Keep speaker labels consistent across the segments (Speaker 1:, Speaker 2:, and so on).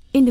Speaker 1: verscheen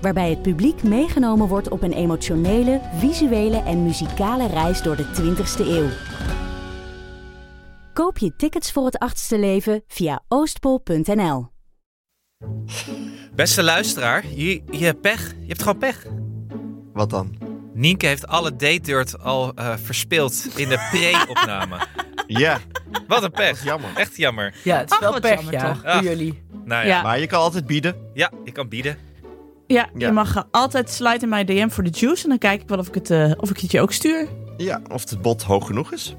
Speaker 1: Waarbij het publiek meegenomen wordt op een emotionele, visuele en muzikale reis door de 20ste eeuw. Koop je tickets voor het achtste leven via oostpol.nl.
Speaker 2: Beste luisteraar, je, je hebt pech. Je hebt gewoon pech.
Speaker 3: Wat dan?
Speaker 2: Nienke heeft alle date dirt al eh, verspeeld in de pre-opname.
Speaker 3: Ja,
Speaker 2: Wat een pech.
Speaker 3: jammer.
Speaker 2: Echt jammer.
Speaker 4: Ja, het is
Speaker 5: Ach,
Speaker 4: wel
Speaker 5: wat
Speaker 4: pech,
Speaker 5: jammer
Speaker 4: ja,
Speaker 5: toch?
Speaker 4: voor
Speaker 2: Ach.
Speaker 4: jullie.
Speaker 2: Nou ja,
Speaker 5: Ja.
Speaker 3: Ah maar je kan altijd bieden.
Speaker 2: ja je kan bieden.
Speaker 5: Ja,
Speaker 3: Ja.
Speaker 5: je mag eh, altijd sliden in mijn DM voor de juice. En dan kijk ik wel of ik het, eh, of ik het je ook stuur.
Speaker 3: Ja, of het bod hoog genoeg is.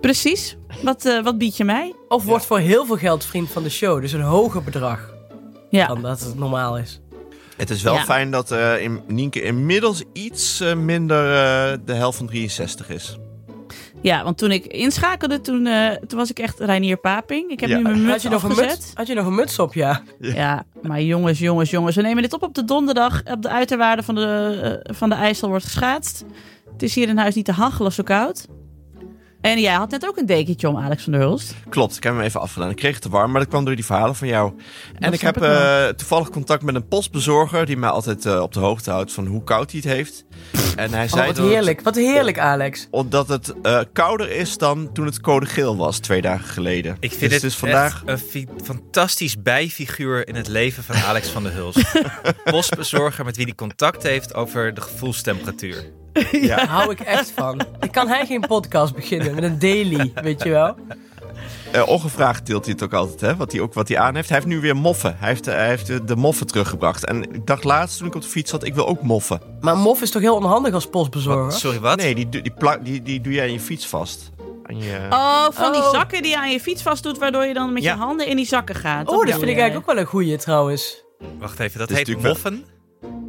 Speaker 5: Precies. Wat, eh, wat bied je mij?
Speaker 4: Of wordt voor heel veel geld vriend van de show, dus een hoger bedrag
Speaker 5: Ja.
Speaker 4: dan dat het normaal is.
Speaker 3: Het is wel
Speaker 5: Ja.
Speaker 3: fijn dat eh, in, Nienke inmiddels iets eh, minder eh, de helft van 63 is.
Speaker 5: ja, want toen ik inschakelde, toen, eh, toen was ik echt Reinier Paping. Ik heb
Speaker 3: Ja.
Speaker 5: nu mijn
Speaker 4: Had
Speaker 5: muts
Speaker 4: je, nog een
Speaker 5: afgezet.
Speaker 4: muts, had je nog een muts op, ja? Oh,
Speaker 5: Ja, maar jongens, jongens, jongens. We nemen dit op op de donderdag. Op de uiterwaarde van de, eh, van de IJssel wordt geschaatst. Het is hier in huis niet te hachelen, zo koud. En jij had net ook een dekentje om, Alex van der Hulst.
Speaker 3: Klopt, ik heb hem even afgedaan. Ik kreeg het te warm, maar dat kwam door die verhalen van jou. En
Speaker 5: Dat
Speaker 3: ik
Speaker 5: snap
Speaker 3: heb
Speaker 5: ik wel.
Speaker 3: eh, toevallig contact met een postbezorger die mij altijd eh, op de hoogte houdt van hoe koud hij het heeft. En hij
Speaker 4: Oh,
Speaker 3: zei
Speaker 4: wat
Speaker 3: dat
Speaker 4: heerlijk, wat heerlijk, Alex.
Speaker 3: Het, omdat het eh, kouder is dan toen het code geel was twee dagen geleden.
Speaker 2: Ik vind
Speaker 3: dus
Speaker 2: dit
Speaker 3: het is vandaag.
Speaker 2: echt een fi- fantastisch bijfiguur in het leven van Alex van der Huls. Postbezorger met wie hij contact heeft over de gevoelstemperatuur.
Speaker 3: Ja.
Speaker 4: Daar hou ik echt van. Dan kan hij geen podcast beginnen met een daily, weet je wel?
Speaker 3: Eh, ongevraagd deelt hij het ook altijd, hè? Wat hij, ook, wat hij aan heeft. Hij heeft nu weer moffen. Hij heeft, eh, hij heeft eh, de moffen teruggebracht. En ik dacht laatst toen ik op de fiets zat, ik wil ook moffen.
Speaker 4: Maar Mof is toch heel onhandig als postbezorger?
Speaker 2: Wat? Sorry, wat?
Speaker 3: Nee, die, do- die, pla- die, die doe jij aan je fiets vast. Aan je...
Speaker 5: Oh, van die
Speaker 4: Oh.
Speaker 5: zakken die je aan je fiets vastdoet, waardoor je dan met
Speaker 3: Ja.
Speaker 5: je handen in die zakken gaat.
Speaker 4: Oh, dat
Speaker 5: bedoel
Speaker 4: vind ik
Speaker 5: jij.
Speaker 4: eigenlijk ook wel een goeie trouwens.
Speaker 2: Wacht even, dat
Speaker 3: Dit is
Speaker 2: heet
Speaker 3: natuurlijk
Speaker 2: moffen?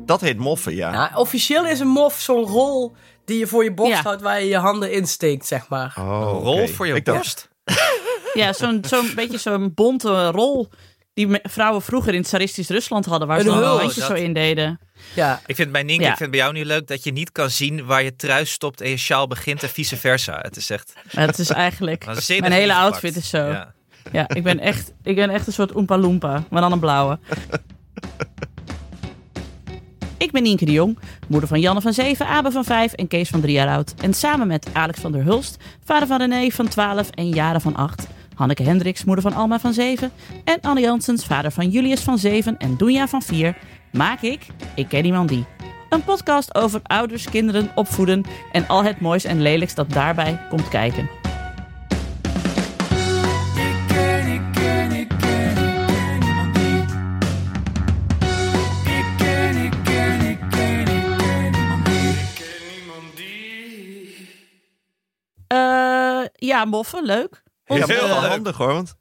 Speaker 3: Dat heet moffen, ja.
Speaker 4: Ja, Nou, officieel is een mof zo'n rol die je voor je borst
Speaker 5: Ja.
Speaker 4: houdt waar je je handen insteekt, zeg maar.
Speaker 3: Oh,
Speaker 2: Een rol
Speaker 3: oké.
Speaker 2: voor je
Speaker 3: Ik dacht-
Speaker 2: borst?
Speaker 5: Ja, zo'n zo'n beetje zo'n bonte rol die me- vrouwen vroeger in tsaristisch Rusland hadden, waar ze
Speaker 4: Een
Speaker 5: dan
Speaker 4: hul,
Speaker 5: een handje
Speaker 2: dat-
Speaker 5: zo in deden.
Speaker 4: Ja,
Speaker 2: Ik vind bij Nienke,
Speaker 5: Ja.
Speaker 2: ik vind bij jou nu leuk dat je niet kan zien waar je trui stopt en je sjaal begint en vice versa. Het is echt
Speaker 5: Maar het is eigenlijk...
Speaker 2: waanzinnig.
Speaker 5: Mijn hele
Speaker 2: ingepakt.
Speaker 5: outfit is zo.
Speaker 2: Ja.
Speaker 5: Ja, ik ben echt, ik ben echt een soort Oompa Loompa, maar dan een blauwe. Ik ben Nienke de Jong, moeder van Janne van 7, Abe van 5 en Kees van 3 jaar oud. En samen met Alex van der Hulst, vader van René van 12 en Jaren van 8. Hanneke Hendricks, moeder van Alma van 7. En Anne Janssens, vader van Julius van 7 en Doenja van 4. Maak ik Ik Ken Iemand Die. Een podcast over ouders, kinderen, opvoeden en al het moois en lelijks dat daarbij komt kijken. Eh, ja, moffen, leuk.
Speaker 3: Ja,
Speaker 2: Heel
Speaker 3: maar wel
Speaker 2: leuk.
Speaker 3: handig hoor, want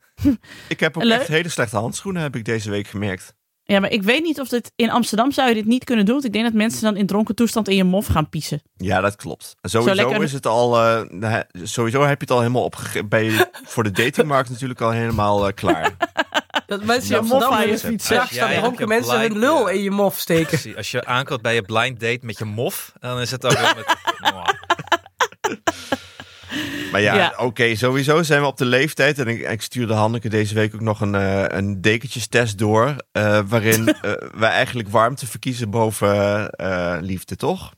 Speaker 3: ik heb ook
Speaker 5: Leuk.
Speaker 3: echt hele slechte handschoenen, heb ik deze week gemerkt.
Speaker 5: Ja, maar ik weet niet of dit in Amsterdam zou je dit niet kunnen doen. Want ik denk dat mensen dan in dronken toestand in je mof gaan piezen.
Speaker 3: Ja, dat klopt. En sowieso
Speaker 5: lekker-
Speaker 3: is het al, eh, nou, sowieso heb je het al helemaal opgege- bij voor de datingmarkt natuurlijk al helemaal eh, klaar.
Speaker 4: dat mensen
Speaker 3: Ja,
Speaker 4: je mof
Speaker 5: mof aan
Speaker 4: aan
Speaker 5: je
Speaker 4: je
Speaker 3: fiets.
Speaker 4: fiets
Speaker 2: Als
Speaker 4: straks
Speaker 2: jij
Speaker 4: dan
Speaker 2: op
Speaker 4: dronken
Speaker 2: je
Speaker 4: mensen
Speaker 2: blind-
Speaker 4: hun lul
Speaker 2: ja.
Speaker 4: in je mof steken.
Speaker 2: Precies, Als je aankomt bij je blind date met je mof, dan is het ook wel met...
Speaker 3: Maar ja,
Speaker 5: Ja.
Speaker 3: oké, sowieso zijn we op de leeftijd. En ik, ik stuurde Hanneke deze week ook nog een, eh, een dekentjestest door. eh, waarin eh, wij eigenlijk warmte verkiezen boven eh, liefde, toch?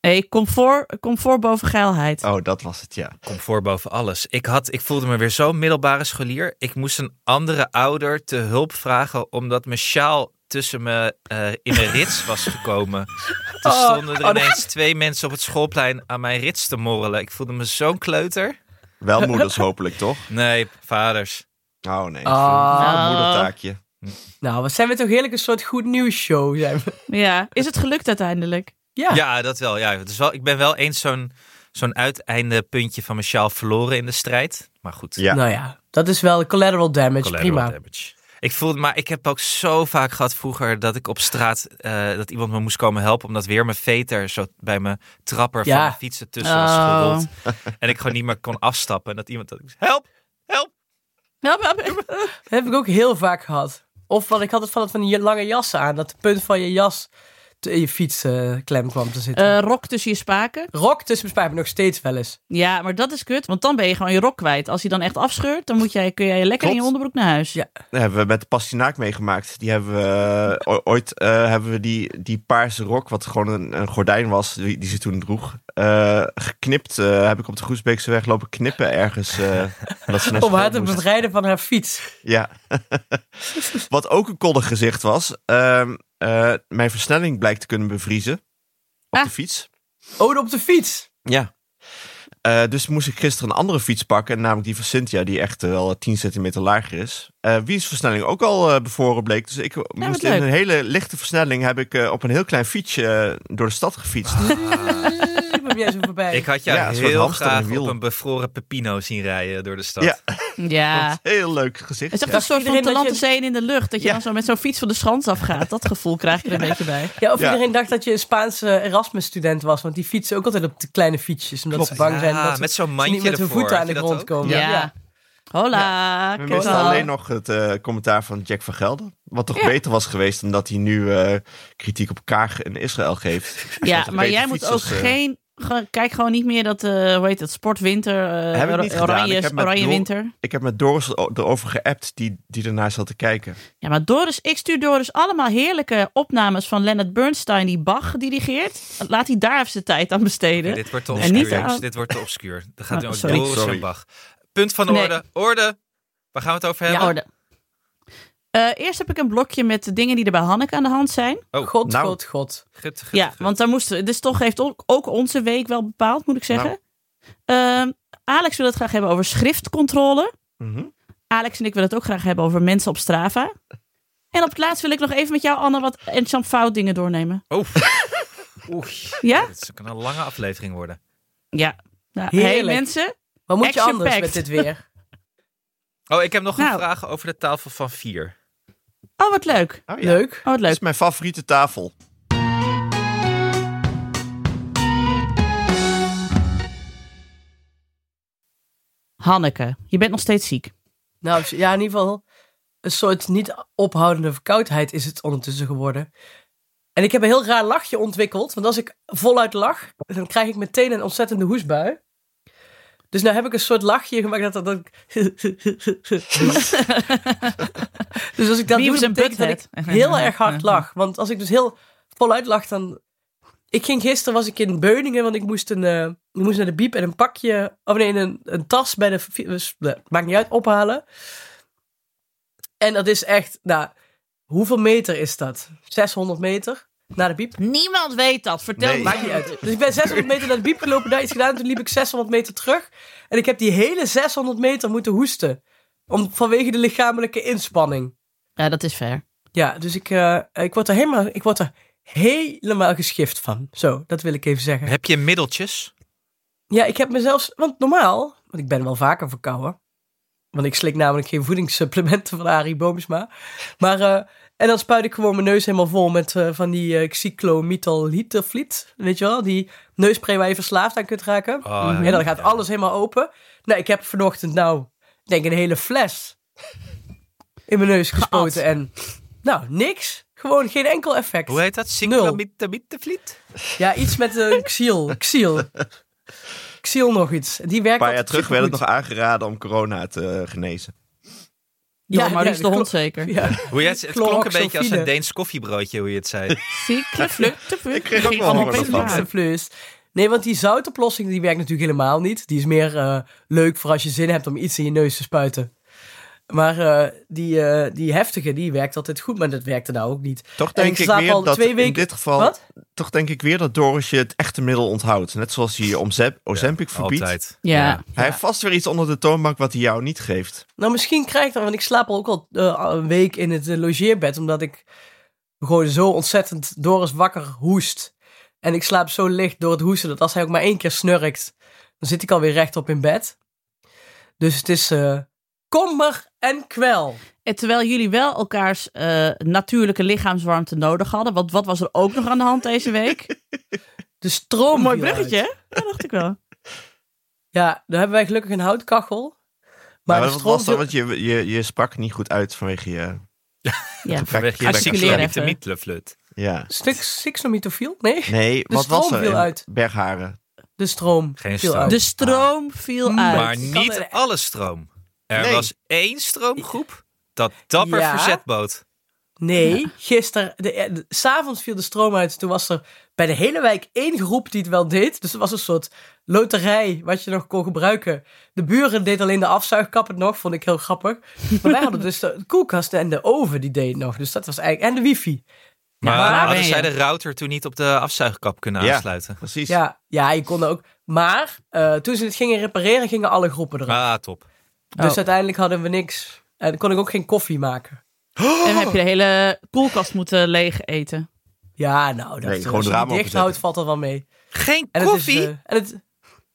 Speaker 5: Nee, comfort, comfort boven geilheid.
Speaker 3: Oh, dat was het, ja.
Speaker 2: Comfort boven alles. Ik, had, ik voelde me weer zo'n middelbare scholier. Ik moest een andere ouder te hulp vragen omdat mijn sjaal tussen me eh, in mijn rits was gekomen. Toen
Speaker 4: Oh,
Speaker 2: stonden
Speaker 4: oh,
Speaker 2: er
Speaker 4: dat-
Speaker 2: ineens twee mensen op het schoolplein aan mijn rits te morrelen. Ik voelde me zo'n kleuter.
Speaker 3: Wel moeders hopelijk, toch?
Speaker 2: Nee, vaders.
Speaker 3: Oh nee,
Speaker 4: Ah.
Speaker 3: een moedertaakje.
Speaker 4: Nou, wat zijn we toch heerlijk een soort goed nieuws show zijn we.
Speaker 5: Ja, is het gelukt uiteindelijk?
Speaker 4: Ja,
Speaker 2: Ja, dat wel. Ja. Het is wel ik ben wel eens zo'n zo'n uiteindepuntje van mijn sjaal verloren in de strijd. Maar goed,
Speaker 3: Ja.
Speaker 4: nou ja, dat is wel collateral damage,
Speaker 2: collateral
Speaker 4: prima.
Speaker 2: damage. Ik voelde, maar ik heb ook zo vaak gehad vroeger dat ik op straat eh, dat iemand me moest komen helpen. Omdat weer mijn veter zo bij mijn trapper
Speaker 4: Ja.
Speaker 2: van mijn fietsen tussen was
Speaker 5: Oh.
Speaker 2: gerold. En ik gewoon niet meer kon afstappen. En dat iemand dat ik help, help.
Speaker 4: Dat heb ik ook heel vaak gehad. Of wat ik had het van het van die lange jassen aan. Dat de punt van je jas te- in je fiets eh, klem kwam te zitten.
Speaker 5: Eh, rok tussen je spaken.
Speaker 4: Rok tussen mijn spijpen nog steeds wel eens.
Speaker 5: Ja, maar dat is kut, want dan ben je gewoon je rok kwijt. Als hij dan echt afscheurt, dan moet jij, kun jij lekker in je
Speaker 3: Klopt.
Speaker 5: onderbroek naar huis.
Speaker 4: Ja.
Speaker 3: Dat hebben we met de pastinaak meegemaakt. Die hebben we eh, o- ooit eh, hebben we die, die paarse rok, wat gewoon een, een gordijn was, die, die ze toen droeg, eh, geknipt. eh, heb ik op de Groesbeekse weg lopen knippen ergens. eh, omdat ze naar
Speaker 4: Om haar
Speaker 3: school
Speaker 4: te
Speaker 3: moest.
Speaker 4: bevrijden van haar fiets.
Speaker 3: Ja. Wat ook een koddig gezicht was. ehm, eh, mijn versnelling blijkt te kunnen bevriezen. Op
Speaker 5: Ah.
Speaker 3: de fiets.
Speaker 4: Oh, op de fiets.
Speaker 3: Ja. Eh, dus moest ik gisteren een andere fiets pakken. Namelijk die van Cynthia, die echt eh, wel 10 centimeter lager is. Eh wiens versnelling ook al eh, bevroren bleek. Dus ik moest in
Speaker 5: leuk.
Speaker 3: een hele lichte versnelling. heb ik eh, op een heel klein fietsje eh, door de stad gefietst.
Speaker 5: Ah.
Speaker 4: Daar ben jij zo voorbij.
Speaker 2: Ik had jou
Speaker 3: Ja, een soort
Speaker 2: heel
Speaker 3: hamster in
Speaker 2: graag
Speaker 3: een wiel.
Speaker 2: op een bevroren Pepino zien rijden door de stad.
Speaker 3: Ja. Dat
Speaker 5: Ja.
Speaker 3: was een heel leuk gezicht.
Speaker 5: Het is echt
Speaker 3: ja.
Speaker 5: een soort van
Speaker 4: Iedereen dat je-
Speaker 5: talante zee in de lucht. Dat je dan zo met zo'n fiets van de schans afgaat. Dat gevoel krijg je er een beetje bij.
Speaker 4: Ja, of
Speaker 3: Ja.
Speaker 4: iedereen dacht dat je een Spaanse Erasmus-student was. Want die fietsen ook altijd op de kleine fietsjes. Omdat ze bang zijn
Speaker 2: Ja,
Speaker 4: dat ze,
Speaker 2: met zo'n
Speaker 4: ze
Speaker 2: mandje
Speaker 4: niet met hun
Speaker 2: ervoor.
Speaker 4: voeten aan
Speaker 2: Heb je
Speaker 4: de
Speaker 2: dat
Speaker 4: grond
Speaker 2: ook?
Speaker 4: komen.
Speaker 5: Ja. Hola.
Speaker 3: We
Speaker 5: kut
Speaker 3: misten
Speaker 5: al.
Speaker 3: alleen nog het eh, commentaar van Jack van Gelder. Wat toch beter was geweest dan dat hij nu eh, kritiek op Kaag en Israël geeft. Dus Hij
Speaker 5: Ja,
Speaker 3: had een
Speaker 5: maar
Speaker 3: betere
Speaker 5: jij moet
Speaker 3: fiets
Speaker 5: ook
Speaker 3: als, eh,
Speaker 5: geen... ge- Kijk gewoon niet meer dat, eh, hoe heet het, sportwinter, eh,
Speaker 3: Heb ik
Speaker 5: or-
Speaker 3: niet gedaan. Ik
Speaker 5: oranje,
Speaker 3: heb met
Speaker 5: oranje
Speaker 3: Doel-
Speaker 5: winter.
Speaker 3: Ik heb met Doris o- erover geappt die, die ernaar zat te kijken.
Speaker 5: Ja, maar Doris, ik stuur Doris allemaal heerlijke opnames van Leonard Bernstein die Bach dirigeert. Laat hij daar even zijn tijd aan besteden.
Speaker 2: Nee, dit wordt te
Speaker 5: En niet
Speaker 2: obscuur,
Speaker 5: aan-
Speaker 2: jongens. Dit wordt te obscuur. Dan gaat
Speaker 5: Oh,
Speaker 4: Ah,
Speaker 2: nu ook
Speaker 5: sorry.
Speaker 2: Doris
Speaker 3: Sorry.
Speaker 2: en Bach. Punt van
Speaker 5: Nee.
Speaker 2: orde. Orde. Waar gaan we het over hebben?
Speaker 5: Ja, orde. Eh, eerst heb ik een blokje met de dingen die er bij Hanneke aan de hand zijn.
Speaker 2: Oh,
Speaker 4: God,
Speaker 3: Nou.
Speaker 4: god, god.
Speaker 2: gut, gut,
Speaker 5: ja,
Speaker 2: gut.
Speaker 5: want daar moesten we. Dus toch heeft ook, ook onze week wel bepaald, moet ik
Speaker 3: Nou.
Speaker 5: zeggen. Ehm, Alex wil het graag hebben over schriftcontrole.
Speaker 3: Mhm.
Speaker 5: Alex en ik willen het ook graag hebben over mensen op Strava. En op het laatst wil ik nog even met jou, Anne, wat Enchant Fout dingen doornemen.
Speaker 2: Oh. Oeh.
Speaker 5: Ja?
Speaker 2: Dit kan een lange aflevering worden.
Speaker 5: Ja. Nou, hey
Speaker 4: Heerlijk.
Speaker 5: mensen,
Speaker 4: Wat moet je
Speaker 5: Action
Speaker 4: anders
Speaker 5: packed.
Speaker 4: met dit weer?
Speaker 2: Oh, ik heb nog
Speaker 5: Nou.
Speaker 2: een vraag over de tafel van vier.
Speaker 5: oh wat leuk.
Speaker 3: Oh, ja.
Speaker 4: Leuk.
Speaker 5: Oh wat
Speaker 3: Dat
Speaker 5: leuk.
Speaker 3: is mijn favoriete tafel.
Speaker 5: Hanneke, je bent nog steeds ziek.
Speaker 4: Nou, ja, in ieder geval een soort niet ophoudende verkoudheid is het ondertussen geworden. En ik heb een heel raar lachje ontwikkeld. Want als ik voluit lach, dan krijg ik meteen een ontzettende hoesbui. Dus nou heb ik een soort lachje gemaakt dat dat... dat dus als ik dat
Speaker 5: Beavis
Speaker 4: doe,
Speaker 5: en
Speaker 4: dan betekent dat ik
Speaker 5: Butthead.
Speaker 4: heel erg hard lach. Want als ik dus heel voluit lach, dan... Ik ging gisteren, was ik in Beuningen, want ik moest, een, eh, ik moest naar de biep en een pakje... Of nee, een, een tas bij de... fi- dus, eh, Maakt niet uit, ophalen. En dat is echt, nou, hoeveel meter is dat? 600 meter naar de biep?
Speaker 5: Niemand weet dat. Vertel
Speaker 3: Nee.
Speaker 5: me.
Speaker 4: Maakt niet uit. Dus ik ben 600 meter naar de biep gelopen, daar iets gedaan. Toen liep ik 600 meter terug. En ik heb die hele 600 meter moeten hoesten. Om, vanwege de lichamelijke inspanning.
Speaker 5: Ja, dat is fair.
Speaker 4: Ja, dus ik, eh, ik, word er helemaal, ik word er helemaal geschift van. Zo, dat wil ik even zeggen.
Speaker 2: Heb je middeltjes?
Speaker 4: Ja, ik heb mezelf... Want normaal, want ik ben wel vaker verkouden. Want ik slik namelijk geen voedingssupplementen van Arie Boomsma. Maar, eh, en dan spuit ik gewoon mijn neus helemaal vol met eh, van die uh, xyclomethylhydrofliet. Weet je wel? Die neuspray waar je verslaafd aan kunt raken. Mhm.
Speaker 2: Oh,
Speaker 4: en dan gaat alles helemaal open. Nou, ik heb vanochtend nou, ik denk een hele fles in mijn neus gespoten.
Speaker 5: Geat.
Speaker 4: En nou, niks. Gewoon geen enkel effect.
Speaker 2: Hoe heet dat? Cyclomietabietenvliet?
Speaker 4: Ja, iets met eh, een xiel. Xiel. Xiel nog iets.
Speaker 3: Een
Speaker 4: Die werkt
Speaker 3: paar jaar
Speaker 4: altijd
Speaker 3: terug werd het
Speaker 4: supergoed.
Speaker 3: nog aangeraden om corona te eh, genezen.
Speaker 5: Ja,
Speaker 4: Ja,
Speaker 5: maar die is
Speaker 4: ja,
Speaker 5: de
Speaker 4: dat klopt.
Speaker 5: hond zeker.
Speaker 4: Ja.
Speaker 2: Hoe je het, het klonk een beetje als een
Speaker 4: Chloroxylfine.
Speaker 2: Deens koffiebroodje, hoe je het zei.
Speaker 5: Ziekte, vluchten, vluchten.
Speaker 3: Ik kreeg ook wel
Speaker 5: allemaal
Speaker 3: honger
Speaker 5: opeens
Speaker 3: ervan.
Speaker 5: naar.
Speaker 4: Luxe plus. Nee, want die zoutoplossing die werkt natuurlijk helemaal niet. Die is meer eh, leuk voor als je zin hebt om iets in je neus te spuiten. Maar eh, die, eh, die heftige, die werkt altijd goed, maar dat werkte nou ook niet.
Speaker 3: Toch
Speaker 4: En
Speaker 3: denk
Speaker 4: ik
Speaker 3: ik,
Speaker 4: slaap
Speaker 3: weer
Speaker 4: al
Speaker 3: dat
Speaker 4: twee
Speaker 3: in
Speaker 4: weken-
Speaker 3: dit geval.
Speaker 4: Wat?
Speaker 3: Toch denk ik weer dat Doris je het echte middel onthoudt. Net zoals hij Omzep- Ozempic verbiedt.
Speaker 2: Altijd.
Speaker 5: Ja.
Speaker 3: Hij heeft vast weer iets onder de toonbank wat hij jou niet geeft.
Speaker 4: Nou, misschien krijg ik dat, want ik slaap al ook al eh, een week in het eh, logeerbed, omdat ik gewoon zo ontzettend Doris wakker hoest. En ik slaap zo licht door het hoesten dat als hij ook maar één keer snurkt, dan zit ik alweer rechtop in bed. Dus het is eh, kommer en kwel.
Speaker 5: En terwijl jullie wel elkaars eh, natuurlijke lichaamswarmte nodig hadden. Want wat was er ook nog aan de hand deze week?
Speaker 4: De stroom.
Speaker 5: Een mooi
Speaker 4: viel uit.
Speaker 5: bruggetje, hè? Ja, dacht ik wel.
Speaker 4: Ja, daar hebben wij gelukkig een houtkachel. Maar,
Speaker 3: Maar
Speaker 4: de
Speaker 3: wat
Speaker 4: stroom.
Speaker 3: was dat?
Speaker 4: viel-
Speaker 3: Want je, je, je sprak niet goed uit vanwege je...
Speaker 5: Ja.
Speaker 2: Vanwege je
Speaker 5: Articuleren even.
Speaker 2: Sixlamietenmietlenflut.
Speaker 3: Ja.
Speaker 4: Stuk sixnomitofiel? Nee,
Speaker 3: Nee, wat
Speaker 4: stroom
Speaker 3: was er
Speaker 4: viel
Speaker 3: in
Speaker 4: uit.
Speaker 3: Bergharen?
Speaker 4: de stroom.
Speaker 2: Geen
Speaker 4: viel
Speaker 2: stroom.
Speaker 4: uit.
Speaker 5: De stroom viel
Speaker 4: Mm.
Speaker 5: uit.
Speaker 2: Maar
Speaker 4: Kan
Speaker 2: niet
Speaker 4: er-
Speaker 2: alle stroom. Er
Speaker 3: Nee.
Speaker 2: was één stroomgroep dat dapper
Speaker 4: Ja.
Speaker 2: verzet bood.
Speaker 4: Nee, gisteren, de, eh, de- s'avonds viel de stroom uit. Toen was er bij de hele wijk één groep die het wel deed. Dus het was een soort loterij wat je nog kon gebruiken. De buren deed alleen de afzuigkap het nog, vond ik heel grappig. Maar wij hadden dus de koelkast en de oven die deed het nog. Dus dat was eigenlijk, en de wifi.
Speaker 2: Maar
Speaker 5: waar ben
Speaker 2: hadden
Speaker 5: je?
Speaker 2: zij de router toen niet op de afzuigkap kunnen
Speaker 3: Ja.
Speaker 2: aansluiten?
Speaker 3: Precies.
Speaker 4: Ja, ja, je kon er ook. Maar eh, toen ze het gingen repareren, gingen alle groepen eraf.
Speaker 2: Ah, top.
Speaker 4: Dus
Speaker 5: Oh.
Speaker 4: uiteindelijk hadden we niks. En kon ik ook geen koffie maken.
Speaker 5: En heb je de hele koelkast moeten leeg eten.
Speaker 4: Ja, nou, dat
Speaker 3: Nee,
Speaker 4: eh,
Speaker 3: gewoon
Speaker 4: als je
Speaker 3: ramen
Speaker 4: die dicht
Speaker 3: openzetten.
Speaker 4: houdt, valt er wel mee.
Speaker 2: Geen
Speaker 4: En
Speaker 2: koffie?
Speaker 4: Het is, eh, en,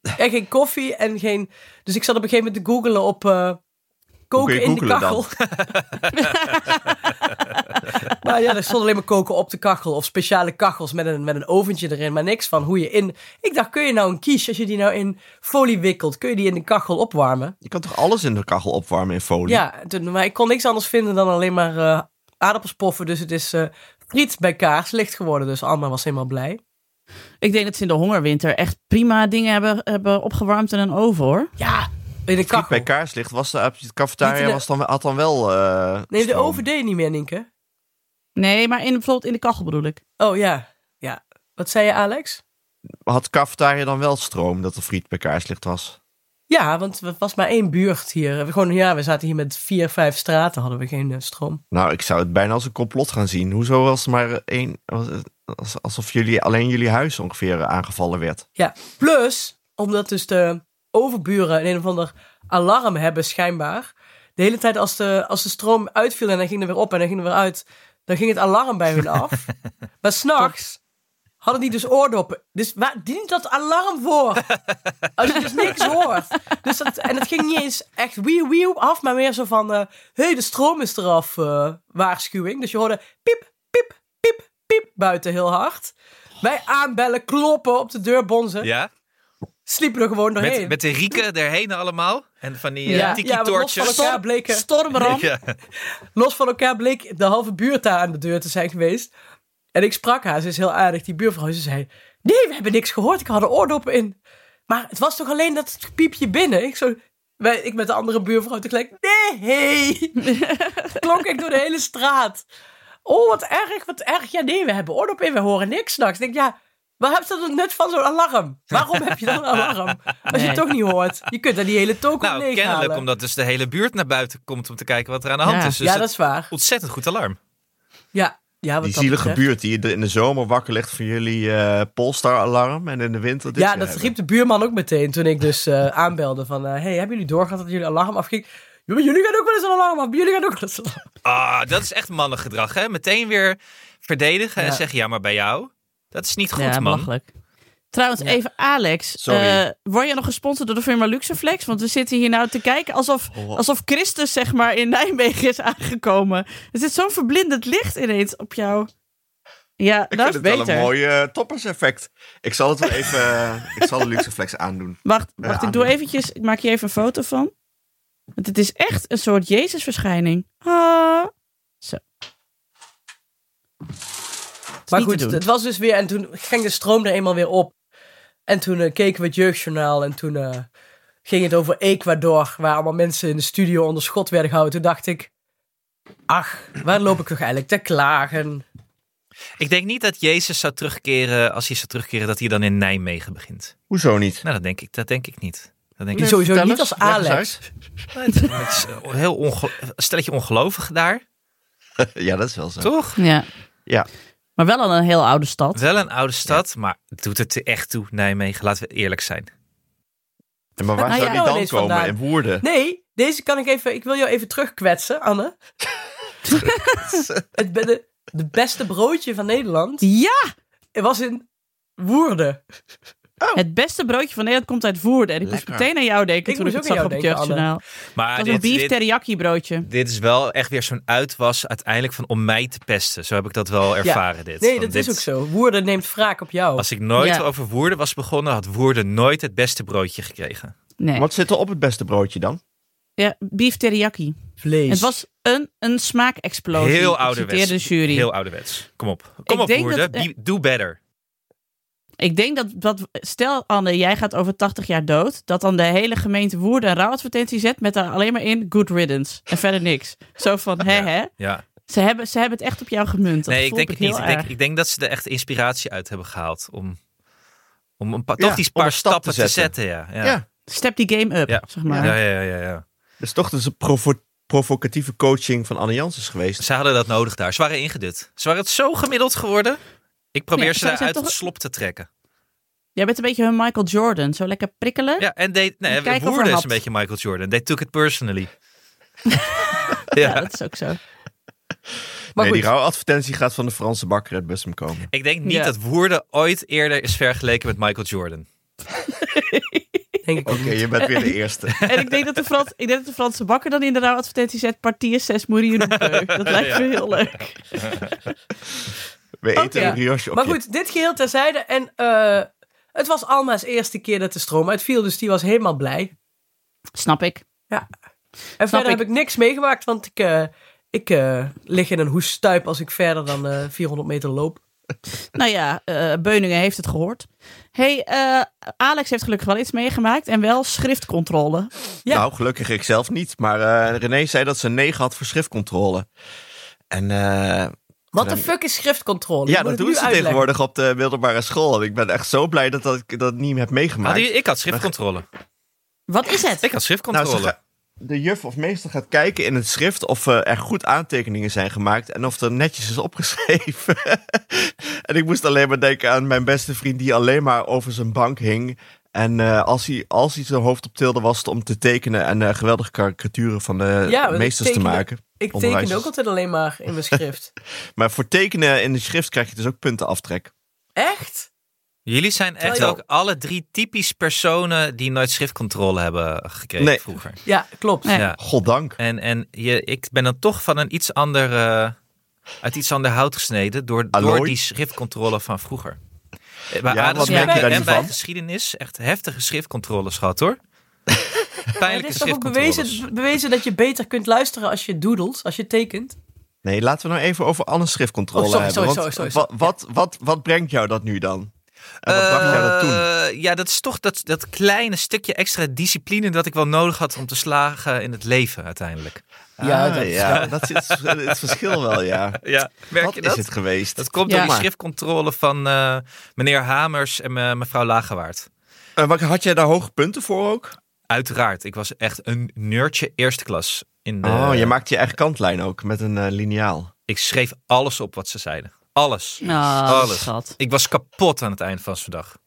Speaker 4: het, en geen koffie en geen... Dus ik zat op een gegeven moment te googelen op... eh,
Speaker 3: kun je
Speaker 4: koken in de
Speaker 3: googelen dan?
Speaker 4: kachel. maar ja, er stond alleen maar koken op de kachel. Of speciale kachels met een, met een oventje erin. Maar niks van hoe je in... Ik dacht, kun je nou een kies, als je die nou in folie wikkelt... kun je die in de kachel opwarmen?
Speaker 3: Je kan toch alles in de kachel opwarmen in folie?
Speaker 4: Ja, en toen, maar ik kon niks anders vinden dan alleen maar eh aardappels poffen. Dus het is eh friet bij kaars licht geworden. Dus Alma was helemaal blij.
Speaker 5: Ik denk dat ze in de hongerwinter echt prima dingen hebben, hebben opgewarmd in een oven, hoor.
Speaker 4: Ja, in de
Speaker 3: Friet
Speaker 4: kachel.
Speaker 3: bij kaarslicht was de, op je
Speaker 4: Niet
Speaker 3: cafetaria
Speaker 4: in de-
Speaker 3: was dan, had dan wel eh,
Speaker 4: Nee, de
Speaker 3: stroom.
Speaker 4: oven deed niet meer, Nienke.
Speaker 5: Nee, maar in, bijvoorbeeld in de kachel bedoel ik.
Speaker 4: Oh ja, ja. Wat zei je, Alex?
Speaker 3: Had cafetaria dan wel stroom dat er friet bij kaarslicht was?
Speaker 4: Ja, want het was maar één buurt hier. We, gewoon, ja, we zaten hier met vier, vijf straten, hadden we geen eh, stroom.
Speaker 3: Nou, ik zou het bijna als een complot gaan zien. Hoezo was er maar één... was het- als- Alsof jullie, alleen jullie huis ongeveer eh, aangevallen werd.
Speaker 4: Ja, plus, omdat dus de overburen een, een of ander alarm hebben schijnbaar. De hele tijd als de, als de stroom uitviel en dan ging er weer op en dan ging er weer uit, dan ging het alarm bij hun af. maar s'nachts hadden die dus oordoppen. Dus waar dient dat alarm voor? Als je dus niks hoort. Dus dat, en het ging niet eens echt wieuw wieuw af, maar meer zo van... eh hey, de stroom is eraf, eh, waarschuwing. Dus je hoorde piep, piep, piep, piep buiten heel hard. Wij aanbellen, kloppen, op de deur bonzen.
Speaker 2: Ja,
Speaker 4: Sliepen er gewoon doorheen.
Speaker 2: met, met de rieken erheen allemaal. En van die
Speaker 5: Ja.
Speaker 2: eh,
Speaker 4: Oh, Ja, want los van
Speaker 2: tiki-torches.
Speaker 4: elkaar bleken... Stormram.
Speaker 2: Ja.
Speaker 4: Los van elkaar bleek de halve buurt daar aan de deur te zijn geweest. En ik sprak haar, ze is heel aardig, die buurvrouw. Ze zei, nee, we hebben niks gehoord, ik had er oordoppen in. Maar het was toch alleen dat piepje binnen? Ik, zo, wij, ik met de andere buurvrouw tegelijk, nee! Klonk ik door de hele straat. Oh, wat erg, wat erg. Ja, nee, we hebben oordoppen in, we horen niks s'nachts. Ik denk, ja, waar heb je dan net van zo'n alarm? Waarom heb je dan een alarm? Als je
Speaker 5: Nee.
Speaker 4: het toch niet hoort. Je kunt daar die hele token
Speaker 2: Nou,
Speaker 4: leeghalen.
Speaker 2: kennelijk omdat dus de hele buurt naar buiten komt om te kijken wat er aan de hand
Speaker 5: Ja.
Speaker 2: is. Dus
Speaker 4: Ja,
Speaker 2: het-
Speaker 4: dat is waar.
Speaker 2: ontzettend goed alarm.
Speaker 4: Ja, ja wat
Speaker 3: Die
Speaker 4: dat
Speaker 3: zielige
Speaker 4: betreft.
Speaker 3: buurt die in de zomer wakker ligt van jullie eh Polestar-alarm. En in de winter dit
Speaker 4: Ja,
Speaker 3: weer
Speaker 4: dat
Speaker 3: hebben.
Speaker 4: riep de buurman ook meteen toen ik dus eh, aanbelde van... eh, hey, hebben jullie doorgehad dat jullie alarm afging? Jullie jullie gaan ook wel eens een alarm af, jullie gaan ook wel eens een alarm af.
Speaker 2: Ah, dat is echt mannengedrag, hè? Meteen weer verdedigen en
Speaker 4: Ja.
Speaker 2: zeggen, ja, maar bij jou? Dat is niet goed,
Speaker 5: ja,
Speaker 2: man.
Speaker 5: belachelijk. Trouwens,
Speaker 4: Ja.
Speaker 5: even Alex.
Speaker 3: Sorry.
Speaker 5: eh, word je nog gesponsord door de firma Luxeflex? Want we zitten hier nou te kijken alsof, alsof Christus zeg maar in Nijmegen is aangekomen. Er zit zo'n verblindend licht ineens op jou. Ja,
Speaker 3: Ik
Speaker 5: dat
Speaker 3: vind
Speaker 5: is
Speaker 3: het wel
Speaker 5: beter.
Speaker 3: een mooi eh, toppers-effect. Ik zal het wel even... eh, ik zal de Luxeflex aandoen.
Speaker 5: Wacht,
Speaker 3: Eh,
Speaker 5: wacht ik
Speaker 3: aandoen.
Speaker 5: doe eventjes, ik maak hier even een foto van. Want het is echt een soort Jezusverschijning. Ah. Zo. Het is
Speaker 4: Maar
Speaker 5: niet te
Speaker 4: goed,
Speaker 5: doen.
Speaker 4: het was dus weer... En toen ging de stroom er eenmaal weer op. En toen eh, keken we het jeugdjournaal en toen eh, ging het over Ecuador... waar allemaal mensen in de studio onder schot werden gehouden. Toen dacht ik, ach, waar loop ik toch eigenlijk te klagen?
Speaker 2: Ik denk niet dat Jezus zou terugkeren, als hij zou terugkeren, dat hij dan in Nijmegen begint.
Speaker 3: Hoezo niet?
Speaker 2: Nou, dat denk ik, dat denk ik niet. Dat denk
Speaker 4: Die
Speaker 2: ik
Speaker 4: sowieso
Speaker 3: vertel
Speaker 4: niet
Speaker 3: eens,
Speaker 4: als
Speaker 3: leg eens
Speaker 4: Alex.
Speaker 2: niet. Het is eh, heel onge stelletje ongelovig daar,
Speaker 3: ja, dat is wel zo.
Speaker 2: toch?
Speaker 5: Ja.
Speaker 3: Ja.
Speaker 5: Maar wel al een heel oude stad.
Speaker 2: Wel een oude stad, maar doet het er echt toe, Nijmegen. Laten we eerlijk zijn.
Speaker 3: En Maar waar
Speaker 5: Nou
Speaker 3: zou die
Speaker 5: ja.
Speaker 4: Oh,
Speaker 3: dan
Speaker 4: ineens
Speaker 3: komen?
Speaker 4: vandaan.
Speaker 3: In Woerden?
Speaker 4: Nee, deze kan ik even... Ik wil jou even terugkwetsen, Anne. het ben de, de beste broodje van Nederland...
Speaker 5: Ja!
Speaker 4: Het was in Woerden.
Speaker 5: Het beste broodje van Nederland komt uit Woerden. En ik moest
Speaker 3: Lekker.
Speaker 5: meteen aan jou denken
Speaker 4: Ik
Speaker 5: toen ik
Speaker 4: moest ook
Speaker 5: het
Speaker 4: aan
Speaker 5: zag op het
Speaker 4: jou denken,
Speaker 5: jeugdjournaal.
Speaker 2: Maar
Speaker 5: Het was een
Speaker 2: dit,
Speaker 5: beef
Speaker 2: dit-
Speaker 5: teriyaki broodje.
Speaker 2: dit is wel echt weer zo'n uitwas uiteindelijk van om mij te pesten. Zo heb ik dat wel ervaren dit.
Speaker 4: Nee,
Speaker 2: Van
Speaker 4: dat
Speaker 2: dit-
Speaker 4: is ook zo. Woerden neemt wraak op jou.
Speaker 2: Als ik nooit
Speaker 5: Ja.
Speaker 2: over Woerden was begonnen, had Woerden nooit het beste broodje gekregen.
Speaker 5: Nee,
Speaker 3: Wat zit er op het beste broodje dan?
Speaker 5: ja, beef teriyaki.
Speaker 4: Vlees.
Speaker 5: Het was een, een smaakexplosie.
Speaker 2: Heel
Speaker 5: Ik
Speaker 2: ouderwets.
Speaker 5: citeer de jury.
Speaker 2: Heel ouderwets. Kom op. Kom
Speaker 5: Ik
Speaker 2: op
Speaker 5: denk
Speaker 2: Woerden.
Speaker 5: dat-
Speaker 2: Be- Do better.
Speaker 5: Ik denk dat, dat, stel Anne, jij gaat over 80 jaar dood, dat dan de hele gemeente Woerden een rouwadvertentie zet met daar alleen maar in good riddance en verder niks. Zo van, hè hè,
Speaker 2: Ja.
Speaker 5: ze hebben, ze hebben het echt op jou gemunt. Dat
Speaker 2: Nee, ik
Speaker 5: gevoel
Speaker 2: denk het
Speaker 5: heb
Speaker 2: niet. Ik
Speaker 5: heel
Speaker 2: denk,
Speaker 5: erg.
Speaker 2: ik denk dat ze er echt inspiratie uit hebben gehaald om, om een paar,
Speaker 3: Ja,
Speaker 2: toch die
Speaker 3: om
Speaker 2: paar
Speaker 3: een stap
Speaker 2: stappen
Speaker 3: te
Speaker 2: te zetten.
Speaker 3: zetten.
Speaker 2: ja.
Speaker 3: Ja.
Speaker 5: Step die game up,
Speaker 2: Ja.
Speaker 5: zeg maar.
Speaker 2: Ja, ja, ja, ja.
Speaker 3: Dat is toch dus een provo- provocatieve coaching van Anne Janssens geweest.
Speaker 2: Ze hadden dat nodig daar. Ze waren ingedut. Ze waren het zo gemiddeld geworden. Ik probeer
Speaker 5: Nee,
Speaker 2: ze
Speaker 5: zij
Speaker 2: daar
Speaker 5: zijn
Speaker 2: uit
Speaker 5: toch-
Speaker 2: het slop te trekken.
Speaker 5: Jij bent een beetje hun Michael Jordan, zo lekker prikkelen.
Speaker 2: Ja, en deed, nee,
Speaker 5: Kijken of er
Speaker 2: Woerden is
Speaker 5: hapt.
Speaker 2: een beetje Michael Jordan. They took it personally.
Speaker 5: Ja,
Speaker 2: ja.
Speaker 5: dat is ook zo.
Speaker 4: maar
Speaker 3: nee,
Speaker 4: goed,
Speaker 3: die rouwadvertentie gaat van de Franse bakker uit Bussum komen.
Speaker 2: Ik denk niet
Speaker 5: Ja.
Speaker 2: dat Woerden ooit eerder is vergeleken met Michael Jordan.
Speaker 4: denk ik ook
Speaker 3: Oké,
Speaker 4: niet.
Speaker 3: je bent weer de eerste.
Speaker 5: En ik denk dat de, Frans, ik denk dat de Franse bakker dan in de rouwadvertentie zet, partier 6 Mourinho. Dat lijkt me heel leuk.
Speaker 3: We eten
Speaker 4: ja.
Speaker 3: een brioche op
Speaker 4: Maar
Speaker 3: je.
Speaker 4: goed, dit geheel terzijde. En eh, het was Alma's eerste keer dat de stroom uitviel, dus die was helemaal blij.
Speaker 5: Snap ik.
Speaker 4: Ja. En verder
Speaker 5: ik.
Speaker 4: heb ik niks meegemaakt, want ik, eh, ik eh, lig in een hoestuip als ik verder dan eh, 400 meter loop.
Speaker 5: Nou ja, eh, Beuningen heeft het gehoord. hey, eh, Alex heeft gelukkig wel iets meegemaakt en wel schriftcontrole.
Speaker 4: Ja.
Speaker 3: Nou, gelukkig ik zelf niet. Maar eh, René zei dat ze een 9 had voor schriftcontrole. En eh,
Speaker 4: Wat de fuck is schriftcontrole? Je
Speaker 3: ja,
Speaker 4: moet
Speaker 3: dat
Speaker 4: het
Speaker 3: doen
Speaker 4: nu
Speaker 3: ze
Speaker 4: uitleggen.
Speaker 3: tegenwoordig op de middelbare school. En ik ben echt zo blij dat, dat ik dat niet heb meegemaakt.
Speaker 2: Hadden jullie- ik had schriftcontrole.
Speaker 5: Wat is het?
Speaker 2: Ik had
Speaker 3: Nou,
Speaker 2: schriftcontrole.
Speaker 3: ze ga- de juf of meester gaat kijken in het schrift of eh, er goed aantekeningen zijn gemaakt en of er netjes is opgeschreven. en ik moest alleen maar denken aan mijn beste vriend die alleen maar over zijn bank hing. En eh, als, hij, als hij zijn hoofd op tilde was het om te tekenen en eh, geweldige karikaturen van de
Speaker 4: Ja, want ik
Speaker 3: eh, meesters te
Speaker 4: tekende-
Speaker 3: maken.
Speaker 4: Ik tekende
Speaker 3: Onderwijzers.
Speaker 4: ook altijd alleen maar in mijn schrift.
Speaker 3: Maar voor tekenen in de schrift krijg je dus ook puntenaftrek.
Speaker 4: Echt?
Speaker 2: Jullie zijn echt
Speaker 4: Terwijl-
Speaker 2: ook alle drie typisch personen die nooit schriftcontrole hebben gekregen
Speaker 3: Nee.
Speaker 2: vroeger.
Speaker 4: Ja, klopt.
Speaker 5: Nee.
Speaker 2: Ja.
Speaker 3: Goddank.
Speaker 2: En, en je, ik ben dan toch van een iets ander, eh, uit iets ander hout gesneden door, door
Speaker 3: Allooi?
Speaker 2: die schriftcontrole van vroeger. Eh, Bij
Speaker 3: Ja,
Speaker 2: ja,
Speaker 3: wat
Speaker 5: merk je
Speaker 2: en
Speaker 3: daar nu
Speaker 2: bij
Speaker 3: van?
Speaker 2: geschiedenis echt heftige schriftcontroles gehad hoor.
Speaker 4: Het
Speaker 2: Pijnlijke
Speaker 4: is toch ook
Speaker 2: schriftcontroles.
Speaker 4: bewezen, bewezen dat je beter kunt luisteren als je doodelt, als je tekent?
Speaker 3: Nee, laten we nou even over Anne's schriftcontrole
Speaker 4: Oh, sorry,
Speaker 3: hebben.
Speaker 4: sorry,
Speaker 3: want
Speaker 4: sorry, sorry,
Speaker 3: wa- Wat, wat, wat, brengt jou dat nu dan? En wat bracht jou dat toen?
Speaker 2: Eh, ja, dat is toch dat, dat kleine stukje extra discipline dat ik wel nodig had om te slagen in het leven uiteindelijk.
Speaker 4: Ja,
Speaker 3: Ah,
Speaker 4: dat is-
Speaker 3: ja, dat is het, het verschil wel, ja.
Speaker 2: Ja, merk
Speaker 3: dat
Speaker 2: je
Speaker 3: is
Speaker 2: dat?
Speaker 3: het geweest.
Speaker 2: Dat komt
Speaker 5: Ja.
Speaker 2: door die
Speaker 5: Maar-
Speaker 2: schriftcontrole van eh, meneer Hamers en me- mevrouw Lagewaard.
Speaker 3: Eh, wat- had jij daar hoge punten voor ook?
Speaker 2: Uiteraard, ik was echt een nerdje eerste klas. In de,
Speaker 3: oh, je maakte je eigen kantlijn ook met een eh, liniaal.
Speaker 2: Ik schreef alles op wat ze zeiden. Alles.
Speaker 5: Ah,
Speaker 2: Alles.
Speaker 5: schat.
Speaker 2: Ik was kapot aan het eind van zo'n dag.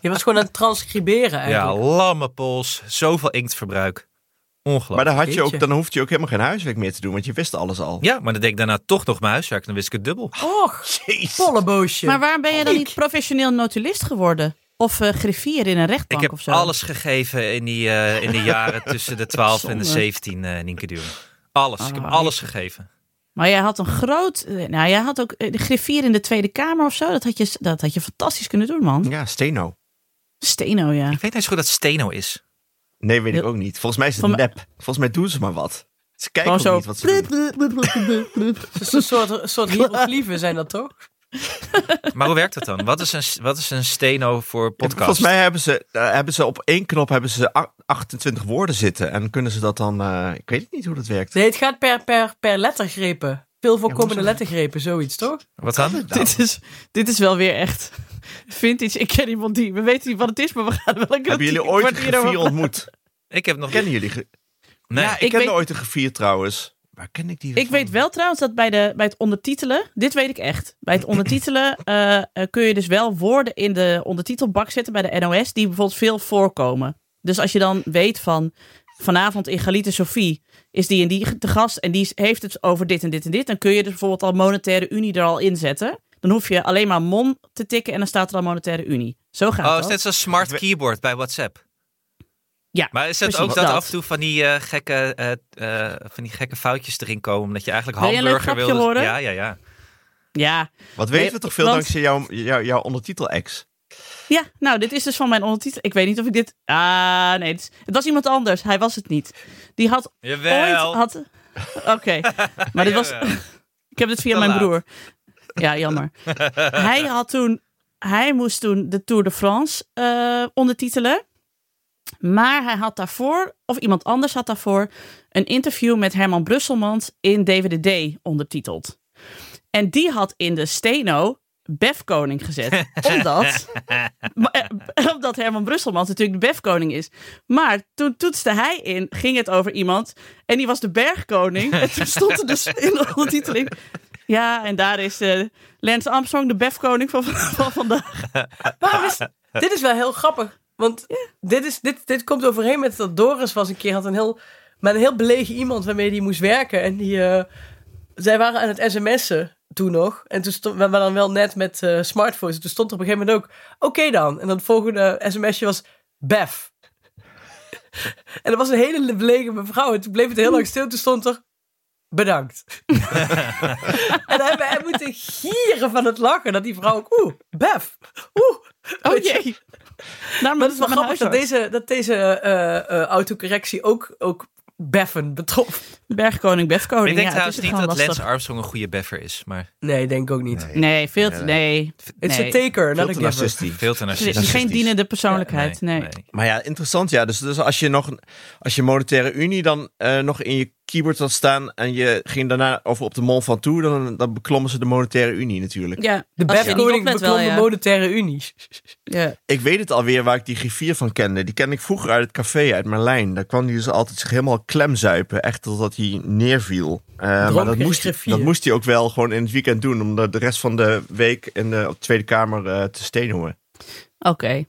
Speaker 4: Je was gewoon aan het transcriberen
Speaker 2: Ja,
Speaker 4: eigenlijk.
Speaker 2: lamme pols, zoveel inktverbruik. Ongelooflijk.
Speaker 3: Maar dan, had je ook,
Speaker 4: Jeetje.
Speaker 3: dan hoefde je ook helemaal geen huiswerk meer te doen, want je wist alles al.
Speaker 2: Ja, maar dan deed ik daarna toch nog mijn huiswerk. Dan wist ik het dubbel.
Speaker 4: Och, polleboosje.
Speaker 5: Maar waarom ben je dan niet professioneel notulist geworden? Of eh griffier in een
Speaker 2: Ik
Speaker 5: rechtbank
Speaker 2: heb
Speaker 5: of zo?
Speaker 2: alles gegeven in die, eh, in de jaren tussen de 12 en de
Speaker 5: Zonde.
Speaker 2: 17, eh Nienke Duwen. Alles. ik heb
Speaker 5: Ah,
Speaker 2: alles gegeven.
Speaker 5: Maar jij had een groot... eh, Nou, jij had ook eh, de griffier in de Tweede Kamer of zo. Dat had je, dat had je fantastisch kunnen doen, man.
Speaker 3: Ja, steno.
Speaker 5: Steno, ja.
Speaker 2: Ik weet niet zo goed dat Steno is.
Speaker 3: Nee, weet ik
Speaker 5: Ja.
Speaker 3: ook niet. Volgens mij is het
Speaker 5: Van-
Speaker 3: nep. Volgens mij doen ze maar wat. Ze kijken
Speaker 5: Gewoon
Speaker 3: ook
Speaker 5: zo.
Speaker 3: niet wat ze doen.
Speaker 4: Het is een soort, een soort hieroglyphen zijn dat toch?
Speaker 2: Maar hoe werkt dat dan? Wat is een, wat is een Steno voor podcast?
Speaker 3: Volgens mij hebben ze, eh, hebben ze op één knop hebben ze a- 28 woorden zitten. En kunnen ze dat dan... eh, ik weet niet hoe dat werkt.
Speaker 4: Nee, het gaat per, per, per lettergrepen. Veel voorkomende
Speaker 3: maar zo-
Speaker 4: lettergrepen, zoiets toch?
Speaker 2: Wat dan?
Speaker 3: Nou,
Speaker 5: Dit, is, dit is wel weer echt... Vintage, ik ken iemand die... We weten niet wat het is, maar we gaan wel een
Speaker 3: hebben jullie
Speaker 5: kritiek-
Speaker 3: ooit een
Speaker 5: wordt hierover-
Speaker 3: griffier ontmoet?
Speaker 2: Ik heb nog
Speaker 3: Kennen jullie... ge-
Speaker 2: Nee.
Speaker 5: Ja,
Speaker 3: ik,
Speaker 5: ik
Speaker 3: ken
Speaker 5: weet-
Speaker 3: ooit een gevier trouwens. Waar ken ik die
Speaker 5: Ik weet wel trouwens dat bij, de, bij het ondertitelen, dit weet ik echt, bij het ondertitelen eh, eh, kun je dus wel woorden in de ondertitelbak zetten bij de NOS die bijvoorbeeld veel voorkomen. Dus als je dan weet van vanavond in Galite Sophie is die en die te gast en die is- heeft het over dit en dit en dit, dan kun je dus bijvoorbeeld al Monetaire Unie er al in zetten. Dan hoef je alleen maar MON te tikken en dan staat er al Monetaire Unie. Zo gaat
Speaker 2: Oh,
Speaker 5: dat.
Speaker 2: is net zo'n smart keyboard bij WhatsApp.
Speaker 5: Ja,
Speaker 2: Maar is het
Speaker 5: precies
Speaker 2: ook dat,
Speaker 5: dat.
Speaker 2: af en toe van die, eh, gekke, eh, eh, van die gekke foutjes erin komen? Omdat je eigenlijk
Speaker 5: Wil je een leuk
Speaker 2: hamburger
Speaker 5: grapje
Speaker 2: wilde...
Speaker 5: horen?
Speaker 2: Ja, ja, ja.
Speaker 5: Ja.
Speaker 3: Wat weten
Speaker 5: Nee,
Speaker 3: we toch veel
Speaker 5: want-
Speaker 3: dankzij jouw, jou, jouw ondertitel-ex?
Speaker 5: ja, nou, dit is dus van mijn ondertitel. Ik weet niet of ik dit... Ah, nee. Het, is- het was iemand anders. Hij was het niet. Die had
Speaker 2: Jawel.
Speaker 5: ooit... Had... Oké. Maar dit was...
Speaker 2: Jawel.
Speaker 5: Ik heb dit via
Speaker 2: Te
Speaker 5: mijn
Speaker 2: laat.
Speaker 5: broer. Ja, jammer. hij had toen, hij moest toen de Tour de France eh, ondertitelen. Maar hij had daarvoor, of iemand anders had daarvoor, een interview met Herman Brusselmans in DWDD ondertiteld. En die had in de steno Befkoning gezet. Omdat, maar, eh, omdat Herman Brusselmans natuurlijk de Befkoning is. Maar toen toetste hij in, ging het over iemand. En die was de Bergkoning. En toen stond er dus in de ondertiteling. Ja, en daar is eh Lance Armstrong de Befkoning van, van vandaag.
Speaker 4: Waarom is, dit is wel heel grappig. Want dit, is, dit, dit komt overheen met dat Doris was een keer had een heel, met een heel belegen iemand waarmee die moest werken. En die, eh, zij waren aan het sms'en toen nog. En toen stond, we waren dan wel net met eh, smartphones. En toen stond er op een gegeven moment ook, oké dan. En dan het volgende sms'je was, Bef. en dat was een hele belegen mevrouw. En toen bleef het heel lang stil. Toen stond er, bedankt. en hij, hij moet gieren van het lachen. Dat die vrouw ook, oeh, Bef. Oeh.
Speaker 5: Oh
Speaker 4: Weet je?
Speaker 5: jee. Daarom
Speaker 4: Maar het is wel
Speaker 5: van mijn
Speaker 4: grappig dat
Speaker 5: huisarts.
Speaker 4: deze, dat deze eh, eh, autocorrectie ook, ook beffen betrof.
Speaker 5: Bergkoning, Befkoning.
Speaker 2: Ik denk
Speaker 5: ja, het
Speaker 2: trouwens
Speaker 5: is
Speaker 2: niet
Speaker 5: gewoon
Speaker 2: dat Lance
Speaker 5: lastig.
Speaker 2: Armstrong een goede beffer is, maar
Speaker 4: Nee, denk ik ook niet.
Speaker 5: Nee, veel te...
Speaker 3: Ja.
Speaker 5: Nee.
Speaker 4: Het is
Speaker 5: Nee.
Speaker 4: een taker,
Speaker 3: Veel
Speaker 4: not a
Speaker 3: te
Speaker 4: giver.
Speaker 3: narcistisch.
Speaker 2: veel te
Speaker 5: Ze is
Speaker 2: narcistisch.
Speaker 5: geen dienende persoonlijkheid.
Speaker 2: Ja,
Speaker 5: nee,
Speaker 3: Maar ja, interessant ja. Dus, dus als je nog een- als je monetaire unie dan eh, nog in je keyboard had staan en je ging daarna over op de mol van toe, dan, dan beklommen ze de monetaire unie natuurlijk.
Speaker 5: Ja,
Speaker 4: De
Speaker 5: als je niet
Speaker 4: befkoning
Speaker 5: oplet
Speaker 4: beklom de monetaire unie.
Speaker 5: ja.
Speaker 3: Ik weet het alweer waar ik die griffier van kende. Die kende ik vroeger uit het café uit Merlijn. Daar kwam hij dus altijd zich helemaal klemzuipen. Echt totdat hij neerviel. Eh, maar dat moest,
Speaker 4: griffier.
Speaker 3: dat moest hij ook wel gewoon in het weekend doen. Om de de rest van de week in de, op de Tweede Kamer eh, te steenhouden.
Speaker 5: Oké.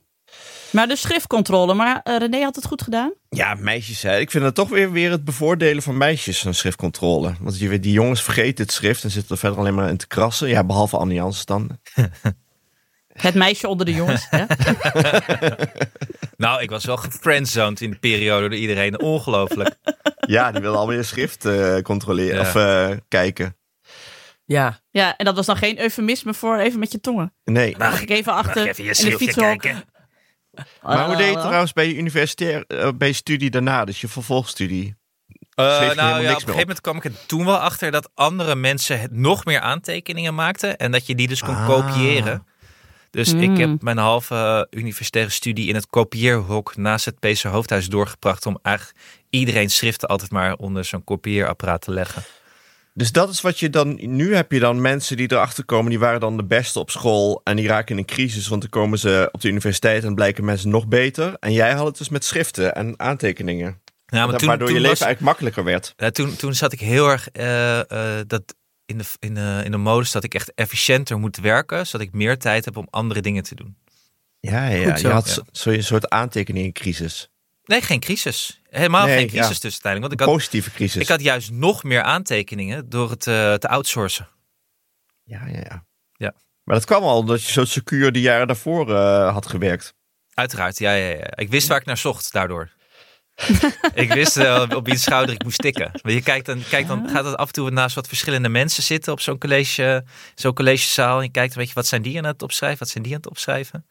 Speaker 5: Maar de schriftcontrole. Maar eh, René had het goed gedaan.
Speaker 3: Ja, meisjes. Hè. Ik vind dat toch weer, weer het bevoordelen van meisjes, zo'n schriftcontrole. Want je weet, die jongens vergeten het schrift en zitten er verder alleen maar in te krassen. Ja, behalve Annie Janssens dan.
Speaker 5: Het meisje onder de jongens. hè?
Speaker 2: Nou, ik was wel gefriendzoned in de periode door iedereen. Ongelooflijk.
Speaker 3: Ja, die willen alweer schrift eh, controleren
Speaker 2: Ja.
Speaker 3: of eh, kijken.
Speaker 4: Ja.
Speaker 5: Ja, en dat was dan geen eufemisme voor even met je tongen.
Speaker 3: Nee.
Speaker 5: Mag ik even achter
Speaker 2: even je
Speaker 5: in de
Speaker 2: schriftje
Speaker 5: fietshok.
Speaker 2: kijken?
Speaker 3: Maar hoe deed je het
Speaker 5: Ah,
Speaker 3: trouwens bij je universitair, eh, bij je studie daarna, dus je vervolgstudie?
Speaker 2: Eh,
Speaker 3: Schreef je helemaal
Speaker 2: nou ja,
Speaker 3: niks
Speaker 2: op een gegeven
Speaker 3: meer op?
Speaker 2: moment kwam ik er toen wel achter dat andere mensen het nog meer aantekeningen maakten. En dat je die dus kon
Speaker 3: Ah.
Speaker 2: kopiëren. Dus ik
Speaker 5: Mm.
Speaker 2: heb mijn halve eh, universitaire studie in het kopieerhok naast het PC Hoofdhuis doorgebracht. Om eigenlijk iedereen schriften altijd maar onder zo'n kopieerapparaat te leggen.
Speaker 3: Dus dat is wat je dan. Nu heb je dan mensen die erachter komen, die waren dan de beste op school. En die raken in een crisis, want dan komen ze op de universiteit en blijken mensen nog beter. En jij had het dus met schriften en aantekeningen.
Speaker 2: Ja, Nou, maar
Speaker 3: Dat-
Speaker 2: toen,
Speaker 3: waardoor
Speaker 2: toen
Speaker 3: je leven
Speaker 2: was-
Speaker 3: eigenlijk makkelijker werd.
Speaker 2: Ja, toen, toen zat ik heel erg eh, eh, dat in, de, in, de, in de modus dat ik echt efficiënter moet werken. Zodat ik meer tijd heb om andere dingen te doen.
Speaker 3: Ja, ja.
Speaker 4: Goed zo.
Speaker 3: je had
Speaker 2: Ja.
Speaker 3: zo- zo'n soort aantekeningencrisis.
Speaker 2: Nee, geen crisis. Helemaal
Speaker 3: Nee,
Speaker 2: geen crisis
Speaker 3: ja.
Speaker 2: dus uiteindelijk. Want ik had,
Speaker 3: Positieve crisis.
Speaker 2: ik had juist nog meer aantekeningen door het eh, te outsourcen.
Speaker 3: Ja, ja, ja,
Speaker 2: Ja.
Speaker 3: Maar dat kwam al omdat je zo secuur de jaren daarvoor eh, had gewerkt.
Speaker 2: Uiteraard, ja, ja, ja. Ik wist waar ik naar zocht daardoor. ik wist eh, op wiens schouder ik moest tikken. Maar je kijkt dan, kijkt dan, gaat dat af en toe naast wat verschillende mensen zitten op zo'n college, zo'n collegezaal. En je kijkt een beetje, wat zijn die aan het opschrijven? Wat zijn die aan het opschrijven?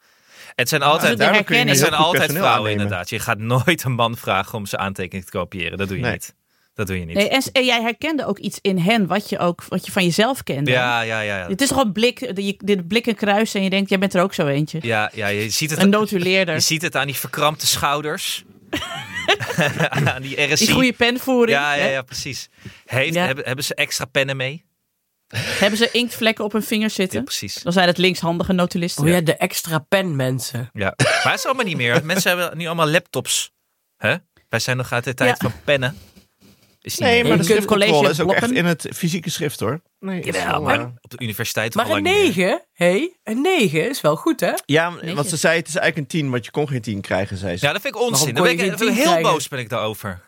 Speaker 2: Het zijn altijd,
Speaker 5: de herkenning.
Speaker 2: Het
Speaker 5: heel
Speaker 2: zijn altijd
Speaker 3: personeel
Speaker 2: vrouwen,
Speaker 3: aannemen.
Speaker 2: inderdaad. Je gaat nooit een man vragen om zijn aantekening te kopiëren. Dat doe je
Speaker 3: Nee.
Speaker 2: niet. Dat doe je niet.
Speaker 5: Nee, en, en jij herkende ook iets in hen wat je, ook, wat je van jezelf kende.
Speaker 2: ja, ja, ja, ja.
Speaker 5: Het is gewoon blik, de, je- de blikken kruisen en je denkt, jij bent er ook zo eentje.
Speaker 2: ja, ja je, ziet
Speaker 5: Een
Speaker 2: het, je
Speaker 5: notuleerder.
Speaker 2: ziet het aan die verkrampte schouders. aan die RSI.
Speaker 5: Die goede penvoering.
Speaker 2: ja, ja,
Speaker 5: hè?
Speaker 2: ja, precies. Heeft,
Speaker 5: Ja.
Speaker 2: Hebben, hebben ze extra pennen mee?
Speaker 5: Hebben ze inktvlekken op hun vingers
Speaker 2: Ja,
Speaker 5: zitten?
Speaker 2: precies.
Speaker 5: Dan zijn het linkshandige notulisten.
Speaker 4: Oh ja, de extra pen mensen.
Speaker 2: Ja. Maar het is allemaal niet meer. Mensen hebben nu allemaal laptops. Hè? Wij zijn nog uit de tijd
Speaker 5: Ja.
Speaker 2: van pennen. Is niet
Speaker 3: Nee,
Speaker 2: meer.
Speaker 3: maar
Speaker 5: Je
Speaker 3: de
Speaker 5: kunt college
Speaker 3: schriftcontrole is ook echt
Speaker 5: blokken.
Speaker 3: in het fysieke schrift hoor. Nee,
Speaker 4: Jawel, maar-
Speaker 2: Op de universiteit
Speaker 4: Maar een
Speaker 2: al lang niet meer.
Speaker 4: 9, hé, een 9 is wel goed, hè?
Speaker 3: Ja, want
Speaker 5: Netjes.
Speaker 3: ze zei het is eigenlijk een 10, want je kon geen 10 krijgen, zei ze.
Speaker 2: Ja, dat vind ik onzin.
Speaker 4: Waarom
Speaker 2: Dan
Speaker 4: kon je
Speaker 2: ben ik,
Speaker 4: geen tien
Speaker 2: heel
Speaker 4: krijgen?
Speaker 2: boos ben ik daarover.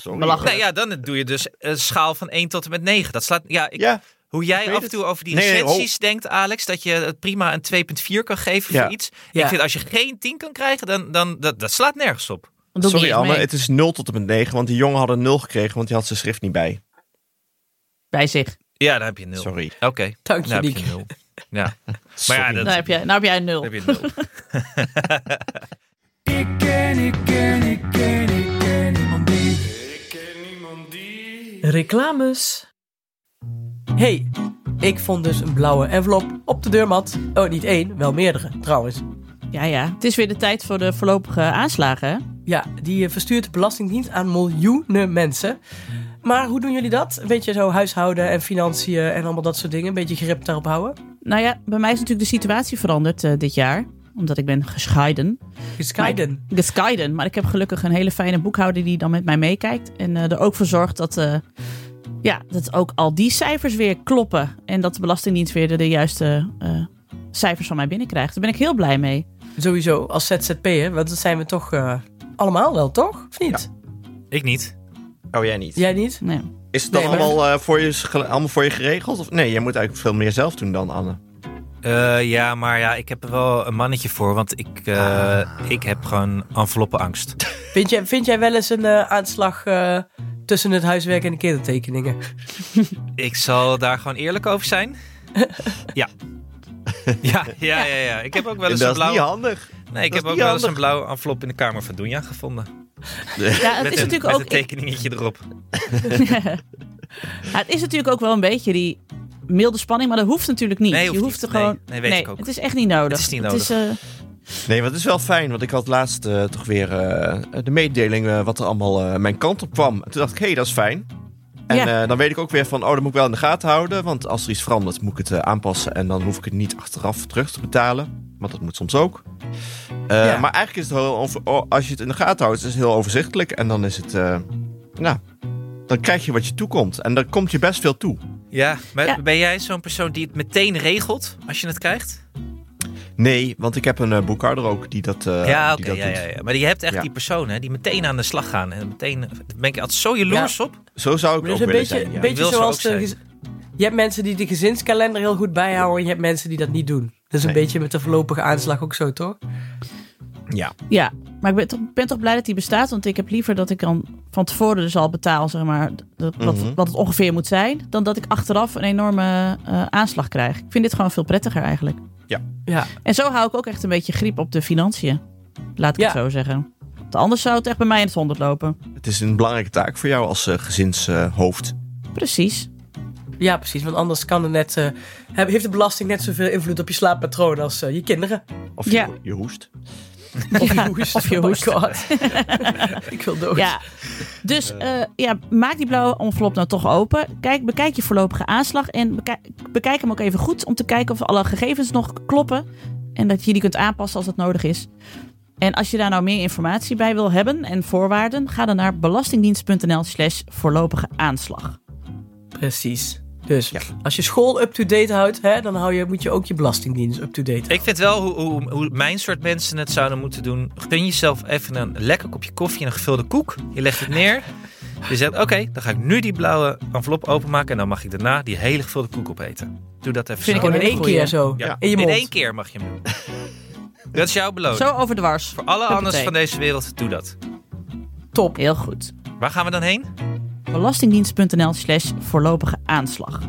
Speaker 3: Sorry.
Speaker 5: Belachelijk.
Speaker 2: Nee, ja, dan doe je dus een schaal van 1 tot en met 9. Dat slaat. Ja, ik,
Speaker 3: Ja,
Speaker 2: Hoe jij
Speaker 3: weet
Speaker 2: af en
Speaker 3: het.
Speaker 2: toe over die
Speaker 3: Nee, nee,
Speaker 2: recensies denkt, Alex, dat je het prima een 2.4 kan geven
Speaker 3: Ja.
Speaker 2: voor iets.
Speaker 4: Ja.
Speaker 2: Ik vind als je geen 10 kan krijgen, dan, dan dat, dat slaat nergens op.
Speaker 5: Doe ik niet
Speaker 3: Sorry
Speaker 5: eens
Speaker 3: Anne,
Speaker 5: mee.
Speaker 3: het is 0 tot en met 9, want die jongen had een 0 gekregen, want die had zijn schrift niet bij.
Speaker 5: Bij zich.
Speaker 2: Ja, dan heb je nul.
Speaker 3: Sorry.
Speaker 2: Oké.
Speaker 4: Dank je,
Speaker 2: Nou heb
Speaker 4: Nick.
Speaker 2: je nul. Ja, maar ja,
Speaker 3: Sorry.
Speaker 2: dat
Speaker 5: Nou heb, jij, nou heb jij een nul.
Speaker 2: dan heb je nul.
Speaker 6: Ik ken, ik ken, ik ken, ik ken niemand die.
Speaker 4: Reclames. Hey, ik vond dus een blauwe envelop op de deurmat. Oh, niet één, wel meerdere trouwens.
Speaker 5: Ja, ja. Het is weer de tijd voor de voorlopige aanslagen. hè?
Speaker 4: Ja, die eh, verstuurt de Belastingdienst aan miljoenen mensen. Maar hoe doen jullie dat? Een beetje zo huishouden en financiën en allemaal dat soort dingen. Een beetje grip daarop houden.
Speaker 5: Nou ja, bij mij is natuurlijk de situatie veranderd eh, dit jaar. Omdat ik ben gescheiden.
Speaker 4: Gescheiden.
Speaker 5: Gescheiden. Maar ik heb gelukkig een hele fijne boekhouder die dan met mij meekijkt. En eh, er ook voor zorgt dat, eh, ja, dat ook al die cijfers weer kloppen. En dat de Belastingdienst weer de, de juiste eh, cijfers van mij binnenkrijgt. Daar ben ik heel blij mee.
Speaker 4: Sowieso, als ZZP'er, want dat zijn we toch eh, allemaal wel, toch? Of niet?
Speaker 2: Ik niet.
Speaker 3: Oh, jij niet.
Speaker 4: Jij niet?
Speaker 5: Nee.
Speaker 3: Is het dan
Speaker 4: Nee, maar-
Speaker 3: allemaal, eh, voor je, ge- allemaal voor je geregeld? Of? Nee, jij moet eigenlijk veel meer zelf doen dan Anne.
Speaker 2: Eh, ja, maar ja, ik heb er wel een mannetje voor, want ik, eh, ik heb gewoon enveloppenangst.
Speaker 4: Vind jij, vind jij wel eens een eh, aanslag eh, tussen het huiswerk en de Dus kindertekeningen?
Speaker 2: Ik zal daar gewoon eerlijk over zijn. ja. Ja, ja, ja, ja. Ik heb ook wel
Speaker 3: En
Speaker 2: eens een
Speaker 3: dat is niet
Speaker 2: blauwe...
Speaker 3: handig.
Speaker 2: Nee, ik
Speaker 3: dat
Speaker 2: heb
Speaker 3: is
Speaker 2: ook
Speaker 3: niet
Speaker 2: wel eens een
Speaker 3: handig.
Speaker 2: blauwe envelop in de kamer van Doenja gevonden.
Speaker 5: Ja, het
Speaker 2: met
Speaker 5: is
Speaker 2: een,
Speaker 5: natuurlijk
Speaker 2: met
Speaker 5: ook.
Speaker 2: een tekeningetje erop.
Speaker 5: Ja, het is natuurlijk ook wel een beetje die milde spanning, maar dat hoeft natuurlijk niet.
Speaker 2: Nee,
Speaker 5: je
Speaker 2: hoeft
Speaker 5: hoeft
Speaker 2: niet.
Speaker 5: er gewoon.
Speaker 2: Nee, nee, weet ik ook.
Speaker 5: Het is echt niet nodig.
Speaker 2: Het is niet
Speaker 5: Het is, eh,
Speaker 3: Nee, maar het is wel fijn, want ik had laatst eh, toch weer eh, de mededeling eh, wat er allemaal eh, mijn kant op kwam. En toen dacht ik, hé, dat is fijn. En
Speaker 5: Ja.
Speaker 3: eh, dan weet ik ook weer van, oh, dat moet ik wel in de gaten houden. Want als er iets verandert, moet ik het eh, aanpassen. En dan hoef ik het niet achteraf terug te betalen. Want dat moet soms ook. Eh,
Speaker 4: Ja.
Speaker 3: Maar eigenlijk is het heel, over, oh, als je het in de gaten houdt, is het heel overzichtelijk. En dan is het, eh, nou, dan krijg je wat je toekomt. En dan komt je best veel toe.
Speaker 2: Ja, maar
Speaker 5: Ja.
Speaker 2: ben jij zo'n persoon die het meteen regelt als je het krijgt?
Speaker 3: Nee, want ik heb een eh, boekhouder ook die dat, eh
Speaker 2: ja,
Speaker 3: die
Speaker 2: oké.
Speaker 3: dat
Speaker 2: ja,
Speaker 3: doet.
Speaker 2: ja, ja. Maar je hebt echt
Speaker 3: Ja.
Speaker 2: die personen hè, die meteen aan de slag gaan. En meteen, daar ben ik altijd zo jaloers op.
Speaker 3: Zo zou ik
Speaker 4: Maar dat
Speaker 3: ook
Speaker 4: is een
Speaker 3: willen
Speaker 4: beetje,
Speaker 3: zijn. ja.
Speaker 2: Ik
Speaker 4: beetje
Speaker 2: wil zo
Speaker 4: zoals
Speaker 2: ook
Speaker 4: de
Speaker 2: zijn.
Speaker 4: gez- Je hebt mensen die de gezinskalender heel goed bijhouden en je hebt mensen die dat niet doen. Dat is een
Speaker 3: Nee.
Speaker 4: beetje met de voorlopige aanslag ook zo, toch?
Speaker 3: ja.
Speaker 5: ja, maar ik ben toch, ben toch blij dat die bestaat, want ik heb liever dat ik dan van tevoren dus al betaal, zeg maar, dat, wat,
Speaker 3: Mhm.
Speaker 5: wat het ongeveer moet zijn, dan dat ik achteraf een enorme eh, aanslag krijg. Ik vind dit gewoon veel prettiger eigenlijk.
Speaker 4: Ja.
Speaker 5: En zo hou ik ook echt een beetje grip op de financiën, laat ik het
Speaker 4: Ja.
Speaker 5: zo zeggen. Want anders zou het echt bij mij in het honderd lopen.
Speaker 3: Het is een belangrijke taak voor jou als eh, gezinshoofd.
Speaker 5: Precies.
Speaker 4: Oh ja, precies. Want anders kan er net, eh, heb- heeft de belasting net zoveel invloed op je slaappatroon als eh, je kinderen.
Speaker 3: of
Speaker 5: Ja.
Speaker 3: je, je hoest.
Speaker 4: Of je hoest.
Speaker 5: of je
Speaker 4: Oh my
Speaker 5: hoest.
Speaker 4: God. Ik wil dood.
Speaker 5: Ja. Dus eh, ja, maak die blauwe envelop nou toch open. Kijk, bekijk je voorlopige aanslag en bekijk, bekijk hem ook even goed om te kijken of alle gegevens nog kloppen. En dat je die kunt aanpassen als dat nodig is. En als je daar nou meer informatie bij wil hebben en voorwaarden, ga dan naar belastingdienst.nl slash voorlopige aanslag.
Speaker 4: Precies. Dus als je school up-to-date houdt, hè, dan hou je, moet je ook je belastingdienst up-to-date
Speaker 2: Ik vind wel hoe, hoe, hoe mijn soort mensen het zouden moeten doen. Gun jezelf even een lekker kopje koffie en een gevulde koek. Je legt het neer. Je zegt, oké, dan ga ik nu die blauwe envelop openmaken. En dan mag ik daarna die hele gevulde koek opeten. Doe dat even
Speaker 5: Vind
Speaker 2: zo.
Speaker 5: ik
Speaker 4: houden.
Speaker 5: een
Speaker 4: Gewoon in één
Speaker 5: hele
Speaker 4: keer zo.
Speaker 5: goeie.
Speaker 2: Ja.
Speaker 4: In je
Speaker 2: In
Speaker 4: mond.
Speaker 2: één keer mag je hem doen. dat is jouw beloning.
Speaker 5: Zo over de wars.
Speaker 2: Oh, Voor alle anders
Speaker 5: Huppatee.
Speaker 2: van deze wereld, doe dat.
Speaker 4: Top.
Speaker 5: Heel goed.
Speaker 2: Waar gaan we dan heen?
Speaker 5: Belastingdienst.nl slash voorlopige aanslag.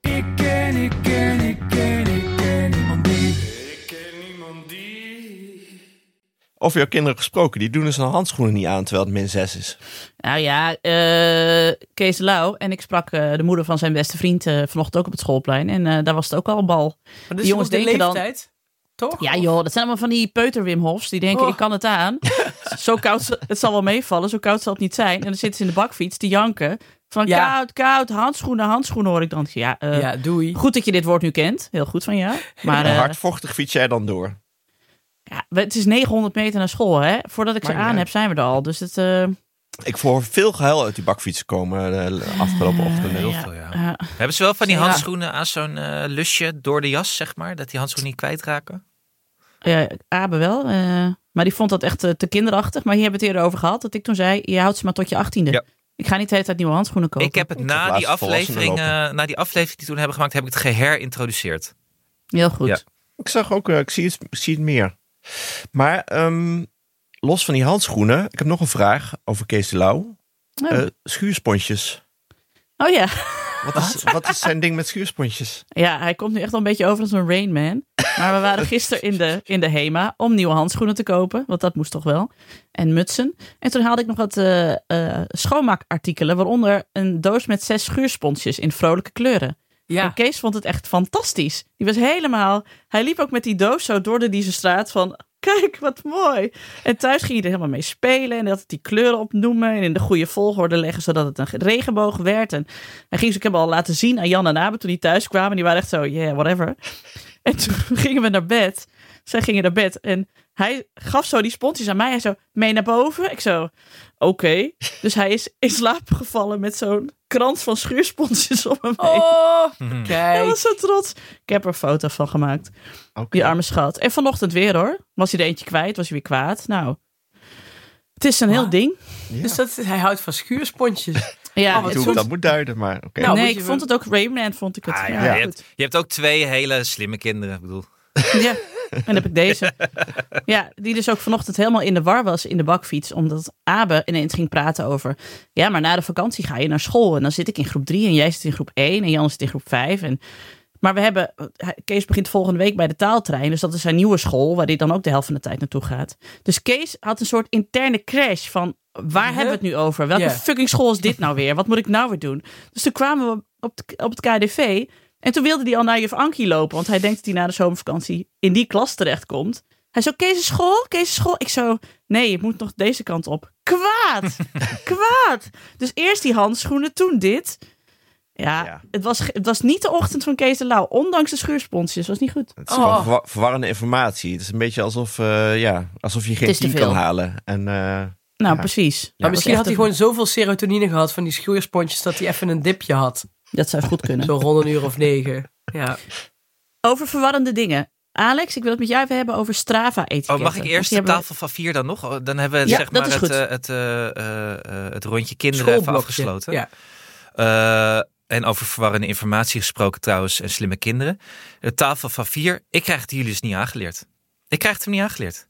Speaker 6: Ik ken, ik ken, ik ken, ik ken niemand die.
Speaker 3: Over jouw kinderen gesproken, die doen dus hun handschoenen niet aan terwijl het min 6 is.
Speaker 5: Nou ja, eh, Kees Lau en ik sprak eh, de moeder van zijn beste vriend eh, vanochtend ook op het schoolplein. En eh, daar was het ook al een bal.
Speaker 4: Maar
Speaker 5: Die jongens
Speaker 4: op de
Speaker 5: denken dan-
Speaker 4: leeftijd, Toch?
Speaker 5: Ja joh, dat zijn allemaal van die peuter Wim Hofs. Die denken,
Speaker 4: Oh.
Speaker 5: ik kan het aan. zo koud, zal- het zal wel meevallen, zo koud zal het niet zijn. En dan zitten ze in de bakfiets te janken. Van
Speaker 4: Ja.
Speaker 5: koud, koud, handschoenen, handschoenen hoor ik dan. Ja, eh,
Speaker 4: Ja, doei.
Speaker 5: goed dat je dit woord nu kent. Heel goed van jou. Maar
Speaker 3: En
Speaker 5: eh,
Speaker 3: hardvochtig fiets jij dan door.
Speaker 5: ja, het is 900 meter naar school hè. Voordat ik ze
Speaker 3: Maakt niet
Speaker 5: aan
Speaker 3: uit.
Speaker 5: heb, zijn we er al. Dus het... eh,
Speaker 3: Ik hoor veel gehuil uit die bakfietsen komen eh, de afgelopen ochtend.
Speaker 2: Heel
Speaker 5: ja,
Speaker 2: veel, ja.
Speaker 5: eh,
Speaker 2: Hebben ze wel van die
Speaker 5: Ja.
Speaker 2: handschoenen aan zo'n eh, lusje door de jas, zeg maar? Dat die handschoenen niet kwijtraken?
Speaker 5: Ja, Abe wel. eh, maar die vond dat echt eh, te kinderachtig. Maar hier hebben we het eerder over gehad. Dat ik toen zei, je houdt ze maar tot je achttiende.
Speaker 2: Ja.
Speaker 5: Ja. Ik ga niet de hele tijd nieuwe handschoenen kopen.
Speaker 2: Ik heb het
Speaker 3: heb
Speaker 2: na
Speaker 3: laatst
Speaker 2: die, aflevering,
Speaker 3: volwassenen
Speaker 2: eh, na die aflevering die we toen hebben gemaakt, heb ik het geherintroduceerd.
Speaker 5: Heel goed.
Speaker 2: Ja.
Speaker 3: Ik zag ook, eh, ik zie het, ik zie het meer. Maar ehm, los van die handschoenen, ik heb nog een vraag over Kees de Lauw.
Speaker 5: Oh.
Speaker 3: Eh, schuurspontjes.
Speaker 5: oh ja.
Speaker 3: Wat is, wat is zijn ding met schuurspontjes?
Speaker 5: Ja, hij komt nu echt al een beetje over als een Rain Man. Maar we waren gisteren in de, in de HEMA om nieuwe handschoenen te kopen. Want dat moest toch wel. En mutsen. En toen haalde ik nog wat eh, eh, schoonmaakartikelen. Waaronder een doos met zes schuursponsjes in vrolijke kleuren. En
Speaker 4: Ja.
Speaker 5: Kees vond het echt fantastisch. Die was helemaal... Hij liep ook met die doos zo door de Dieze straat van... Kijk, wat mooi. En thuis ging hij er helemaal mee spelen. En hij had het die kleuren opnoemen. En in de goede volgorde leggen, zodat het een regenboog werd. En hij ging ze ook helemaal laten zien aan Jan en Abe toen die thuis kwamen. Die waren echt zo, yeah, whatever. En toen gingen we naar bed. Zij gingen naar bed. En hij gaf zo die sponsjes aan mij. Hij zo, mee naar boven? Ik zo, oké. Dus hij is in slaap gevallen met zo'n krans van schuursponsjes om hem heen.
Speaker 4: Oh,
Speaker 2: Mhm.
Speaker 5: Hij
Speaker 4: kijk.
Speaker 5: was zo trots. Ik heb er een foto van gemaakt.
Speaker 3: Oké.
Speaker 5: Die arme schat. En vanochtend weer hoor. Was hij er eentje kwijt, was hij weer kwaad. Nou, het is een heel
Speaker 4: Wat?
Speaker 5: ding.
Speaker 3: Ja.
Speaker 4: Dus dat, hij houdt van schuurspontjes.
Speaker 5: Ja,
Speaker 4: Oh, wat
Speaker 3: Hoe
Speaker 5: het
Speaker 3: ik
Speaker 5: voelt-
Speaker 3: dat moet duiden, maar oké.
Speaker 4: Nou,
Speaker 5: nee,
Speaker 4: moet je
Speaker 5: ik vond het ook Rayman, vond ik het.
Speaker 2: Ah,
Speaker 5: ja,
Speaker 2: ja, je,
Speaker 5: goed.
Speaker 2: hebt, je hebt ook twee hele slimme kinderen. Ik bedoel,
Speaker 5: Ja, en dan heb ik deze. Ja, die dus ook vanochtend helemaal in de war was in de bakfiets. Omdat Abe ineens ging praten over... Ja, maar na de vakantie ga je naar school. En dan zit ik in groep 3 en jij zit in groep 1 en Jan zit in groep 5. En, maar we hebben... Kees begint volgende week bij de taaltrein. Dus dat is zijn nieuwe school waar hij dan ook de helft van de tijd naartoe gaat. Dus Kees had een soort interne crash van... Waar
Speaker 4: Huh?
Speaker 5: hebben we het nu over? Welke
Speaker 4: Ja.
Speaker 5: fucking school is dit nou weer? Wat moet ik nou weer doen? Dus toen kwamen we op, het- op het KDV. En toen wilde hij al naar juf Ankie lopen. Want hij denkt dat hij na de zomervakantie in die klas terechtkomt. Hij zo, Kees is school? Kees is school? Ik zo, nee, je moet nog deze kant op. Kwaad! Kwaad! Dus eerst die handschoenen, toen dit. Ja,
Speaker 3: Ja.
Speaker 5: Het, was, ge- het was niet de ochtend van Kees de Lauw. Ondanks de schuursponsjes. was niet goed.
Speaker 3: Het is gewoon
Speaker 4: Oh.
Speaker 3: verwa- verwarrende informatie. Het is een beetje alsof, eh, ja, alsof je geen
Speaker 5: is te
Speaker 3: 10
Speaker 5: veel.
Speaker 3: kan halen. En, eh,
Speaker 5: Nou,
Speaker 3: Ja.
Speaker 5: precies. Dat
Speaker 4: Maar
Speaker 5: was
Speaker 4: misschien
Speaker 5: echt
Speaker 4: had hij
Speaker 5: een-
Speaker 4: gewoon zoveel serotonine gehad van die schuurspontjes dat hij even een dipje had.
Speaker 5: Dat zou goed kunnen.
Speaker 4: Zo rond een uur of negen. Ja.
Speaker 5: Over verwarrende dingen. Alex, ik wil het met jou even hebben over Strava-etiketten.
Speaker 2: oh, mag ik eerst de tafel van vier dan nog? Oh, Dan hebben we
Speaker 5: Ja,
Speaker 2: zeg
Speaker 5: dat
Speaker 2: maar
Speaker 5: is
Speaker 2: het,
Speaker 5: goed.
Speaker 2: eh, het, eh, eh, eh, het rondje kinderen even
Speaker 4: Schoolblokje.
Speaker 2: afgesloten.
Speaker 4: Ja.
Speaker 2: Eh, en over verwarrende informatie gesproken trouwens en slimme kinderen. De tafel van vier, ik krijg het jullie dus niet aangeleerd. Ik krijg het hem niet aangeleerd.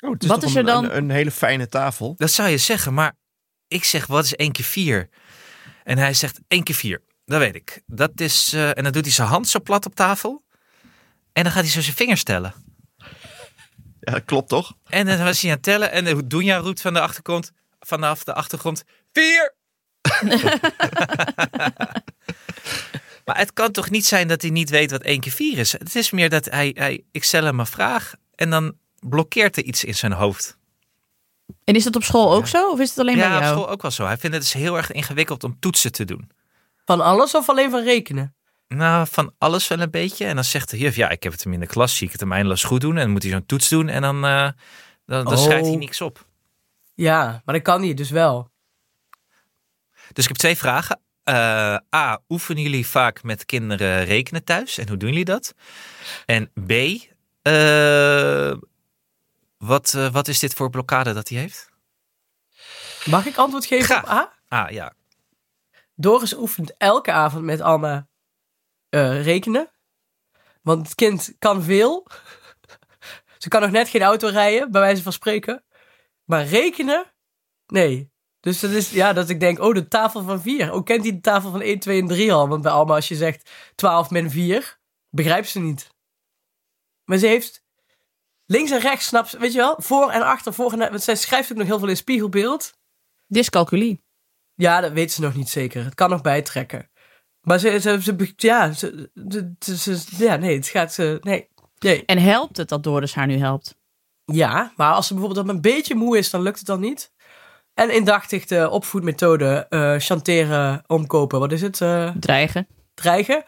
Speaker 3: oh, het is
Speaker 5: Wat
Speaker 3: toch
Speaker 5: is er
Speaker 3: een-
Speaker 5: dan-
Speaker 3: Een, een hele fijne tafel.
Speaker 2: Dat zou je zeggen, maar ik zeg wat is één keer vier? En hij zegt één keer vier. Dat weet ik. Dat is, eh, en dan doet hij zijn hand zo plat op tafel. En dan gaat hij zo zijn vingers tellen.
Speaker 3: Ja, dat klopt toch?
Speaker 2: En dan was hij aan het tellen. En eh, Dunja roept van de achtergrond, vanaf de achtergrond, vier! maar het kan toch niet zijn dat hij niet weet wat één keer vier is? Het is meer dat hij, hij ik stel hem een vraag en dan blokkeert er iets in zijn hoofd.
Speaker 5: En is dat op school ook zo? Of is het alleen bij
Speaker 2: ja, op
Speaker 5: jou?
Speaker 2: school ook wel zo. Hij vindt het dus heel erg ingewikkeld om toetsen te doen.
Speaker 4: Van alles of alleen van rekenen?
Speaker 2: Nou, van alles wel een beetje. En dan zegt de juf, ja, ik heb het hem in de klas, zie ik het hem eindeloos goed doen. En dan moet hij zo'n toets doen en dan, eh, dan, dan
Speaker 4: Oh.
Speaker 2: schrijft hij niks op.
Speaker 4: Ja, maar dat kan hij dus wel.
Speaker 2: Dus ik heb twee vragen. Eh, A, oefenen jullie vaak met kinderen rekenen thuis? En hoe doen jullie dat? En B, eh, wat, eh, wat is dit voor blokkade dat hij heeft?
Speaker 4: Mag ik antwoord geven
Speaker 2: Graag.
Speaker 4: op A?
Speaker 2: Ah, ja.
Speaker 4: Doris oefent elke avond met Anna eh, rekenen. Want het kind kan veel. Ze kan nog net geen auto rijden, bij wijze van spreken. Maar rekenen? Nee. Dus dat is, ja, dat ik denk, oh, de tafel van vier. Ook kent hij de tafel van 1, 2 en 3 al? Want bij Alma, als je zegt 12 min 4, begrijpt ze niet. Maar ze heeft links en rechts, snapt ze, weet je wel? Voor en achter, voor en na- Want zij schrijft ook nog heel veel in spiegelbeeld.
Speaker 5: Dyscalculie.
Speaker 4: Ja, dat weet ze nog niet zeker. Het kan nog bijtrekken. Maar ze, ze, ze be- ja, ze, ze- ze- ze- ja, nee, het gaat, ze, nee, nee.
Speaker 5: En helpt het dat Doris haar nu helpt?
Speaker 4: Ja, maar als ze bijvoorbeeld dan een beetje moe is, dan lukt het dan niet. En indachtig de opvoedmethode, eh, chanteren, omkopen, wat is het, eh,
Speaker 5: Dreigen.
Speaker 4: dreigen.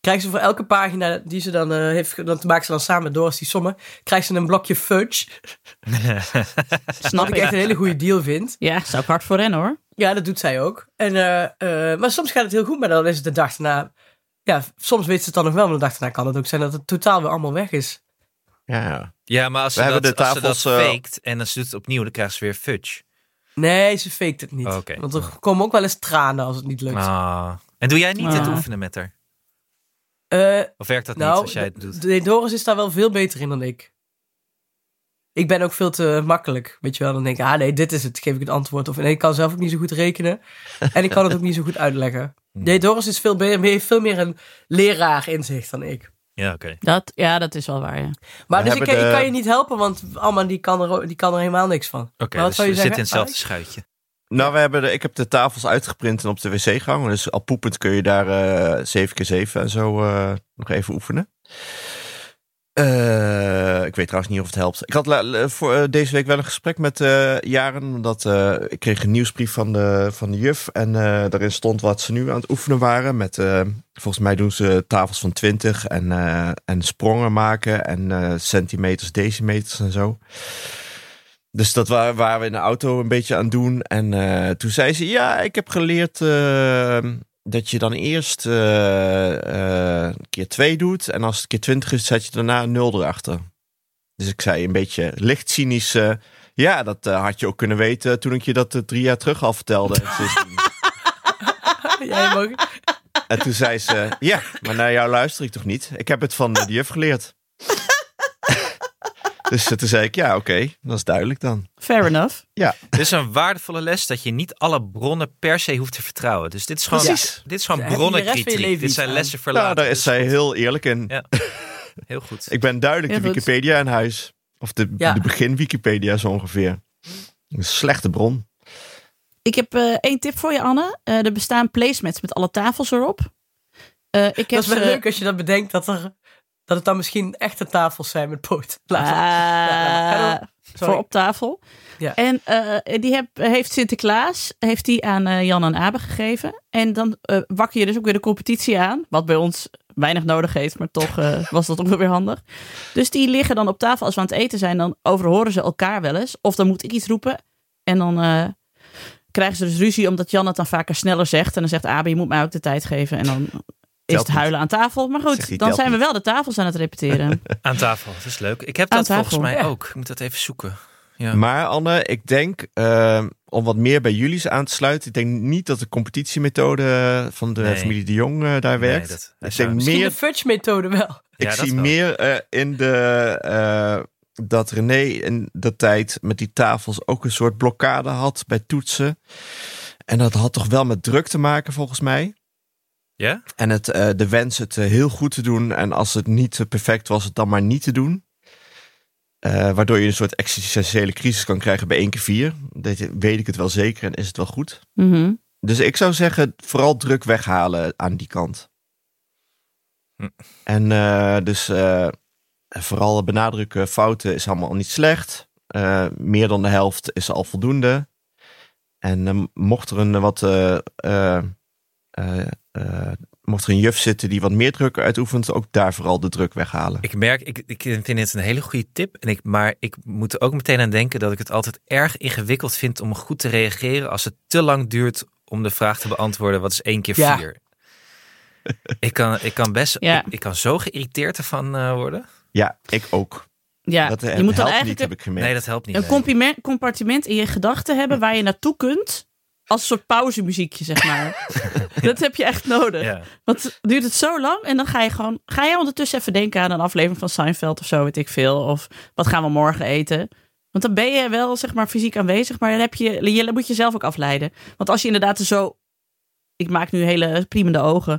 Speaker 4: Krijgt ze voor elke pagina die ze dan eh, heeft, ge- dat maakt ze dan samen met Doris die sommen, krijgt ze een blokje fudge.
Speaker 5: Snap
Speaker 4: Wat
Speaker 5: ik.
Speaker 4: ik echt een hele goede deal vind.
Speaker 5: Ja, zou ik hard voor rennen hoor.
Speaker 4: Ja, dat doet zij ook. En, eh, eh, maar soms gaat het heel goed, maar dan is het de dag daarna. Ja, soms weet ze het dan nog wel, maar de dag daarna kan het ook zijn dat het totaal weer allemaal weg is.
Speaker 3: Ja.
Speaker 2: Ja, maar als
Speaker 3: We
Speaker 2: ze,
Speaker 3: hebben
Speaker 2: dat,
Speaker 3: de
Speaker 2: als ze dat
Speaker 3: tafels, eh,
Speaker 2: faked en dan ze doet het opnieuw, dan krijgt ze weer fudge.
Speaker 4: Nee, ze faked het niet.
Speaker 2: Oké.
Speaker 4: Want er komen ook wel eens tranen als het niet lukt.
Speaker 2: Ah. En doe jij niet het
Speaker 5: Ah.
Speaker 2: oefenen met haar?
Speaker 4: Eh,
Speaker 2: Of werkt dat niet
Speaker 4: nou,
Speaker 2: als jij het doet?
Speaker 4: de- Doris is daar wel veel beter in dan ik. Ik ben ook veel te makkelijk, weet je wel. Dan denk ik, ah nee, dit is het, geef ik het antwoord. Of nee, ik kan zelf ook niet zo goed rekenen. En ik kan het ook niet zo goed uitleggen.
Speaker 2: Hmm. Mm.
Speaker 4: Nee, Doris is veel, be- meer, veel meer een leraar inzicht dan ik.
Speaker 2: Ja, oké.
Speaker 5: Dat, ja, dat is wel waar, ja.
Speaker 4: Maar
Speaker 3: We
Speaker 4: dus ik,
Speaker 3: hebben
Speaker 4: ik
Speaker 3: de- Oh.
Speaker 4: kan je niet helpen, want Alma die kan er, ook- die kan er helemaal niks van. Maar
Speaker 2: Oké,
Speaker 4: wat
Speaker 2: dus
Speaker 4: zou
Speaker 2: we
Speaker 4: je
Speaker 2: zitten in
Speaker 4: zeggen? Ah.
Speaker 2: hetzelfde
Speaker 4: Alex?
Speaker 2: schuitje.
Speaker 3: Nou, we hebben de, ik heb de tafels uitgeprint en op de wc gehangen. Dus al poepend kun je daar eh 7 keer 7 en zo eh, nog even oefenen. Eh, ik weet trouwens niet of het helpt. Ik had la- la- voor, eh, deze week wel een gesprek met eh, Jaren. Omdat eh, ik kreeg een nieuwsbrief van de, van de juf. En eh, daarin stond wat ze nu aan het oefenen waren. Met, eh, volgens mij doen ze tafels van 20 en, eh, en sprongen maken. En eh, centimeters, decimeters en zo. Dus dat wa- waren we in de auto een beetje aan het doen. En eh, toen zei ze: Ja, ik heb geleerd eh, dat je dan eerst eh, eh, keer 2 doet. En als het keer 20 is, zet je daarna een 0 erachter. Dus ik zei een beetje licht cynisch: eh, Ja, dat eh, had je ook kunnen weten toen ik je dat eh, drie jaar terug al vertelde. En sindsdien-
Speaker 4: Jij mag...
Speaker 3: en toen zei ze: Ja, maar naar jou luister ik toch niet? Ik heb het van eh, de juf geleerd. dus eh, toen zei ik: Ja, oké, dat is duidelijk dan.
Speaker 5: Fair enough.
Speaker 2: Dit is een waardevolle les dat je niet alle bronnen per se hoeft te vertrouwen. Dus dit is gewoon,
Speaker 3: Precies.
Speaker 2: dit is gewoon
Speaker 4: Daar heb je de rest van je
Speaker 2: bronnenkritiek.
Speaker 4: leven
Speaker 2: Dit
Speaker 4: iets
Speaker 2: zijn
Speaker 4: aan.
Speaker 2: lessen voor
Speaker 3: Nou,
Speaker 2: later.
Speaker 3: daar is
Speaker 2: Dus
Speaker 3: zij heel eerlijk in.
Speaker 2: Heel goed.
Speaker 3: Ik ben duidelijk
Speaker 5: Heel
Speaker 3: de
Speaker 5: goed.
Speaker 3: Wikipedia in huis. Of de,
Speaker 4: Ja.
Speaker 3: de begin Wikipedia zo ongeveer. Een slechte bron.
Speaker 5: Ik heb eh, één tip voor je, Anne. Eh, er bestaan placemats met alle tafels erop. Eh, ik heb
Speaker 4: Dat is wel
Speaker 5: ze-
Speaker 4: leuk als je dat bedenkt, dat, er, dat het dan misschien echte tafels zijn met poot.
Speaker 5: Ah,
Speaker 4: ja, ja. Sorry.
Speaker 5: voor op tafel.
Speaker 4: Ja.
Speaker 5: En eh, die heb, heeft Sinterklaas heeft die aan eh, Jan en Abe gegeven. En dan eh wakker je dus ook weer de competitie aan. Wat bij ons weinig nodig heeft, maar toch eh, was dat ook wel weer handig. Dus die liggen dan op tafel als we aan het eten zijn. Dan overhoren ze elkaar wel eens. Of dan moet ik iets roepen. En dan eh, krijgen ze dus ruzie omdat Jan het dan vaker sneller zegt. En dan zegt Abe, je moet mij ook de tijd geven. En dan is
Speaker 3: Telt
Speaker 5: het huilen aan tafel. Maar
Speaker 3: Zegt
Speaker 5: goed,
Speaker 3: hij,
Speaker 5: dan
Speaker 3: telt
Speaker 5: zijn we
Speaker 3: niet.
Speaker 5: wel de tafels aan het repeteren.
Speaker 2: Aan tafel, dat is leuk. Ik heb
Speaker 5: Aan
Speaker 2: dat volgens
Speaker 5: tafel.
Speaker 2: mij
Speaker 4: Ja.
Speaker 2: ook. Ik moet dat even zoeken. Ja.
Speaker 3: Maar Anne, ik denk eh, om wat meer bij jullie aan te sluiten. Ik denk niet dat de competitiemethode van de
Speaker 2: Nee.
Speaker 3: familie de Jong eh, daar
Speaker 2: Nee,
Speaker 3: werkt.
Speaker 2: dat- hij
Speaker 3: ik
Speaker 2: zou misschien-
Speaker 3: denk
Speaker 4: Misschien
Speaker 3: meer,
Speaker 4: de fudge-methode wel.
Speaker 3: ik
Speaker 2: Ja, dat
Speaker 3: zie
Speaker 2: wel.
Speaker 3: meer eh, in de... eh, dat René in de tijd met die tafels ook een soort blokkade had bij toetsen. En dat had toch wel met druk te maken volgens mij.
Speaker 2: Ja?
Speaker 3: En het, eh, de wens het eh, heel goed te doen. En als het niet eh, perfect was, het dan maar niet te doen. Eh, waardoor je een soort existentiële crisis kan krijgen bij één keer vier. Dat je- weet ik het wel zeker en is het wel goed.
Speaker 5: Mhm.
Speaker 3: Dus ik zou zeggen, vooral druk weghalen aan die kant.
Speaker 2: Hm.
Speaker 3: En eh, dus eh, vooral benadrukken, fouten is allemaal niet slecht. Eh, meer dan de helft is al voldoende. En eh, mocht er een wat... eh, eh, eh, eh, mocht er een juf zitten die wat meer druk uitoefent, ook daar vooral de druk weghalen.
Speaker 2: Ik merk, ik, ik vind het een hele goede tip. En ik, maar ik moet er ook meteen aan denken dat ik het altijd erg ingewikkeld vind om goed te reageren als het te lang duurt om de vraag te beantwoorden: wat is één keer
Speaker 4: Ja.
Speaker 2: vier? Ik kan, ik kan best,
Speaker 5: Ja.
Speaker 2: ik, ik kan zo geïrriteerd ervan eh, worden.
Speaker 3: Ja, ik ook.
Speaker 5: Ja,
Speaker 3: dat eh,
Speaker 5: je moet dan
Speaker 3: helpt
Speaker 5: eigenlijk
Speaker 3: niet,
Speaker 5: een-
Speaker 3: heb ik gemerkt.
Speaker 2: Nee, dat helpt niet.
Speaker 5: een
Speaker 2: nee.
Speaker 5: compime- compartiment in je gedachten hebben waar je naartoe kunt. Als een soort pauzemuziekje, zeg maar. dat heb je echt nodig.
Speaker 2: Ja.
Speaker 5: Want duurt het zo lang en dan ga je gewoon... Ga je ondertussen even denken aan een aflevering van Seinfeld of zo, weet ik veel. Of wat gaan we morgen eten? Want dan ben je wel, zeg maar, fysiek aanwezig. Maar dan heb je, je moet jezelf ook afleiden. Want als je inderdaad er zo... Ik maak nu hele priemende ogen.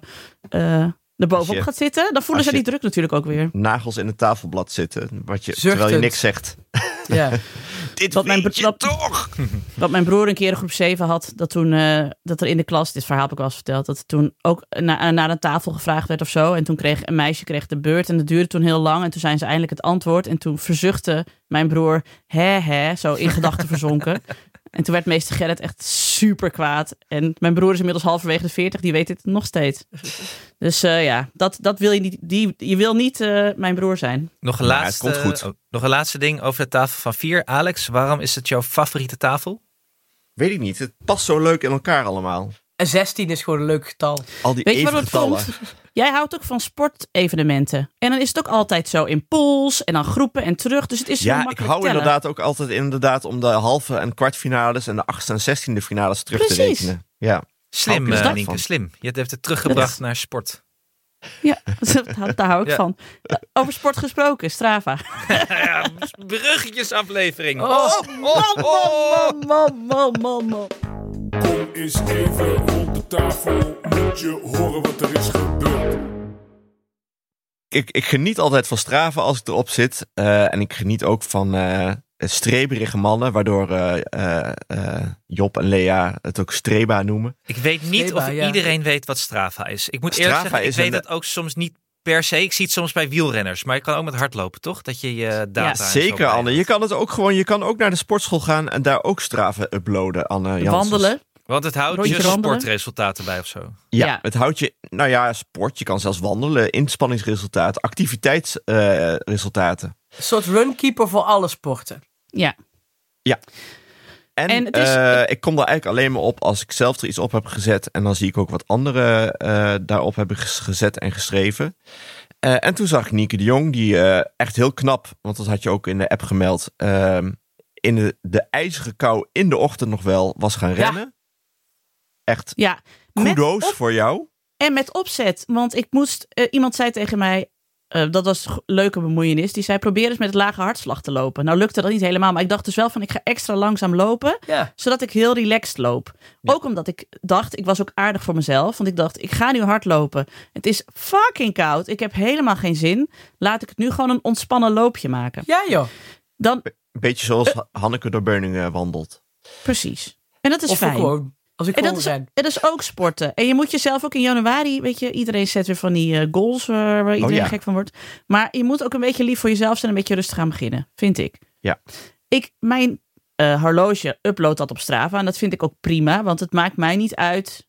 Speaker 5: eh erbovenop
Speaker 3: Als je-
Speaker 5: gaat zitten. Dan voelen ze
Speaker 3: als je-
Speaker 5: die druk natuurlijk ook weer.
Speaker 3: Nagels in het tafelblad zitten, wat je,
Speaker 4: Zuchtend.
Speaker 3: terwijl je niks zegt.
Speaker 4: Ja.
Speaker 3: Dit
Speaker 5: Wat mijn
Speaker 3: weet je
Speaker 5: betrap-
Speaker 3: toch!
Speaker 5: Wat mijn broer een keer in groep 7 had, dat toen eh, dat er in de klas, dit verhaal heb ik wel eens verteld, dat er toen ook na, naar een tafel gevraagd werd of zo. En toen kreeg een meisje kreeg de beurt en dat duurde toen heel lang. En toen zijn ze eindelijk het antwoord. En toen verzuchtte mijn broer, hè hè, zo in gedachten verzonken. En toen werd meester Gerrit echt super kwaad. En mijn broer is inmiddels halverwege de 40, die weet dit nog steeds. Dus eh, ja, dat, dat wil je niet. Die, je wil niet eh, mijn broer zijn.
Speaker 2: Nog een,
Speaker 3: Maar het
Speaker 2: laatste,
Speaker 3: komt goed.
Speaker 2: oh, nog een laatste ding over de tafel van vier. Alex, waarom is het jouw favoriete tafel?
Speaker 3: Weet ik niet. Het past zo leuk in elkaar allemaal.
Speaker 4: En 16 is gewoon een leuk getal.
Speaker 3: Al die
Speaker 5: Weet je
Speaker 3: even
Speaker 5: wat het
Speaker 3: getallen.
Speaker 5: komt? Jij houdt ook van sportevenementen. En dan is het ook altijd zo in pools en dan groepen en terug. Dus het is zo
Speaker 3: Ja, ik
Speaker 5: makkelijk
Speaker 3: hou
Speaker 5: tellen.
Speaker 3: inderdaad ook altijd inderdaad om de halve en kwartfinales en de achtste en zestiende finales terug te
Speaker 5: Precies.
Speaker 3: rekenen. Ja. Hou
Speaker 2: Slim,
Speaker 3: ik
Speaker 2: eh,
Speaker 3: inderdaad
Speaker 2: Nienke,
Speaker 3: van.
Speaker 2: slim. Je hebt het teruggebracht naar sport.
Speaker 5: Ja, dat- daar hou ik
Speaker 2: Ja.
Speaker 5: van. Eh, Over sport gesproken, Strava.
Speaker 2: Bruggetjesaflevering.
Speaker 3: Oh,
Speaker 2: oh,
Speaker 5: Man, man, Oh, man, man, man, man.
Speaker 6: Kom eens even rond de tafel, moet je horen wat er is gebeurd.
Speaker 3: Ik, ik geniet altijd van Strava als ik erop zit. eh, en ik geniet ook van eh, streberige mannen, waardoor eh, eh, eh, Job en Lea het ook streba noemen.
Speaker 2: Ik weet niet
Speaker 4: Streba,
Speaker 2: of
Speaker 4: ja.
Speaker 2: iedereen weet wat Strava is. Ik moet
Speaker 3: Strava
Speaker 2: eerlijk zeggen, ik
Speaker 3: is
Speaker 2: weet
Speaker 3: een-
Speaker 2: dat ook soms niet per se. Ik zie het soms bij wielrenners, maar je kan ook met hardlopen, toch? Dat je je data... en zo
Speaker 3: Zeker,
Speaker 2: bijhoudt.
Speaker 3: Anne. Je kan het ook gewoon. Je kan ook naar de sportschool gaan en daar ook Strava uploaden, Anne. Janssens.
Speaker 5: Wandelen.
Speaker 2: Want het houdt
Speaker 5: Rondje
Speaker 2: je
Speaker 5: wandelen.
Speaker 2: sportresultaten bij of zo.
Speaker 3: Ja,
Speaker 5: Ja.
Speaker 3: het houdt je, nou ja, sport. Je kan zelfs wandelen, inspanningsresultaten, activiteitsresultaten.
Speaker 4: Een soort runkeeper voor alle sporten.
Speaker 5: Ja,
Speaker 3: En,
Speaker 5: En het is-
Speaker 3: eh, ik kom daar eigenlijk alleen maar op als ik zelf er iets op heb gezet. En dan zie ik ook wat anderen eh, daarop hebben ges- gezet en geschreven. Eh, en toen zag ik Nieke de Jong, die eh, echt heel knap, want dat had je ook in de app gemeld, ehm, in de, de ijzige kou in de ochtend nog wel was gaan rennen. Echt
Speaker 5: ja. Met
Speaker 3: kudo's
Speaker 5: op-
Speaker 3: voor jou.
Speaker 5: En met opzet. Want ik moest. eh, iemand zei tegen mij. eh, dat was een go- leuke bemoeienis. Die zei: probeer eens met lage hartslag te lopen. Nou lukte dat niet helemaal. Maar ik dacht dus wel van: ik ga extra langzaam lopen.
Speaker 4: Ja.
Speaker 5: Zodat ik heel relaxed loop. Ook omdat ik dacht: ik was ook aardig voor mezelf. Want ik dacht: ik ga nu hard lopen. Het is fucking koud. Ik heb helemaal geen zin. Laat ik het nu gewoon een ontspannen loopje maken.
Speaker 4: Ja, joh.
Speaker 5: Dan
Speaker 3: Een beetje zoals Ha- Hanneke door Beuningen wandelt.
Speaker 5: precies. En dat is
Speaker 4: Of
Speaker 5: fijn.
Speaker 4: gewoon. Als ik
Speaker 5: En
Speaker 4: gewoon
Speaker 5: dat, is,
Speaker 4: ben.
Speaker 5: en dat is ook sporten. En je moet jezelf ook in januari, weet je, iedereen zet weer van die eh, goals eh,
Speaker 4: Oh
Speaker 5: waar iedereen
Speaker 3: ja.
Speaker 5: gek van wordt. Maar je moet ook een beetje lief voor jezelf zijn en een beetje rustig gaan beginnen, vind ik.
Speaker 3: Ja.
Speaker 5: Ik, mijn eh, horloge upload dat op Strava en dat vind ik ook prima, want het maakt mij niet uit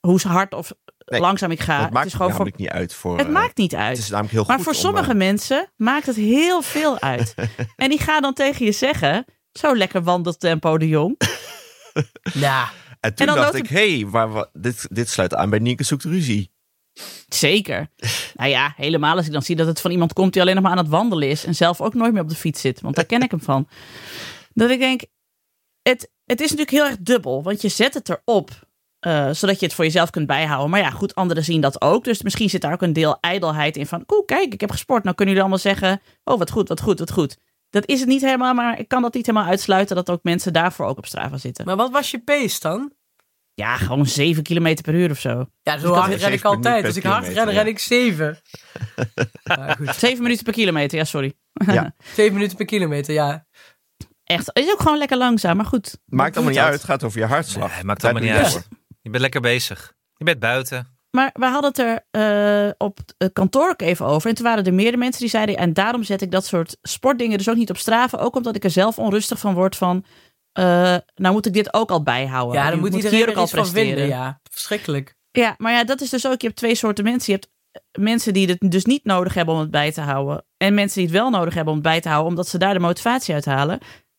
Speaker 5: hoe hard of
Speaker 3: Nee,
Speaker 5: langzaam ik ga.
Speaker 3: dat maakt
Speaker 5: het is
Speaker 3: het
Speaker 5: gewoon voor,
Speaker 3: namelijk niet uit voor.
Speaker 5: het
Speaker 3: eh,
Speaker 5: maakt niet uit.
Speaker 3: het is namelijk heel
Speaker 5: Maar
Speaker 3: goed
Speaker 5: voor
Speaker 3: om,
Speaker 5: sommige
Speaker 3: eh,
Speaker 5: mensen maakt het heel veel uit. en die gaan dan tegen je zeggen, zo lekker wandeltempo de jong.
Speaker 4: Nou,
Speaker 3: en toen
Speaker 5: en dan
Speaker 3: dacht
Speaker 5: loopt
Speaker 3: ik, hé, hey, dit, dit sluit aan bij Nienke zoekt ruzie.
Speaker 5: Zeker. nou ja, helemaal als ik dan zie dat het van iemand komt die alleen nog maar aan het wandelen is en zelf ook nooit meer op de fiets zit, want daar ken ik hem van. Dat ik denk, het, het is natuurlijk heel erg dubbel, want je zet het erop eh, zodat je het voor jezelf kunt bijhouden. Maar ja, goed, anderen zien dat ook. Dus misschien zit daar ook een deel ijdelheid in van, koe, kijk, ik heb gesport. Nou kunnen jullie allemaal zeggen, oh, wat goed, wat goed, wat goed. Dat is het niet helemaal, maar ik kan dat niet helemaal uitsluiten dat ook mensen daarvoor ook op Strava zitten.
Speaker 4: maar wat was je pace dan?
Speaker 5: Ja, gewoon 7 km per uur of zo. Dus
Speaker 4: Ja, zo
Speaker 3: had
Speaker 4: hard
Speaker 3: er
Speaker 4: ren ik
Speaker 3: 7,3
Speaker 4: altijd.
Speaker 3: per
Speaker 4: Als ik hard
Speaker 3: kilometer,
Speaker 4: ren,
Speaker 3: ja.
Speaker 4: ren ik 7. Ja, goed.
Speaker 5: 7 minuten per kilometer, ja, sorry.
Speaker 3: Ja.
Speaker 4: 7 minuten per kilometer, ja.
Speaker 5: Echt, het is ook gewoon lekker langzaam, maar goed.
Speaker 3: Maakt allemaal niet
Speaker 4: dat?
Speaker 3: uit, het gaat over je hartslag.
Speaker 2: Nee, maakt
Speaker 3: Daar
Speaker 2: allemaal
Speaker 3: doe
Speaker 2: niet
Speaker 3: je
Speaker 2: uit.
Speaker 3: het voor.
Speaker 2: Je bent lekker bezig. Je bent buiten.
Speaker 5: Maar we hadden het er eh, op het kantoor ook even over. En toen waren er meerdere mensen die zeiden... en daarom zet ik dat soort sportdingen dus ook niet op straven. Ook omdat ik er zelf onrustig van word van... eh, nou moet ik dit ook al bijhouden.
Speaker 4: Ja, dan
Speaker 5: Ik
Speaker 4: moet
Speaker 5: hier
Speaker 4: iedereen
Speaker 5: ook
Speaker 4: er iets van vinden. Ja, verschrikkelijk.
Speaker 5: Ja, maar ja, dat is dus ook... je hebt twee soorten mensen. Je hebt eh, mensen die het dus niet nodig hebben om het bij te houden... en mensen die het wel nodig hebben om het bij te houden... omdat ze daar de motivatie uit halen.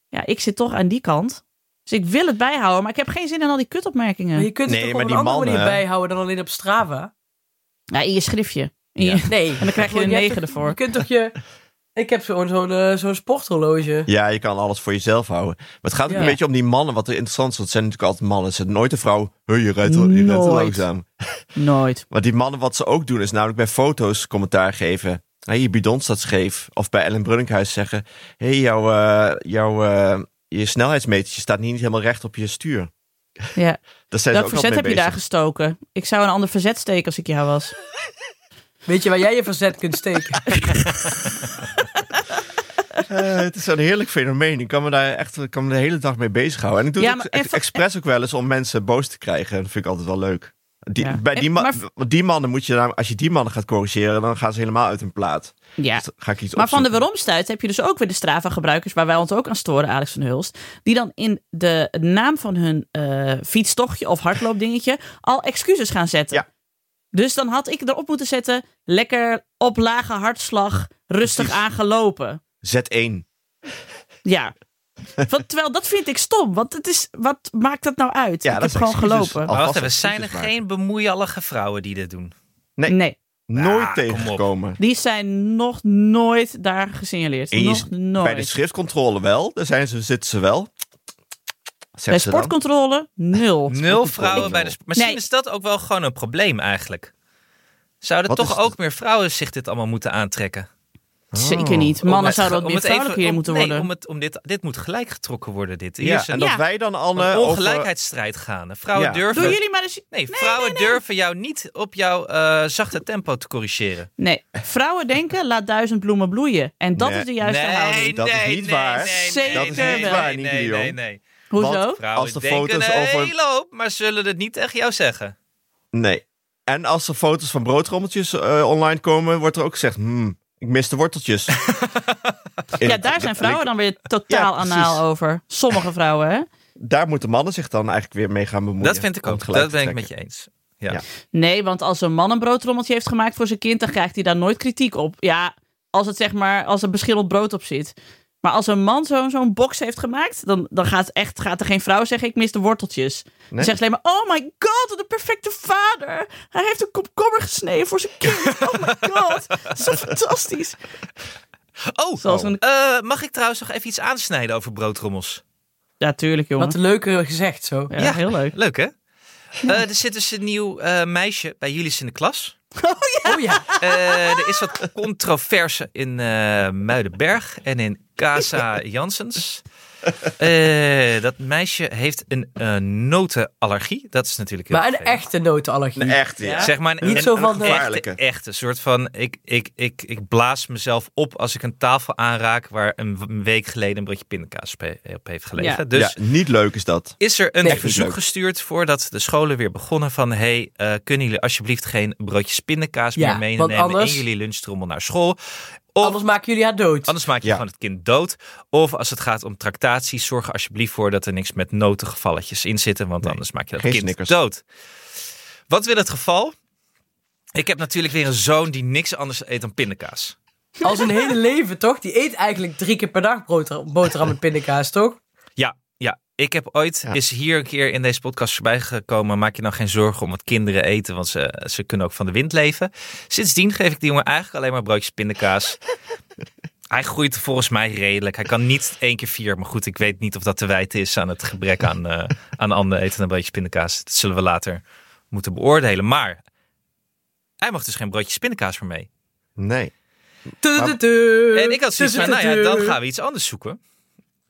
Speaker 5: Ja, ik zit toch aan die kant... Dus ik wil het bijhouden, maar ik heb geen zin in al die kutopmerkingen.
Speaker 4: Maar je kunt het
Speaker 3: Nee,
Speaker 4: toch
Speaker 3: maar
Speaker 4: op een
Speaker 3: die
Speaker 4: andere
Speaker 3: mannen-
Speaker 4: manier bijhouden dan alleen op Strava?
Speaker 5: Ja, in je schriftje. In je-
Speaker 4: Nee.
Speaker 5: dan krijg je een
Speaker 4: Je hebt
Speaker 5: negen
Speaker 4: toch-
Speaker 5: ervoor.
Speaker 4: Je kunt toch je... Ik heb gewoon zo'n eh, zo'n sporthorloge.
Speaker 3: dus- Ja, je kan alles voor jezelf houden. Maar het gaat ook
Speaker 4: Ja.
Speaker 3: een beetje om die mannen, wat er interessant is. Want het zijn natuurlijk altijd mannen. Ze nooit een vrouw, "Hey, je rijdt wel- je rijdt wel
Speaker 5: Nooit.
Speaker 3: langzaam.
Speaker 5: Nooit.
Speaker 3: Want die mannen, wat ze ook doen, is namelijk bij foto's commentaar geven. Hé, je bidon staat scheef. Of bij Ellen Brunninghuis zeggen, hé, hey, jouw, eh, jouw, eh, je snelheidsmetertje staat niet helemaal recht op je stuur.
Speaker 5: Ja.
Speaker 3: Daar zijn ze ook
Speaker 5: Welk
Speaker 3: altijd
Speaker 5: verzet
Speaker 3: mee
Speaker 5: heb je daar
Speaker 3: bezig.
Speaker 5: gestoken? Ik zou een ander verzet steken als ik jou was.
Speaker 4: Weet je waar jij je verzet kunt steken?
Speaker 3: Eh, het is een heerlijk fenomeen. Ik kan me daar echt ik kan me de hele dag mee bezighouden. En ik doe
Speaker 5: Ja,
Speaker 3: het
Speaker 5: maar
Speaker 3: ook ex-
Speaker 5: even-
Speaker 3: expres ook wel eens om mensen boos te krijgen. Dat vind ik altijd wel leuk. Die,
Speaker 5: Ja.
Speaker 3: bij die,
Speaker 5: En-
Speaker 3: ma-
Speaker 5: maar-
Speaker 3: want die mannen moet je namelijk- als je die mannen gaat corrigeren, dan gaan ze helemaal uit hun plaat.
Speaker 5: Ja.
Speaker 3: Dus dan ga ik iets
Speaker 5: Maar van de
Speaker 3: opzoeken.
Speaker 5: waaromstuit heb je dus ook weer de Strava-gebruikers... waar wij ons ook aan storen, Alex van Hulst... die dan in de naam van hun eh, fietstochtje of hardloopdingetje... al excuses gaan zetten.
Speaker 3: Ja.
Speaker 5: Dus dan had ik erop moeten zetten... lekker op lage hartslag, rustig
Speaker 3: Precies.
Speaker 5: aangelopen.
Speaker 3: Zet één.
Speaker 5: Ja. Want, terwijl dat vind ik stom. Want het is, wat maakt dat nou uit?
Speaker 3: Ja,
Speaker 5: ik
Speaker 3: dat
Speaker 5: heb gewoon
Speaker 3: zijn excuses.
Speaker 5: gelopen.
Speaker 3: Alvast
Speaker 2: Maar wacht even, zijn er
Speaker 3: excuses maken.
Speaker 2: geen bemoeiallige vrouwen die dit doen?
Speaker 3: Nee.
Speaker 5: Nee,
Speaker 3: Nooit
Speaker 2: Ah, kom op.
Speaker 3: tegengekomen.
Speaker 5: die zijn nog nooit daar gesignaleerd.
Speaker 3: En je
Speaker 5: Nog
Speaker 3: is-
Speaker 5: nooit.
Speaker 3: Bij de schriftcontrole wel. Daar zijn ze, zitten ze wel.
Speaker 5: Bij
Speaker 3: Zegt ze dan. Oh.
Speaker 5: sportcontrole, nul.
Speaker 2: Nul vrouwen bij de... sp- Maar Misschien
Speaker 5: Nee.
Speaker 2: is dat ook wel gewoon een probleem eigenlijk. Zouden
Speaker 3: Wat
Speaker 2: toch
Speaker 3: is het?
Speaker 2: ook meer vrouwen zich dit allemaal moeten aantrekken?
Speaker 5: Zeker niet.
Speaker 2: Om
Speaker 5: Mannen
Speaker 2: het
Speaker 5: zouden
Speaker 2: ge- om
Speaker 5: wat
Speaker 2: het
Speaker 5: meer
Speaker 2: even-
Speaker 5: vrouwelijker hier
Speaker 2: om-
Speaker 5: moeten
Speaker 2: nee,
Speaker 5: worden.
Speaker 2: om het, om dit, dit moet gelijk getrokken worden. Dit. Hier
Speaker 3: Ja,
Speaker 2: is
Speaker 3: en
Speaker 2: een,
Speaker 3: dat
Speaker 5: Ja.
Speaker 3: wij dan alle
Speaker 2: een
Speaker 3: over-
Speaker 2: ongelijkheidsstrijd gaan. Vrouwen
Speaker 3: Ja.
Speaker 2: durven...
Speaker 5: Doen jullie maar eens...
Speaker 2: Nee, vrouwen durven jou niet op jouw eh, zachte tempo te corrigeren.
Speaker 5: Nee, vrouwen denken, laat duizend bloemen bloeien. En dat
Speaker 3: Nee.
Speaker 5: is de juiste houding.
Speaker 3: dat is niet waar.
Speaker 5: Dat is niet
Speaker 3: waar,
Speaker 2: nee,
Speaker 3: Nienke
Speaker 2: nee,
Speaker 3: de
Speaker 2: nee,
Speaker 3: Jong.
Speaker 2: nee.
Speaker 5: Hoezo?
Speaker 3: Want-
Speaker 2: Vrouwen
Speaker 3: Als de
Speaker 2: denken
Speaker 3: foto's
Speaker 2: een
Speaker 3: over-
Speaker 2: hele hoop, maar zullen het niet echt jou zeggen.
Speaker 3: Nee. En als er foto's van broodrommeltjes eh, online komen, wordt er ook gezegd... Hmm, ik mis de worteltjes.
Speaker 5: Ja, daar zijn vrouwen dan weer totaal
Speaker 3: Ja, precies.
Speaker 5: anaal over. Sommige vrouwen, hè?
Speaker 3: Daar moeten mannen zich dan eigenlijk weer mee gaan bemoeien.
Speaker 2: dat vind ik
Speaker 3: om
Speaker 2: ook.
Speaker 3: het gelijk
Speaker 2: Dat
Speaker 3: te
Speaker 2: ben ik met
Speaker 3: trekken.
Speaker 2: je eens. Ja.
Speaker 3: Ja.
Speaker 5: Nee, want als een man een broodrommeltje heeft gemaakt voor zijn kind, dan krijgt hij daar nooit kritiek op. Ja, als het zeg maar, als er beschilderd brood op zit. Maar als een man zo'n zo'n box heeft gemaakt, dan, dan gaat, echt, gaat er geen vrouw zeggen: Ik mis de worteltjes. Dan
Speaker 3: Nee.
Speaker 5: zegt ze alleen maar: Oh my god, wat een perfecte vader. Hij heeft een komkommer gesneden voor zijn kind. Oh my god, zo fantastisch.
Speaker 2: Oh,
Speaker 5: Zoals een-
Speaker 2: eh, mag ik trouwens nog even iets aansnijden over broodrommels?
Speaker 5: Ja, tuurlijk, jongen.
Speaker 4: Wat een leuke gezegd zo.
Speaker 5: Ja, heel leuk.
Speaker 2: Leuk, hè? Eh, er zit dus een nieuw eh, meisje bij jullie in de klas.
Speaker 4: Oh ja.
Speaker 2: Eh, er is wat controverse in eh, Muidenberg en in Casa Janssens. Eh, dat meisje heeft een eh, notenallergie. Dat is natuurlijk heel
Speaker 4: Maar een
Speaker 2: vervelend.
Speaker 4: echte notenallergie.
Speaker 3: Nee, echt, ja.
Speaker 5: Ja.
Speaker 2: Zeg maar een,
Speaker 4: Niet
Speaker 2: een-
Speaker 4: zo
Speaker 2: een
Speaker 4: van de-
Speaker 2: echte,
Speaker 3: Gevaarlijke.
Speaker 2: echte soort van... Ik, ik, ik, ik blaas mezelf op als ik een tafel aanraak... waar een w- een week geleden een broodje pindakaas op he- op heeft gelegen.
Speaker 5: Ja.
Speaker 2: Dus
Speaker 3: Ja, niet leuk is dat.
Speaker 2: is er een
Speaker 4: Nee.
Speaker 2: verzoek
Speaker 3: Leuk.
Speaker 2: gestuurd voordat de scholen weer begonnen... van hey, eh, kunnen jullie alsjeblieft geen broodjes pindakaas
Speaker 4: Ja,
Speaker 2: meer
Speaker 4: want
Speaker 2: meenemen...
Speaker 4: anders-
Speaker 2: in jullie lunchtrommel naar school?
Speaker 3: oh.
Speaker 2: Of
Speaker 4: Anders maken jullie haar dood.
Speaker 2: anders maak je
Speaker 3: Ja.
Speaker 2: gewoon het kind dood. Of als het gaat om tractatie, zorg er alsjeblieft voor... dat er niks met notengevalletjes in zitten... want
Speaker 3: Nee,
Speaker 2: anders maak je dat
Speaker 3: geen
Speaker 2: kind
Speaker 3: Snickers.
Speaker 2: dood. Wat wil het geval? Ik heb natuurlijk weer een zoon die niks anders eet dan pindakaas.
Speaker 4: Al zijn hele leven, toch? Die eet eigenlijk drie keer per dag brood- boterham met pindakaas, toch?
Speaker 2: Ja, ja. Ik heb ooit,
Speaker 3: Ja.
Speaker 2: is hier een keer in deze podcast voorbij gekomen. Maak je nou geen zorgen om wat kinderen eten, want ze, ze kunnen ook van de wind leven. Sindsdien geef ik die jongen eigenlijk alleen maar broodjes pindakaas. Hij groeit volgens mij redelijk. Hij kan niet één keer vier. Maar goed, ik weet niet of dat te wijten is aan het gebrek aan, eh aan ander eten dan broodjes pindakaas. Dat zullen we later moeten beoordelen. Maar hij mag dus geen broodjes pindakaas meer mee.
Speaker 3: Nee.
Speaker 2: En ik had zoiets van, nou ja, dan gaan we iets anders zoeken.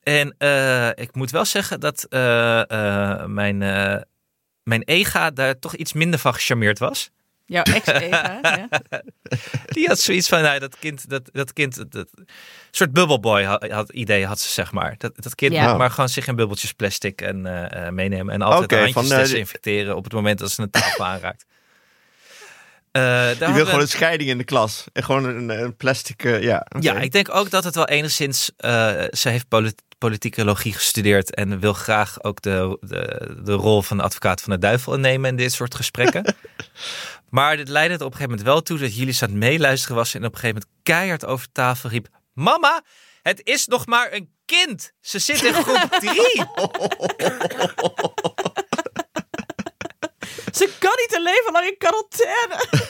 Speaker 2: En eh, ik moet wel zeggen dat eh, eh, mijn, eh, mijn ega daar toch iets minder van gecharmeerd was.
Speaker 5: Jouw ex-ega. ja.
Speaker 2: Die had zoiets van, nou, dat kind, dat, dat kind, dat, dat- een soort bubbelboy had, had, idee had ze, zeg maar. Dat, dat kind
Speaker 5: Ja.
Speaker 2: moet maar gewoon zich in bubbeltjes plastic en, eh, eh, meenemen. En altijd
Speaker 3: Oké,
Speaker 2: de handjes
Speaker 3: van, eh,
Speaker 2: desinfecteren op het moment dat ze een tafel aanraakt. Eh, daar
Speaker 3: Je
Speaker 2: hadden
Speaker 3: wil
Speaker 2: we-
Speaker 3: gewoon een scheiding in de klas. En gewoon een, een plastic... eh, ja, oké.
Speaker 2: Ja, ik denk ook dat het wel enigszins. eh, ze heeft polit politicologie gestudeerd en wil graag ook de, de, de rol van de advocaat van de duivel innemen in dit soort gesprekken. maar dit leidde er op een gegeven moment wel toe dat jullie aan het meeluisteren was en op een gegeven moment keihard over tafel riep: Mama, het is nog maar een kind. Ze zit in groep drie.
Speaker 5: Ze kan niet een leven lang in quarantaine.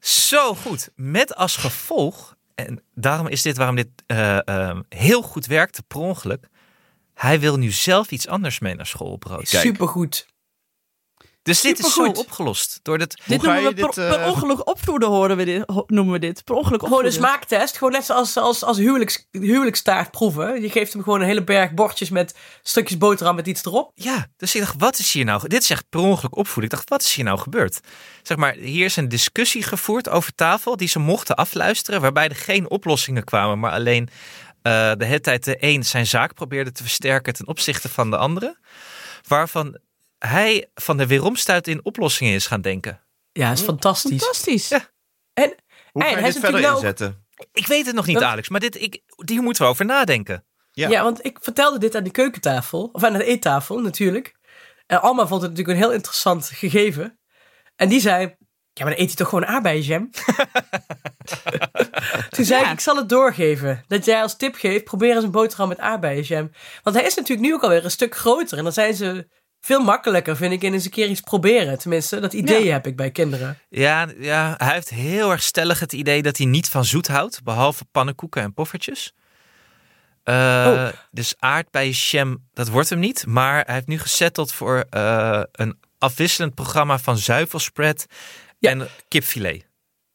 Speaker 2: Zo goed. Met als gevolg, en daarom is dit waarom dit eh, eh, heel goed werkte per ongeluk. Hij wil nu zelf iets anders mee naar school op brood.
Speaker 4: Supergoed.
Speaker 2: Dus dit is zo
Speaker 4: Supergoed.
Speaker 2: opgelost. Door dat,
Speaker 5: Dit
Speaker 3: Hoe ga
Speaker 5: noemen we
Speaker 3: je
Speaker 5: per,
Speaker 3: dit, eh,
Speaker 5: per ongeluk opvoeden, horen we dit, ho- noemen we dit. Per ongeluk
Speaker 4: Gewoon een
Speaker 5: opvoeden.
Speaker 4: smaaktest. Gewoon net zoals als, als huwelijks, huwelijkstaart proeven. Je geeft hem gewoon een hele berg bordjes met stukjes boterham met iets erop.
Speaker 2: ja, dus ik dacht, wat is hier nou? ge- Dit is echt per ongeluk opvoeden. Ik dacht, wat is hier nou gebeurd? Zeg maar, hier is een discussie gevoerd over tafel die ze mochten afluisteren, waarbij er geen oplossingen kwamen, maar alleen eh, de hele tijd de een zijn zaak probeerde te versterken ten opzichte van de andere, waarvan hij van de weeromstuit in oplossingen is gaan denken.
Speaker 4: Ja, is Hm. fantastisch.
Speaker 5: Fantastisch.
Speaker 2: Ja.
Speaker 4: En
Speaker 3: Hoe ga
Speaker 4: Hey,
Speaker 3: je
Speaker 4: hij is
Speaker 3: dit verder
Speaker 4: natuurlijk nou ook-
Speaker 3: inzetten?
Speaker 2: Ik weet het nog niet,
Speaker 4: Dat-
Speaker 2: Alex, maar dit, ik, hier moeten we over nadenken.
Speaker 3: Ja.
Speaker 4: Ja. want ik vertelde dit aan de keukentafel, of aan de eettafel natuurlijk. En Alma vond het natuurlijk een heel interessant gegeven. En die zei, ja, maar dan eet hij toch gewoon aardbeienjam? Toen zei ik,
Speaker 5: Ja.
Speaker 4: ik zal het doorgeven. Dat jij als tip geeft, probeer eens een boterham met aardbeienjam. Want hij is natuurlijk nu ook alweer een stuk groter. En dan zijn ze veel makkelijker, vind ik, in eens een keer iets proberen. Tenminste, dat idee heb ik bij kinderen.
Speaker 2: Ja, ja, hij heeft heel erg stellig het idee dat hij niet van zoet houdt, behalve pannenkoeken en poffertjes. Eh,
Speaker 4: Oh.
Speaker 2: Dus aardbeien jam, dat wordt hem niet. Maar hij heeft nu gezetteld voor eh, een afwisselend programma van zuivelspread
Speaker 4: Ja.
Speaker 2: en kipfilet.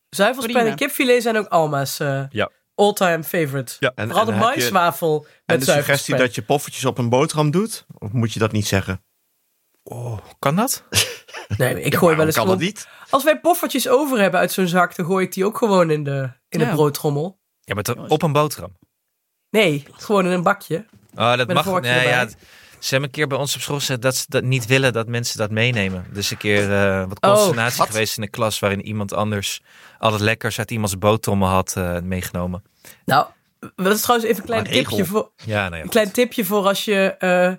Speaker 4: Zuivelspijn
Speaker 5: Prima.
Speaker 4: en kipfilet zijn ook Alma's eh,
Speaker 2: Ja.
Speaker 4: all-time favorite.
Speaker 2: Ja.
Speaker 3: En- en
Speaker 4: Vooral de
Speaker 3: heb je-
Speaker 4: maiswafel
Speaker 3: En
Speaker 4: met
Speaker 3: de suggestie
Speaker 4: zuivelspijn.
Speaker 3: dat je poffertjes op een boterham doet? Of moet je dat niet zeggen?
Speaker 2: Kan dat?
Speaker 4: Nee, ik gooi wel eens...
Speaker 3: kan dat
Speaker 4: om-
Speaker 3: niet?
Speaker 4: Als wij poffertjes over hebben uit zo'n zak, dan gooi ik die ook gewoon in de, in
Speaker 5: Ja.
Speaker 4: de broodtrommel.
Speaker 2: Ja, maar toch op een boterham.
Speaker 4: Nee, gewoon in een bakje.
Speaker 2: Oh, dat
Speaker 4: een
Speaker 2: mag.
Speaker 4: vorkje
Speaker 2: Nee,
Speaker 4: erbij.
Speaker 2: ja, ze hebben een keer bij ons op school gezegd dat ze dat niet willen dat mensen dat meenemen. Dus een keer eh, wat
Speaker 4: Oh,
Speaker 2: consternatie
Speaker 3: wat?
Speaker 2: geweest in de klas waarin iemand anders al het lekkers uit iemands boterhammen had eh, meegenomen.
Speaker 4: Nou, dat is trouwens even een klein
Speaker 3: Een regel.
Speaker 4: tipje voor...
Speaker 2: Ja, nou ja.
Speaker 4: Een klein tipje voor als je. eh,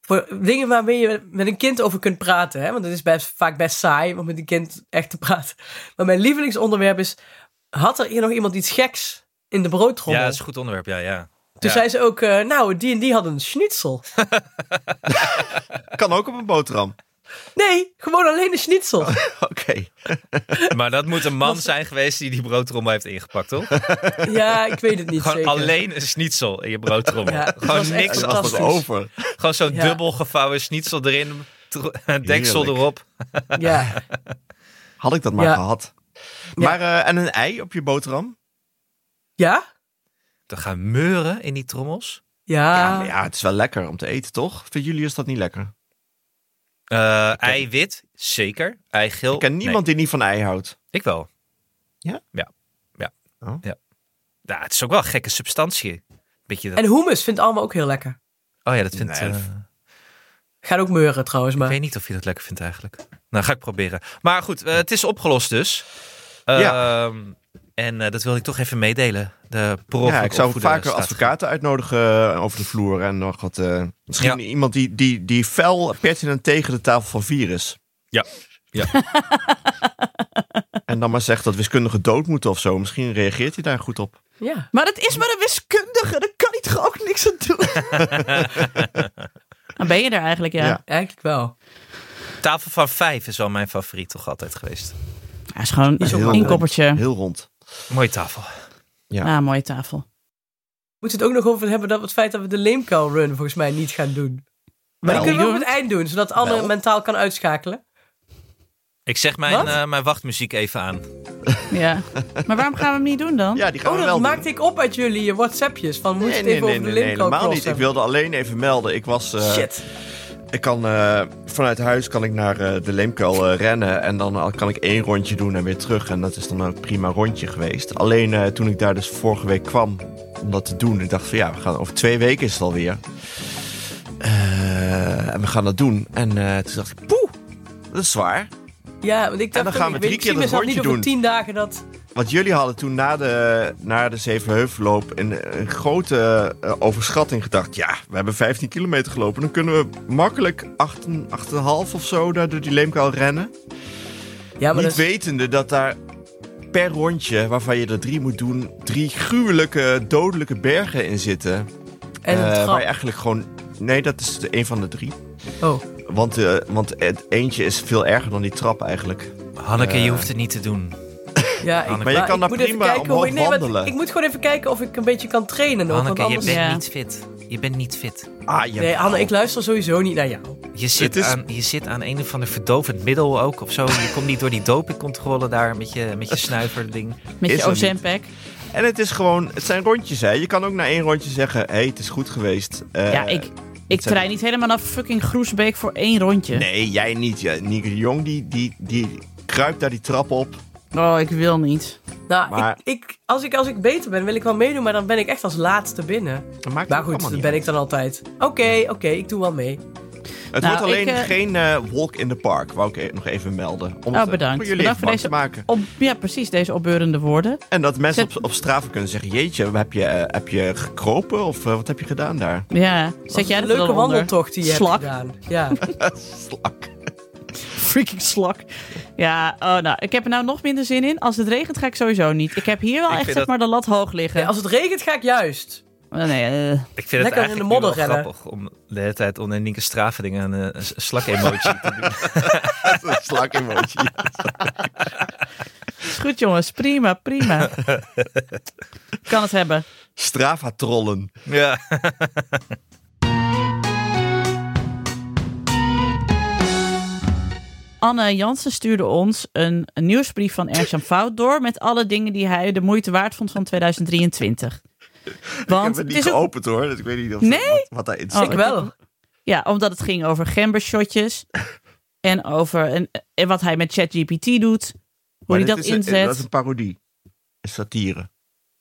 Speaker 4: voor dingen waarmee je met een kind over kunt praten. Hè? Want het is best, vaak best saai om met een kind echt te praten. Maar mijn lievelingsonderwerp is. Had er hier nog iemand iets geks in de broodtrommel?
Speaker 2: Ja, dat is een goed onderwerp. Ja, ja.
Speaker 4: Toen
Speaker 2: ja.
Speaker 4: zei ze ook. eh, nou, die en die hadden een schnitzel.
Speaker 3: Kan ook op een boterham.
Speaker 4: Nee, gewoon alleen een schnitzel.
Speaker 3: Oké.
Speaker 2: Maar dat moet een man zijn geweest die die broodtrommel heeft ingepakt, toch?
Speaker 4: ja, ik weet het niet.
Speaker 2: Gewoon
Speaker 4: zeker.
Speaker 2: alleen een schnitzel in je broodtrommel.
Speaker 4: Ja, het was
Speaker 2: Gewoon
Speaker 4: echt
Speaker 2: niks.
Speaker 3: En als wat
Speaker 4: Fantastisch.
Speaker 3: over.
Speaker 2: Gewoon zo'n
Speaker 4: Ja.
Speaker 2: dubbel gevouwen schnitzel erin. tro- Deksel
Speaker 3: Heerlijk.
Speaker 2: erop.
Speaker 4: Ja.
Speaker 3: Had ik dat maar
Speaker 4: Ja.
Speaker 3: gehad. Maar eh, en een ei op je boterham?
Speaker 4: Ja?
Speaker 2: Er gaan meuren in die trommels.
Speaker 4: Ja.
Speaker 3: Ja, maar ja, het is wel lekker om te eten, toch? Vinden jullie is dat niet lekker?
Speaker 2: Eh eiwit, zeker. Eigeel.
Speaker 3: Ik ken niemand die niet van ei houdt.
Speaker 2: Ik wel.
Speaker 3: Ja?
Speaker 2: Ja. Ja.
Speaker 3: Oh.
Speaker 2: ja. Ja, het is ook wel een gekke substantie. Beetje dat...
Speaker 4: En hummus vindt allemaal ook heel lekker.
Speaker 2: Oh ja, dat vindt...
Speaker 3: Nee,
Speaker 2: eh,
Speaker 3: dat-
Speaker 4: Gaat ook meuren trouwens,
Speaker 2: Ik
Speaker 4: maar.
Speaker 2: weet niet of je dat lekker vindt eigenlijk. Nou, ga ik proberen. Maar goed, eh, het is opgelost dus. Ehm,
Speaker 3: Ja.
Speaker 2: En eh, dat wilde ik toch even meedelen. De
Speaker 3: ja, ik zou vaker advocaten uitnodigen eh, over de vloer. En nog wat, eh, misschien
Speaker 2: Ja.
Speaker 3: iemand die, die, die fel pertinent tegen de tafel van vier is.
Speaker 2: Ja. Ja.
Speaker 3: en dan maar zegt dat wiskundigen dood moeten of zo. Misschien reageert hij daar goed op.
Speaker 4: Ja.
Speaker 5: Maar het is maar een wiskundige, daar kan hij toch ook niks aan doen? Dan ben je er eigenlijk, ja.
Speaker 3: Ja.
Speaker 4: Eigenlijk wel.
Speaker 2: Tafel van vijf is wel mijn favoriet toch altijd geweest.
Speaker 5: Hij is gewoon
Speaker 4: is ook
Speaker 5: een
Speaker 3: wel
Speaker 5: inkoppertje.
Speaker 3: Heel rond.
Speaker 2: Mooie tafel.
Speaker 5: Ah, mooie tafel.
Speaker 4: Moeten we het ook nog over hebben dat we het feit dat we de leemkou run volgens mij niet gaan doen? Maar
Speaker 5: Oh,
Speaker 4: die kunnen we op het eind doen, zodat Anne
Speaker 3: Wel.
Speaker 4: mentaal kan uitschakelen.
Speaker 2: Ik zeg mijn,
Speaker 4: Wat?
Speaker 2: eh, mijn wachtmuziek even aan.
Speaker 5: Ja. Maar waarom gaan we hem niet doen dan?
Speaker 3: Ja, die gaan
Speaker 4: Oh,
Speaker 3: we
Speaker 4: dat
Speaker 3: wel
Speaker 4: maakte
Speaker 3: doen.
Speaker 4: ik op uit jullie je WhatsAppjes. Van, moet je
Speaker 3: Nee,
Speaker 4: het
Speaker 3: nee,
Speaker 4: even
Speaker 3: nee,
Speaker 4: over
Speaker 3: nee,
Speaker 4: de
Speaker 3: nee,
Speaker 4: leemkou
Speaker 3: helemaal niet.
Speaker 4: crossen?
Speaker 3: Ik wilde alleen even melden. Ik was... eh,
Speaker 4: Shit.
Speaker 3: Ik kan eh, vanuit huis kan ik naar eh, de Leemkuil eh, rennen en dan al- kan ik één rondje doen en weer terug. En dat is dan ook een prima rondje geweest. Alleen eh, toen ik daar dus vorige week kwam om dat te doen, ik dacht van ja, we gaan over twee weken is het alweer. Eh, en we gaan dat doen. En eh, toen dacht ik, poeh, dat is zwaar.
Speaker 4: Ja, want ik dacht,
Speaker 3: dan gaan
Speaker 4: ook,
Speaker 3: we
Speaker 4: ik
Speaker 3: drie
Speaker 4: weet-
Speaker 3: keer
Speaker 4: ik zie
Speaker 3: dat
Speaker 4: mezelf niet
Speaker 3: rondje
Speaker 4: over tien dagen dat...
Speaker 3: Want jullie hadden toen na de, na de Zevenheuvelloop een, een grote eh, overschatting gedacht. Ja, we hebben 15 kilometer gelopen. Dan kunnen we makkelijk 8,5 of zo daar door die leemkuil rennen.
Speaker 4: Ja, maar
Speaker 3: Niet
Speaker 4: dat is-
Speaker 3: wetende dat daar per rondje, waarvan je er drie moet doen, drie gruwelijke, dodelijke bergen in zitten.
Speaker 4: en
Speaker 3: Eh,
Speaker 4: een
Speaker 3: waar je
Speaker 4: trap.
Speaker 3: eigenlijk gewoon. Nee, dat is de, een van de drie.
Speaker 4: Oh,
Speaker 3: Want, eh, want het eentje is veel erger dan die trap eigenlijk.
Speaker 2: Hanneke,
Speaker 3: Eh,
Speaker 2: je hoeft het niet te doen.
Speaker 4: ja. Ik,
Speaker 2: Maar je
Speaker 3: kan daar
Speaker 4: moet even
Speaker 3: prima
Speaker 4: kijken hoe-
Speaker 3: omhoog
Speaker 4: nee, want
Speaker 3: wandelen.
Speaker 4: Ik moet gewoon even kijken of ik een beetje kan trainen nog. Want
Speaker 2: Hanneke, je
Speaker 4: anders...
Speaker 2: bent
Speaker 5: Ja.
Speaker 2: niet fit. Je bent niet fit.
Speaker 3: Ah, ja.
Speaker 4: Nee, Anne, ik luister sowieso niet naar jou.
Speaker 2: Je zit,
Speaker 3: Het is-
Speaker 2: aan, je zit aan een of ander verdovend middel ook of zo. Je komt niet door die dopingcontrole daar met je, met je snuiverding.
Speaker 5: Met
Speaker 3: Is
Speaker 5: je
Speaker 3: er niet.
Speaker 5: Ozempic.
Speaker 3: En het is gewoon, het zijn rondjes hè. Je kan ook na één rondje zeggen, hé, hey, het is goed geweest. Eh,
Speaker 5: ja, ik, ik
Speaker 3: dat zijn-
Speaker 5: trein niet helemaal naar fucking Groesbeek voor één rondje.
Speaker 3: Nee, jij niet. Ja, Nieke de Jong, die, die, die kruipt daar die trap op.
Speaker 5: Oh, ik wil niet.
Speaker 4: Nou,
Speaker 3: Maar-
Speaker 4: ik, ik, als, ik, als ik beter ben, wil ik wel meedoen, maar dan ben ik echt als laatste binnen.
Speaker 3: Dat maakt
Speaker 4: Maar
Speaker 3: ook
Speaker 4: goed,
Speaker 3: allemaal
Speaker 4: dat
Speaker 3: niet
Speaker 4: ben
Speaker 3: uit.
Speaker 4: ik dan altijd. Oké, oké, ik doe wel mee.
Speaker 3: Het
Speaker 5: Nou,
Speaker 3: wordt alleen
Speaker 5: ik, eh,
Speaker 3: geen eh, walk in the park, wou ik e- nog even melden. Om
Speaker 5: Oh,
Speaker 3: het, eh,
Speaker 5: bedankt.
Speaker 3: Voor jullie
Speaker 5: Bedankt
Speaker 3: even
Speaker 5: voor
Speaker 3: bang te maken.
Speaker 5: Op, ja, precies, deze opbeurende woorden.
Speaker 3: En dat mensen
Speaker 5: Zet-
Speaker 3: op, op straven kunnen zeggen, jeetje, heb je, eh, heb je gekropen of eh, wat heb je gedaan daar?
Speaker 5: Ja, zet jij
Speaker 4: een
Speaker 5: dat
Speaker 4: leuke
Speaker 5: eronder?
Speaker 4: wandeltocht die je
Speaker 5: Slak.
Speaker 4: hebt gedaan. Ja.
Speaker 3: Slak.
Speaker 5: freaking slak. Ja, oh, nou, ik heb er nou nog minder zin in. Als het regent ga ik sowieso niet. Ik heb hier wel
Speaker 2: Ik
Speaker 5: echt
Speaker 2: vind dat-
Speaker 5: zeg maar de lat hoog liggen.
Speaker 4: Ja, als het regent ga ik juist.
Speaker 5: Oh, nee, eh,
Speaker 2: Ik vind
Speaker 4: Lekker in
Speaker 2: het
Speaker 4: de
Speaker 2: eigenlijk
Speaker 4: modder
Speaker 2: nu wel
Speaker 4: rennen.
Speaker 2: grappig om de hele tijd onder Nienke Straveling een, eh, een slak-emoji te doen.
Speaker 3: Een slak emoji.
Speaker 5: is goed jongens, prima, prima. kan het hebben.
Speaker 3: Strava trollen.
Speaker 2: Ja.
Speaker 5: Anne Jansen stuurde ons een, een nieuwsbrief van Ersham Fout door met alle dingen die hij de moeite waard vond van 2023.
Speaker 3: Ik heb
Speaker 5: Want
Speaker 3: het
Speaker 5: het
Speaker 3: niet
Speaker 5: is ook,
Speaker 3: geopend hoor. Dus ik weet niet of
Speaker 5: Nee?
Speaker 3: wat, wat daarin
Speaker 5: Oh,
Speaker 3: staat.
Speaker 4: Ik wel.
Speaker 5: ja, omdat het ging over gembershotjes en over en, en wat hij met ChatGPT doet, hoe
Speaker 3: Maar
Speaker 5: hij
Speaker 3: dit
Speaker 5: dat
Speaker 3: is een-
Speaker 5: inzet.
Speaker 3: dat is een parodie. Een satire.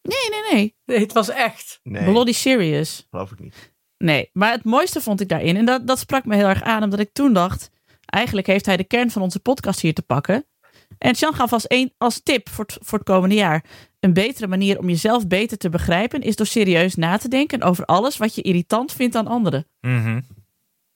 Speaker 5: Nee, nee, nee,
Speaker 4: Nee, het was echt.
Speaker 3: Nee,
Speaker 5: bloody serious.
Speaker 3: geloof ik niet.
Speaker 5: Nee, maar het mooiste vond ik daarin, en dat, dat sprak me heel erg aan, omdat ik toen dacht, eigenlijk heeft hij de kern van onze podcast hier te pakken. En Jan gaf als, een, als tip voor het, voor het komende jaar, een betere manier om jezelf beter te begrijpen, is door serieus na te denken over alles wat je irritant vindt aan anderen.
Speaker 2: Mhm.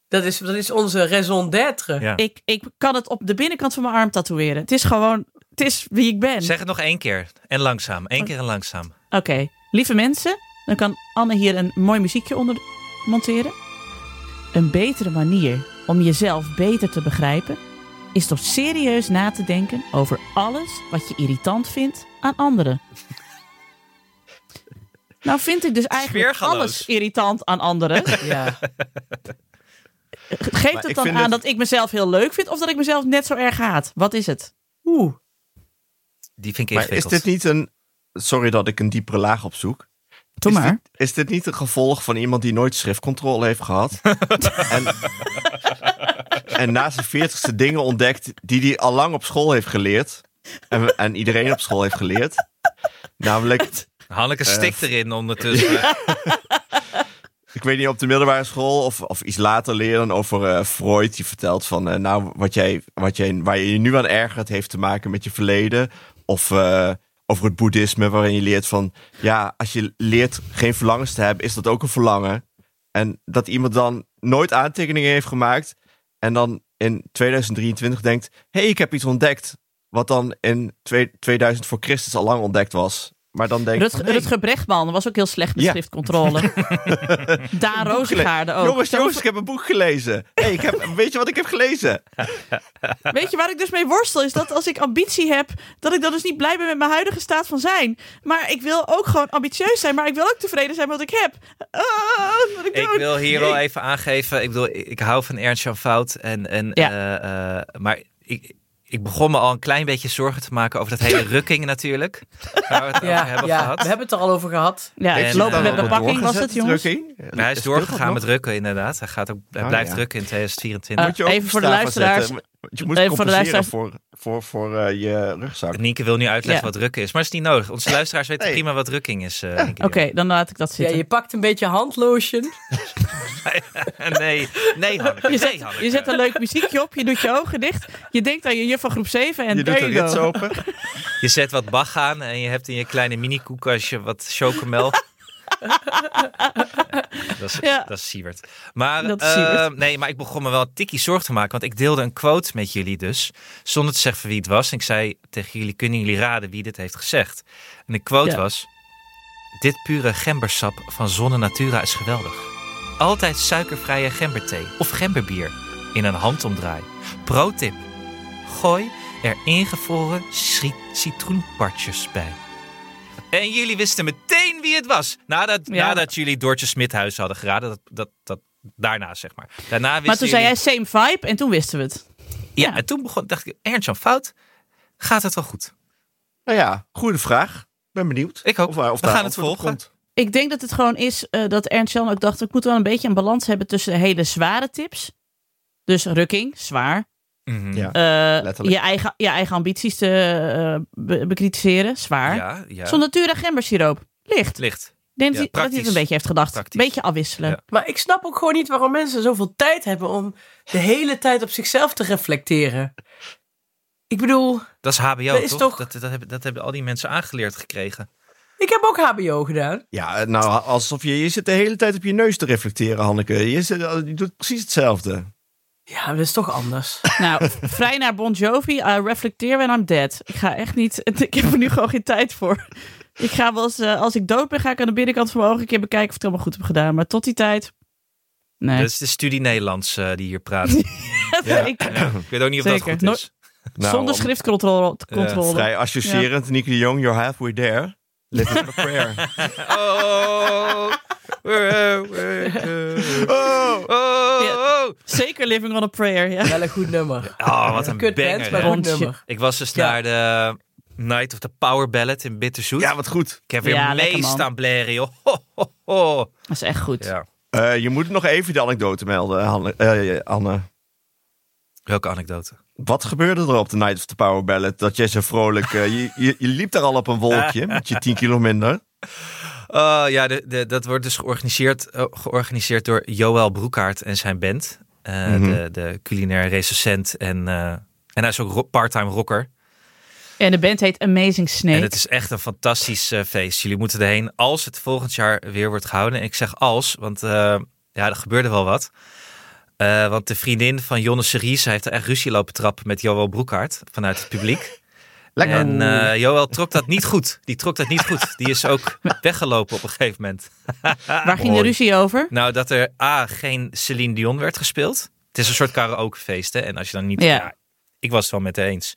Speaker 4: Dat is, dat is onze raison d'être.
Speaker 2: Ja.
Speaker 5: Ik, ik kan het op de binnenkant van mijn arm tatoeëren. Het is gewoon, het is wie ik ben.
Speaker 2: Zeg het nog één keer. En langzaam. Eén keer en langzaam.
Speaker 5: Oké, lieve mensen, dan kan Anne hier een mooi muziekje onder monteren. Een betere manier om jezelf beter te begrijpen is door serieus na te denken over alles wat je irritant vindt aan anderen. Nou vind ik dus eigenlijk
Speaker 2: Sfeergeloos.
Speaker 5: alles irritant aan anderen.
Speaker 4: Ja.
Speaker 5: Geeft
Speaker 3: Maar
Speaker 5: het
Speaker 3: ik
Speaker 5: dan
Speaker 3: vind
Speaker 5: aan
Speaker 3: het-
Speaker 5: dat ik mezelf heel leuk vind of dat ik mezelf net zo erg haat? Wat is het?
Speaker 4: Oeh.
Speaker 2: Die vind ik
Speaker 3: Maar is
Speaker 2: ingewikkeld.
Speaker 3: dit niet een... Sorry dat ik een diepere laag opzoek.
Speaker 5: Doe
Speaker 3: Is
Speaker 5: maar.
Speaker 3: dit, is dit niet een gevolg van iemand die nooit schriftcontrole heeft gehad? en, en na zijn veertigste dingen ontdekt die hij al lang op school heeft geleerd. En, en iedereen op school heeft geleerd. Namelijk,
Speaker 2: Hanneke
Speaker 3: Eh.
Speaker 2: stikt erin ondertussen.
Speaker 3: ik weet niet, op de middelbare school of, of iets later leren over eh, Freud. Die vertelt van, eh, nou, wat jij, wat jij, waar je je nu aan ergert heeft te maken met je verleden. Of eh, over het boeddhisme, waarin je leert van, ja, als je leert geen verlangens te hebben, is dat ook een verlangen. En dat iemand dan nooit aantekeningen heeft gemaakt. En dan in 2023 denkt, hé, hey, ik heb iets ontdekt. Wat dan in twee- 2000 voor Christus al lang ontdekt was. Maar dan denk
Speaker 5: Rutger, Rutger Brechtman was ook heel slecht met
Speaker 3: Ja.
Speaker 5: schriftcontrole. Daan Rozengaarde ook.
Speaker 3: Jongens,
Speaker 5: Zo-
Speaker 3: jongens, ik heb een boek gelezen. Hey, ik heb, weet je wat ik heb gelezen?
Speaker 5: Weet je waar ik dus mee worstel? Is dat als ik ambitie heb, dat ik dan dus niet blij ben met mijn huidige staat van zijn. Maar ik wil ook gewoon ambitieus zijn, maar ik wil ook tevreden zijn met wat ik heb. Ah, wat ik,
Speaker 2: Ik
Speaker 5: doe.
Speaker 2: wil hier wel even aangeven. Ik bedoel, ik hou van Ernst Jan Fout. En, en,
Speaker 5: Ja.
Speaker 2: eh, eh, maar ik, ik begon me al een klein beetje zorgen te maken over dat hele rukking natuurlijk. Waar we het
Speaker 4: Ja,
Speaker 2: over hebben
Speaker 4: ja.
Speaker 2: gehad.
Speaker 4: we hebben het er al over gehad.
Speaker 5: Ja,
Speaker 2: En,
Speaker 5: het
Speaker 2: eh,
Speaker 5: lopen met
Speaker 2: wordt
Speaker 5: bepakking was het, jongens.
Speaker 2: Maar hij is doorgegaan met rukken inderdaad. Hij, gaat ook, hij
Speaker 3: Oh,
Speaker 2: blijft
Speaker 3: ja.
Speaker 2: rukken in 2024.
Speaker 5: Eh, Even voor de luisteraars.
Speaker 3: Je moet
Speaker 5: Even
Speaker 3: even
Speaker 5: voor de luisteraars.
Speaker 3: voor, voor, voor eh, je rugzak.
Speaker 2: Nienke wil nu uitleggen
Speaker 5: Ja.
Speaker 2: wat rukken is. Maar is niet nodig. Onze luisteraars weten
Speaker 3: Nee.
Speaker 2: prima wat rukking is. eh, Nienke.
Speaker 5: Oké, dan laat ik dat
Speaker 4: Ja,
Speaker 5: zitten.
Speaker 4: je pakt een beetje handlotion.
Speaker 2: nee, nee Hanneke. nee,
Speaker 5: Je zet,
Speaker 2: Hanneke.
Speaker 5: je zet een leuk muziekje op, je doet je ogen dicht. Je denkt aan je juf van groep 7 en
Speaker 3: je doet
Speaker 5: there
Speaker 3: de
Speaker 5: you
Speaker 3: rits
Speaker 5: go.
Speaker 3: open.
Speaker 2: Je zet wat bag aan en je hebt in je kleine mini-koelkastje wat chocomel. dat, is,
Speaker 5: Ja.
Speaker 2: dat is Siewert. Maar,
Speaker 5: Dat is
Speaker 2: eh,
Speaker 5: Siewert.
Speaker 2: nee, maar ik begon me wel een tikkie zorg te maken. Want ik deelde een quote met jullie dus. Zonder te zeggen wie het was. En ik zei tegen jullie, kunnen jullie raden wie dit heeft gezegd? En de quote
Speaker 5: Ja.
Speaker 2: was... Dit pure gembersap van Zonne Natura is geweldig. Altijd suikervrije gemberthee of gemberbier in een handomdraai. Pro-tip. Gooi er ingevroren cit- citroenpartjes bij. En jullie wisten meteen wie het was. Nadat,
Speaker 5: Ja.
Speaker 2: nadat jullie Doortje Smithuis hadden geraden. Dat, dat, dat, daarna, zeg maar. Daarna wisten
Speaker 5: Maar toen zei jij
Speaker 2: jullie-
Speaker 5: same vibe en toen wisten we het.
Speaker 2: Ja, en toen begon, dacht ik, Ernst-Jan Fout, gaat het wel goed?
Speaker 3: Nou ja, goede vraag. Ben benieuwd.
Speaker 2: Ik ook.
Speaker 3: Of, waar- of
Speaker 2: We
Speaker 3: daar
Speaker 2: gaan het
Speaker 3: antwoord op
Speaker 2: volgen.
Speaker 3: komt.
Speaker 5: Ik denk dat het gewoon is eh, dat Ernst Jan ook dacht: ik moet wel een beetje een balans hebben tussen hele zware tips. Dus rukking, zwaar.
Speaker 2: Mhm.
Speaker 3: Ja.
Speaker 5: Eh,
Speaker 3: Letterlijk.
Speaker 5: je, eigen, je eigen ambities te eh, be- bekritiseren, zwaar.
Speaker 2: ja, ja.
Speaker 5: Zo'n natura gembersiroop, licht. Ik
Speaker 2: Licht. Ja,
Speaker 5: denk dat hij- dat hij het
Speaker 2: praktisch.
Speaker 5: een beetje heeft gedacht.
Speaker 2: Praktisch.
Speaker 5: beetje afwisselen.
Speaker 2: Ja.
Speaker 4: Maar ik snap ook gewoon niet waarom mensen zoveel tijd hebben om de hele tijd op zichzelf te reflecteren. Ik bedoel,
Speaker 2: Dat is HBO,
Speaker 4: Dat is
Speaker 2: toch?
Speaker 4: toch-
Speaker 2: Dat, dat, hebben, dat hebben al die mensen aangeleerd gekregen.
Speaker 4: ik heb ook HBO gedaan.
Speaker 3: Ja, nou, eh, alsof je, je zit de hele tijd op je neus te reflecteren, Hanneke. Je, zit, je doet precies hetzelfde.
Speaker 4: Ja, maar dat is toch anders.
Speaker 5: Nou, vrij naar Bon Jovi, I reflecteer when I'm dead. Ik ga echt niet, ik heb er nu gewoon geen tijd voor. Ik ga wel eens, eh, als ik dood ben, ga ik aan de binnenkant van mijn ogen een keer bekijken of ik het helemaal goed heb gedaan. Maar tot die tijd, nee.
Speaker 2: Dat is de studie Nederlands eh, die hier praat. Dus, Ja, Nou,
Speaker 5: ik,
Speaker 2: Ik weet ook niet of
Speaker 5: Zeker.
Speaker 2: dat goed is.
Speaker 3: Nou,
Speaker 5: zonder schriftcontrole.
Speaker 2: Ja,
Speaker 5: controle.
Speaker 3: Eh, Vrij associërend. Nicky de Jong, you're halfway there. Let it be a prayer.
Speaker 2: Oh, oh,
Speaker 3: Oh!
Speaker 2: oh.
Speaker 5: Zeker Living on a Prayer, ja.
Speaker 4: Wel een goed nummer.
Speaker 2: Oh, wat een
Speaker 4: Kut
Speaker 2: banger.
Speaker 4: band,
Speaker 2: hè.
Speaker 4: maar goed
Speaker 5: Rondje.
Speaker 4: nummer.
Speaker 2: Ik was dus
Speaker 4: Ja.
Speaker 2: naar de Night of the Power Ballad in Bitterzoet.
Speaker 3: Ja, wat goed.
Speaker 2: ik heb weer
Speaker 5: Ja, lekker,
Speaker 2: mee
Speaker 5: man.
Speaker 2: staan blaren, joh. Ho, ho, ho.
Speaker 5: Dat is echt goed.
Speaker 2: Ja.
Speaker 3: Eh, je moet nog even de anekdote melden, Hanne. eh, Anne.
Speaker 2: Welke anekdote?
Speaker 3: Wat gebeurde er op de Night of the Power Ballad? Dat jij zo vrolijk... eh, je, je, je liep daar al op een wolkje met je 10 kilo minder.
Speaker 2: Eh, ja, de, de, dat wordt dus georganiseerd, eh, georganiseerd door Joël Broekaert en zijn band. Eh,
Speaker 3: Mhm.
Speaker 2: de, de culinair recensent en, eh, en hij is ook ro- part-time rocker.
Speaker 5: En de band heet Amazing Snake.
Speaker 2: En het is echt een fantastisch eh, feest. Jullie moeten erheen als het volgend jaar weer wordt gehouden. En ik zeg als, want eh, ja, er gebeurde wel wat. Eh, want de vriendin van Jonne Series heeft er echt ruzie lopen trappen met Joël Broekhaart vanuit het publiek.
Speaker 3: Lekker.
Speaker 2: En eh Joël trok dat niet goed. Die trok dat niet goed. Die is ook weggelopen op een gegeven moment.
Speaker 5: Waar
Speaker 2: Ah,
Speaker 5: ging de
Speaker 3: mooi.
Speaker 5: ruzie over?
Speaker 2: Nou, dat er A, geen Celine Dion werd gespeeld. Het is een soort karaokefeest, hè. En als je dan niet...
Speaker 5: Ja.
Speaker 2: Ja, ik was het wel met haar eens.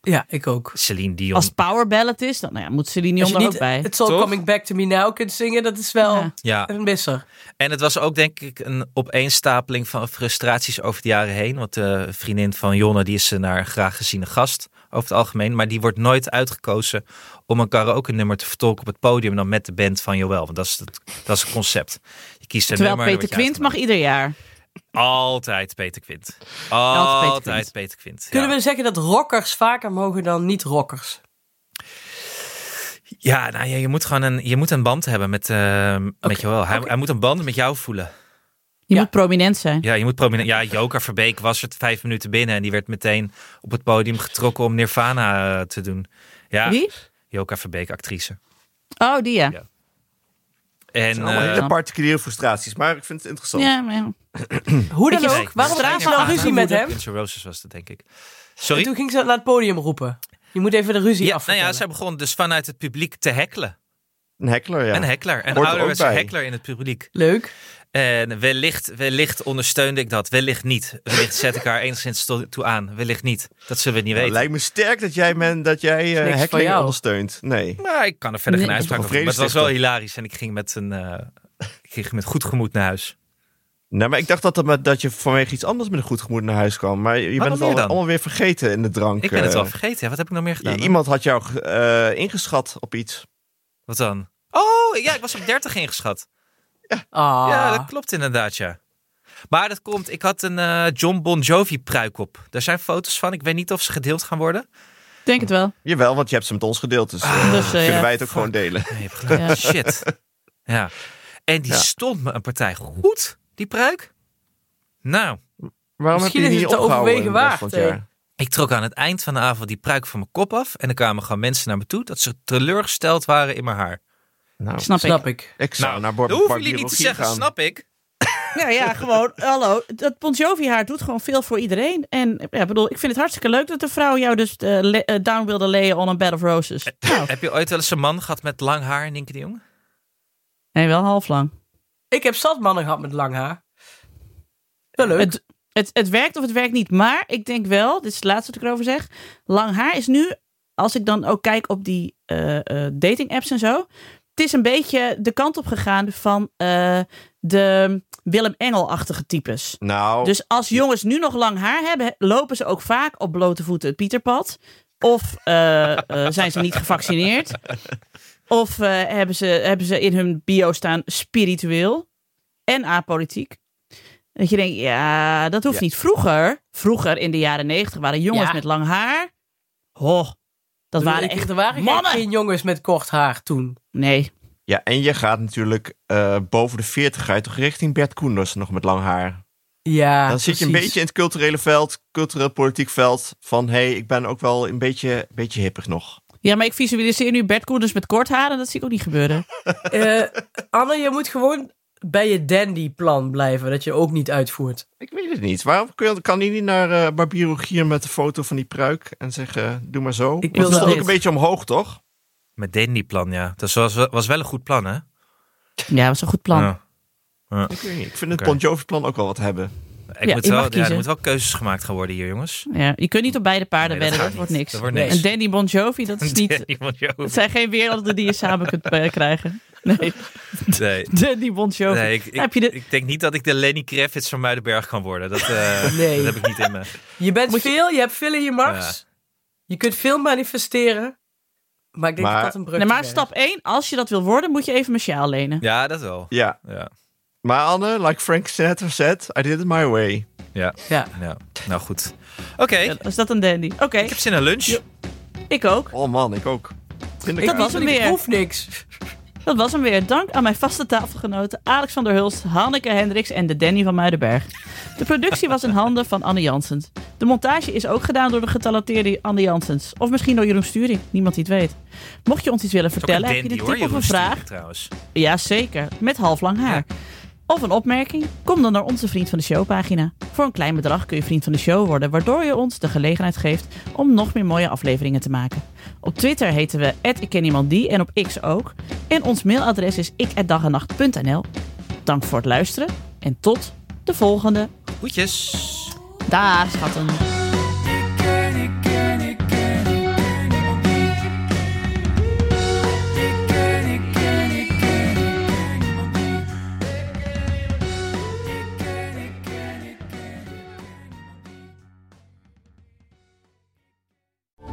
Speaker 4: Ja, ik ook.
Speaker 2: Celine Dion.
Speaker 5: Als het Power Ballad is, dan nou ja, moet Celine
Speaker 4: Als
Speaker 5: Dion
Speaker 4: je
Speaker 5: er
Speaker 4: niet
Speaker 5: ook bij.
Speaker 4: It's All
Speaker 2: Toch?
Speaker 4: Coming Back To Me Now kunt zingen, dat is wel
Speaker 5: Ja.
Speaker 2: Ja.
Speaker 4: een misser.
Speaker 2: En het was ook denk ik een opeenstapeling van frustraties over de jaren heen. Want de vriendin van Jonne die is eh, naar een graag geziene gast over het algemeen. Maar die wordt nooit uitgekozen om een karaoke nummer te vertolken op het podium dan met de band van Joël. Want dat is het, dat is het concept. Je kiest een
Speaker 5: Terwijl
Speaker 2: nummer en
Speaker 5: Peter
Speaker 2: dan word je
Speaker 5: Quint mag ieder jaar.
Speaker 2: uitgenodigd. Altijd Peter Quint. Altijd
Speaker 5: Quint.
Speaker 2: Peter Quint. Ja.
Speaker 4: Kunnen we zeggen dat rockers vaker mogen dan niet-rockers?
Speaker 2: Ja, nou ja, je moet gewoon een, je moet een band hebben met, eh, met Joël. Hij, hij moet een band met jou voelen.
Speaker 5: Je
Speaker 4: Ja.
Speaker 5: moet prominent zijn.
Speaker 2: Ja, je moet prominent. Ja, Joker Verbeek was het vijf minuten binnen en die werd meteen op het podium getrokken om Nirvana eh, te doen. Ja,
Speaker 5: Wie?
Speaker 2: Joka Verbeek, actrice.
Speaker 5: Oh, die ja.
Speaker 2: Ja. En
Speaker 3: Allemaal
Speaker 2: eh,
Speaker 3: hele particuliere frustraties, maar ik vind het interessant.
Speaker 5: Ja, maar ja.
Speaker 4: Hoe dan
Speaker 5: Ik-
Speaker 4: ook,
Speaker 5: Nee,
Speaker 4: waarom
Speaker 5: nee,
Speaker 4: krijg je
Speaker 5: nee,
Speaker 4: dan
Speaker 5: nee,
Speaker 4: ruzie met hem?
Speaker 2: Guns N' Roses was dat, denk ik.
Speaker 4: En
Speaker 2: Sorry?
Speaker 4: toen ging ze naar het podium roepen. Je moet even de ruzie
Speaker 2: Ja, nou
Speaker 4: afvertellen.
Speaker 2: ja, zij begon dus vanuit het publiek te hekkelen.
Speaker 3: Een heckler, ja.
Speaker 2: Een hekkelaar. Een
Speaker 3: Hoort er
Speaker 2: ouderwetse
Speaker 3: ook bij.
Speaker 2: hekkelaar in het publiek.
Speaker 4: Leuk.
Speaker 2: En wellicht, wellicht ondersteunde ik dat. Wellicht niet. Wellicht zet ik haar enigszins to- toe aan. Wellicht niet. Dat zullen we niet
Speaker 3: Nou,
Speaker 2: weten.
Speaker 3: lijkt me sterk dat jij, men, dat jij
Speaker 4: niks
Speaker 3: eh
Speaker 4: van
Speaker 3: heckling
Speaker 4: jou.
Speaker 3: ondersteunt. Nee.
Speaker 2: Maar ik kan er verder geen
Speaker 5: Nee.
Speaker 2: uitspraak
Speaker 3: Toch
Speaker 2: over
Speaker 3: een
Speaker 2: doen. Maar het was wel
Speaker 3: vredestichter.
Speaker 2: hilarisch. En ik ging met, een, eh, ik ging met goed gemoed naar huis.
Speaker 3: Nou, maar ik dacht dat, dat, maar- dat je vanwege iets anders met een goed gemoed naar huis kwam. Maar je bent het
Speaker 2: alweer
Speaker 3: al,
Speaker 2: dan?
Speaker 3: allemaal weer vergeten in de drank.
Speaker 2: Ik ben het
Speaker 3: eh.
Speaker 2: wel vergeten. Ja, Wat heb ik nog meer gedaan?
Speaker 3: I- Iemand had jou eh, ingeschat op iets.
Speaker 2: Wat dan? Oh, ja, ik was op 30 ingeschat.
Speaker 4: Ah,
Speaker 2: Ja, dat klopt inderdaad, ja. Maar dat komt, ik had een eh, John Bon Jovi pruik op. Daar zijn foto's van. Ik weet niet of ze gedeeld gaan worden.
Speaker 5: Ik Denk het wel.
Speaker 3: Jawel, want je hebt ze met ons gedeeld. Dus eh,
Speaker 5: Dus, eh,
Speaker 3: kunnen
Speaker 5: ja.
Speaker 3: wij het ook gewoon delen.
Speaker 2: Nee, je hebt gelijk.
Speaker 5: Ja.
Speaker 2: Shit. Ja. En die
Speaker 3: Ja.
Speaker 2: stond me een partij goed, die pruik. Nou,
Speaker 3: Waarom heb
Speaker 4: Misschien
Speaker 3: je
Speaker 4: is
Speaker 3: die
Speaker 4: het
Speaker 3: niet
Speaker 4: te
Speaker 3: opgehouden in de
Speaker 4: overwegen
Speaker 3: rest van het
Speaker 4: waard, eh.
Speaker 3: jaar?
Speaker 2: ik trok aan het eind van de avond die pruik van mijn kop af. En er kwamen gewoon mensen naar me toe dat ze teleurgesteld waren in mijn haar.
Speaker 3: Nou,
Speaker 5: Snap,
Speaker 4: snap
Speaker 5: ik.
Speaker 4: ik.
Speaker 3: ik zou naar
Speaker 2: dat
Speaker 3: Bor-
Speaker 2: hoeven
Speaker 3: Bar
Speaker 2: jullie niet te
Speaker 3: Biologie
Speaker 2: zeggen,
Speaker 3: gaan.
Speaker 2: snap ik.
Speaker 5: Nou ja, gewoon, hallo. Dat Bon Jovi haar doet gewoon veel voor iedereen. En ja, bedoel, ik vind het hartstikke leuk dat de vrouw jou dus eh, le- eh, down wilde layen on a bed of roses. Nou,
Speaker 2: Heb je ooit wel eens een man gehad met lang haar, Nienke de Jong?
Speaker 5: nee, wel half lang.
Speaker 4: Ik heb zat mannen gehad met lang haar. Wel leuk.
Speaker 5: Het, het, het werkt of het werkt niet. Maar ik denk wel, dit is het laatste wat ik erover zeg. Lang haar is nu, als ik dan ook kijk op die eh, dating apps en zo. Het is een beetje de kant op gegaan van eh, de Willem Engel-achtige types.
Speaker 2: Oh.
Speaker 3: Nou,
Speaker 5: Dus als jongens nu nog lang haar hebben, he- lopen ze ook vaak op blote voeten het Pieterpad. Of eh, eh, zijn ze niet gevaccineerd. Of eh, hebben, ze, hebben ze in hun bio staan spiritueel en apolitiek. Dat je denkt, ja, dat hoeft
Speaker 3: Ja.
Speaker 5: niet. Vroeger, vroeger in de jaren negentig waren jongens
Speaker 4: Ja.
Speaker 5: met lang haar. Oh, dat waren
Speaker 4: Ik-
Speaker 5: echt
Speaker 4: er waren
Speaker 5: mannen.
Speaker 4: geen jongens met kort haar toen.
Speaker 5: Nee,
Speaker 3: ja, en je gaat natuurlijk eh, boven de 40 uit, toch richting Bert Koenders nog met lang haar.
Speaker 4: Ja,
Speaker 3: Dan zit je een beetje in het culturele veld, cultureel politiek veld. Van hé, hey, ik ben ook wel een beetje, beetje hippig nog.
Speaker 5: ja, maar ik visualiseer nu Bert Koenders met kort haar en dat zie ik ook niet gebeuren.
Speaker 4: Anne, Eh, je moet gewoon bij je dandy-plan blijven, dat je ook niet uitvoert?
Speaker 3: Ik weet het niet. Waarom kun- kan hij niet naar eh Barbier Rogier met de foto van die pruik en zeggen, doe maar zo?
Speaker 4: Ik
Speaker 3: Ik
Speaker 4: wil
Speaker 3: wil dat
Speaker 4: dat
Speaker 3: stond ook
Speaker 4: dit.
Speaker 3: een beetje omhoog, toch?
Speaker 2: Met Dandy-plan, ja. Dat was, wel- was wel een goed plan, hè?
Speaker 5: Ja, was een goed plan.
Speaker 2: Ja.
Speaker 3: Ik weet niet. Ik vind het
Speaker 2: Oké.
Speaker 3: Bon Jovi-plan ook wel wat hebben.
Speaker 2: Ik
Speaker 5: Ja,
Speaker 2: moet
Speaker 5: je
Speaker 2: wel,
Speaker 5: mag
Speaker 2: ja,
Speaker 5: kiezen.
Speaker 2: er moet wel keuzes gemaakt gaan worden hier, jongens.
Speaker 5: Ja, je kunt niet op beide paarden
Speaker 2: Nee, dat
Speaker 5: wedden, dat,
Speaker 2: gaat
Speaker 5: wordt
Speaker 2: niet.
Speaker 5: niks.
Speaker 2: Dat wordt
Speaker 4: Nee.
Speaker 2: niks.
Speaker 5: En Dandy Bon Jovi, dat is niet...
Speaker 2: Iemand
Speaker 5: Het zijn geen werelden die je samen kunt eh, krijgen. Nee,
Speaker 2: Nee.
Speaker 5: Dandy Bon Jovi.
Speaker 2: Nee, ik, ik,
Speaker 5: heb je de-
Speaker 2: ik denk niet dat ik de Lenny Kravitz van Muidenberg kan worden. Dat, eh,
Speaker 4: Nee.
Speaker 2: dat heb ik niet in me.
Speaker 4: Je bent veel, je... hebt veel in je mars. Je kunt veel manifesteren. Maar ik denk
Speaker 3: Maar-
Speaker 4: dat dat een brug
Speaker 5: Nee, maar
Speaker 4: is.
Speaker 5: stap 1, als je dat wil worden, moet je even mijn sjaal lenen.
Speaker 2: Ja, dat wel.
Speaker 3: Ja.
Speaker 2: Ja.
Speaker 3: Maar Anne, like Frank Sinatra said, I did it my way.
Speaker 2: Ja.
Speaker 4: Ja.
Speaker 2: ja. Nou goed. Oké,
Speaker 5: Ja, is dat een dandy? Oké,
Speaker 2: ik heb zin in lunch.
Speaker 5: ik ook.
Speaker 3: Oh man, ik ook.
Speaker 5: Dat
Speaker 3: Pindakaas.
Speaker 5: was hem
Speaker 4: Ik
Speaker 5: weer.
Speaker 4: proef niks.
Speaker 5: Dat was hem weer. Dank aan mijn vaste tafelgenoten Alex van der Hulst, Hanneke Hendricks en de Danny van Muidenberg. De productie was in handen van Anne Janssens. De montage is ook gedaan door de getalenteerde Anne Janssens. Of misschien door Jeroen Sturing, niemand die het weet. Mocht je ons iets willen
Speaker 2: Dat is ook
Speaker 5: vertellen,
Speaker 2: een
Speaker 5: heb je een
Speaker 2: dandy,
Speaker 5: tip
Speaker 2: hoor,
Speaker 5: of
Speaker 2: Jeroen
Speaker 5: een vraag?
Speaker 2: Sturing, trouwens.
Speaker 5: Jazeker, met halflang haar. Of een opmerking? Kom dan naar onze Vriend van de Show pagina. Voor een klein bedrag kun je Vriend van de Show worden, waardoor je ons de gelegenheid geeft om nog meer mooie afleveringen te maken. Op Twitter heten we @ikkenniemandie en op X ook. En ons mailadres is ik@dagennacht.nl. Dank voor het luisteren en tot de volgende.
Speaker 2: Goedjes.
Speaker 5: Daar schatten.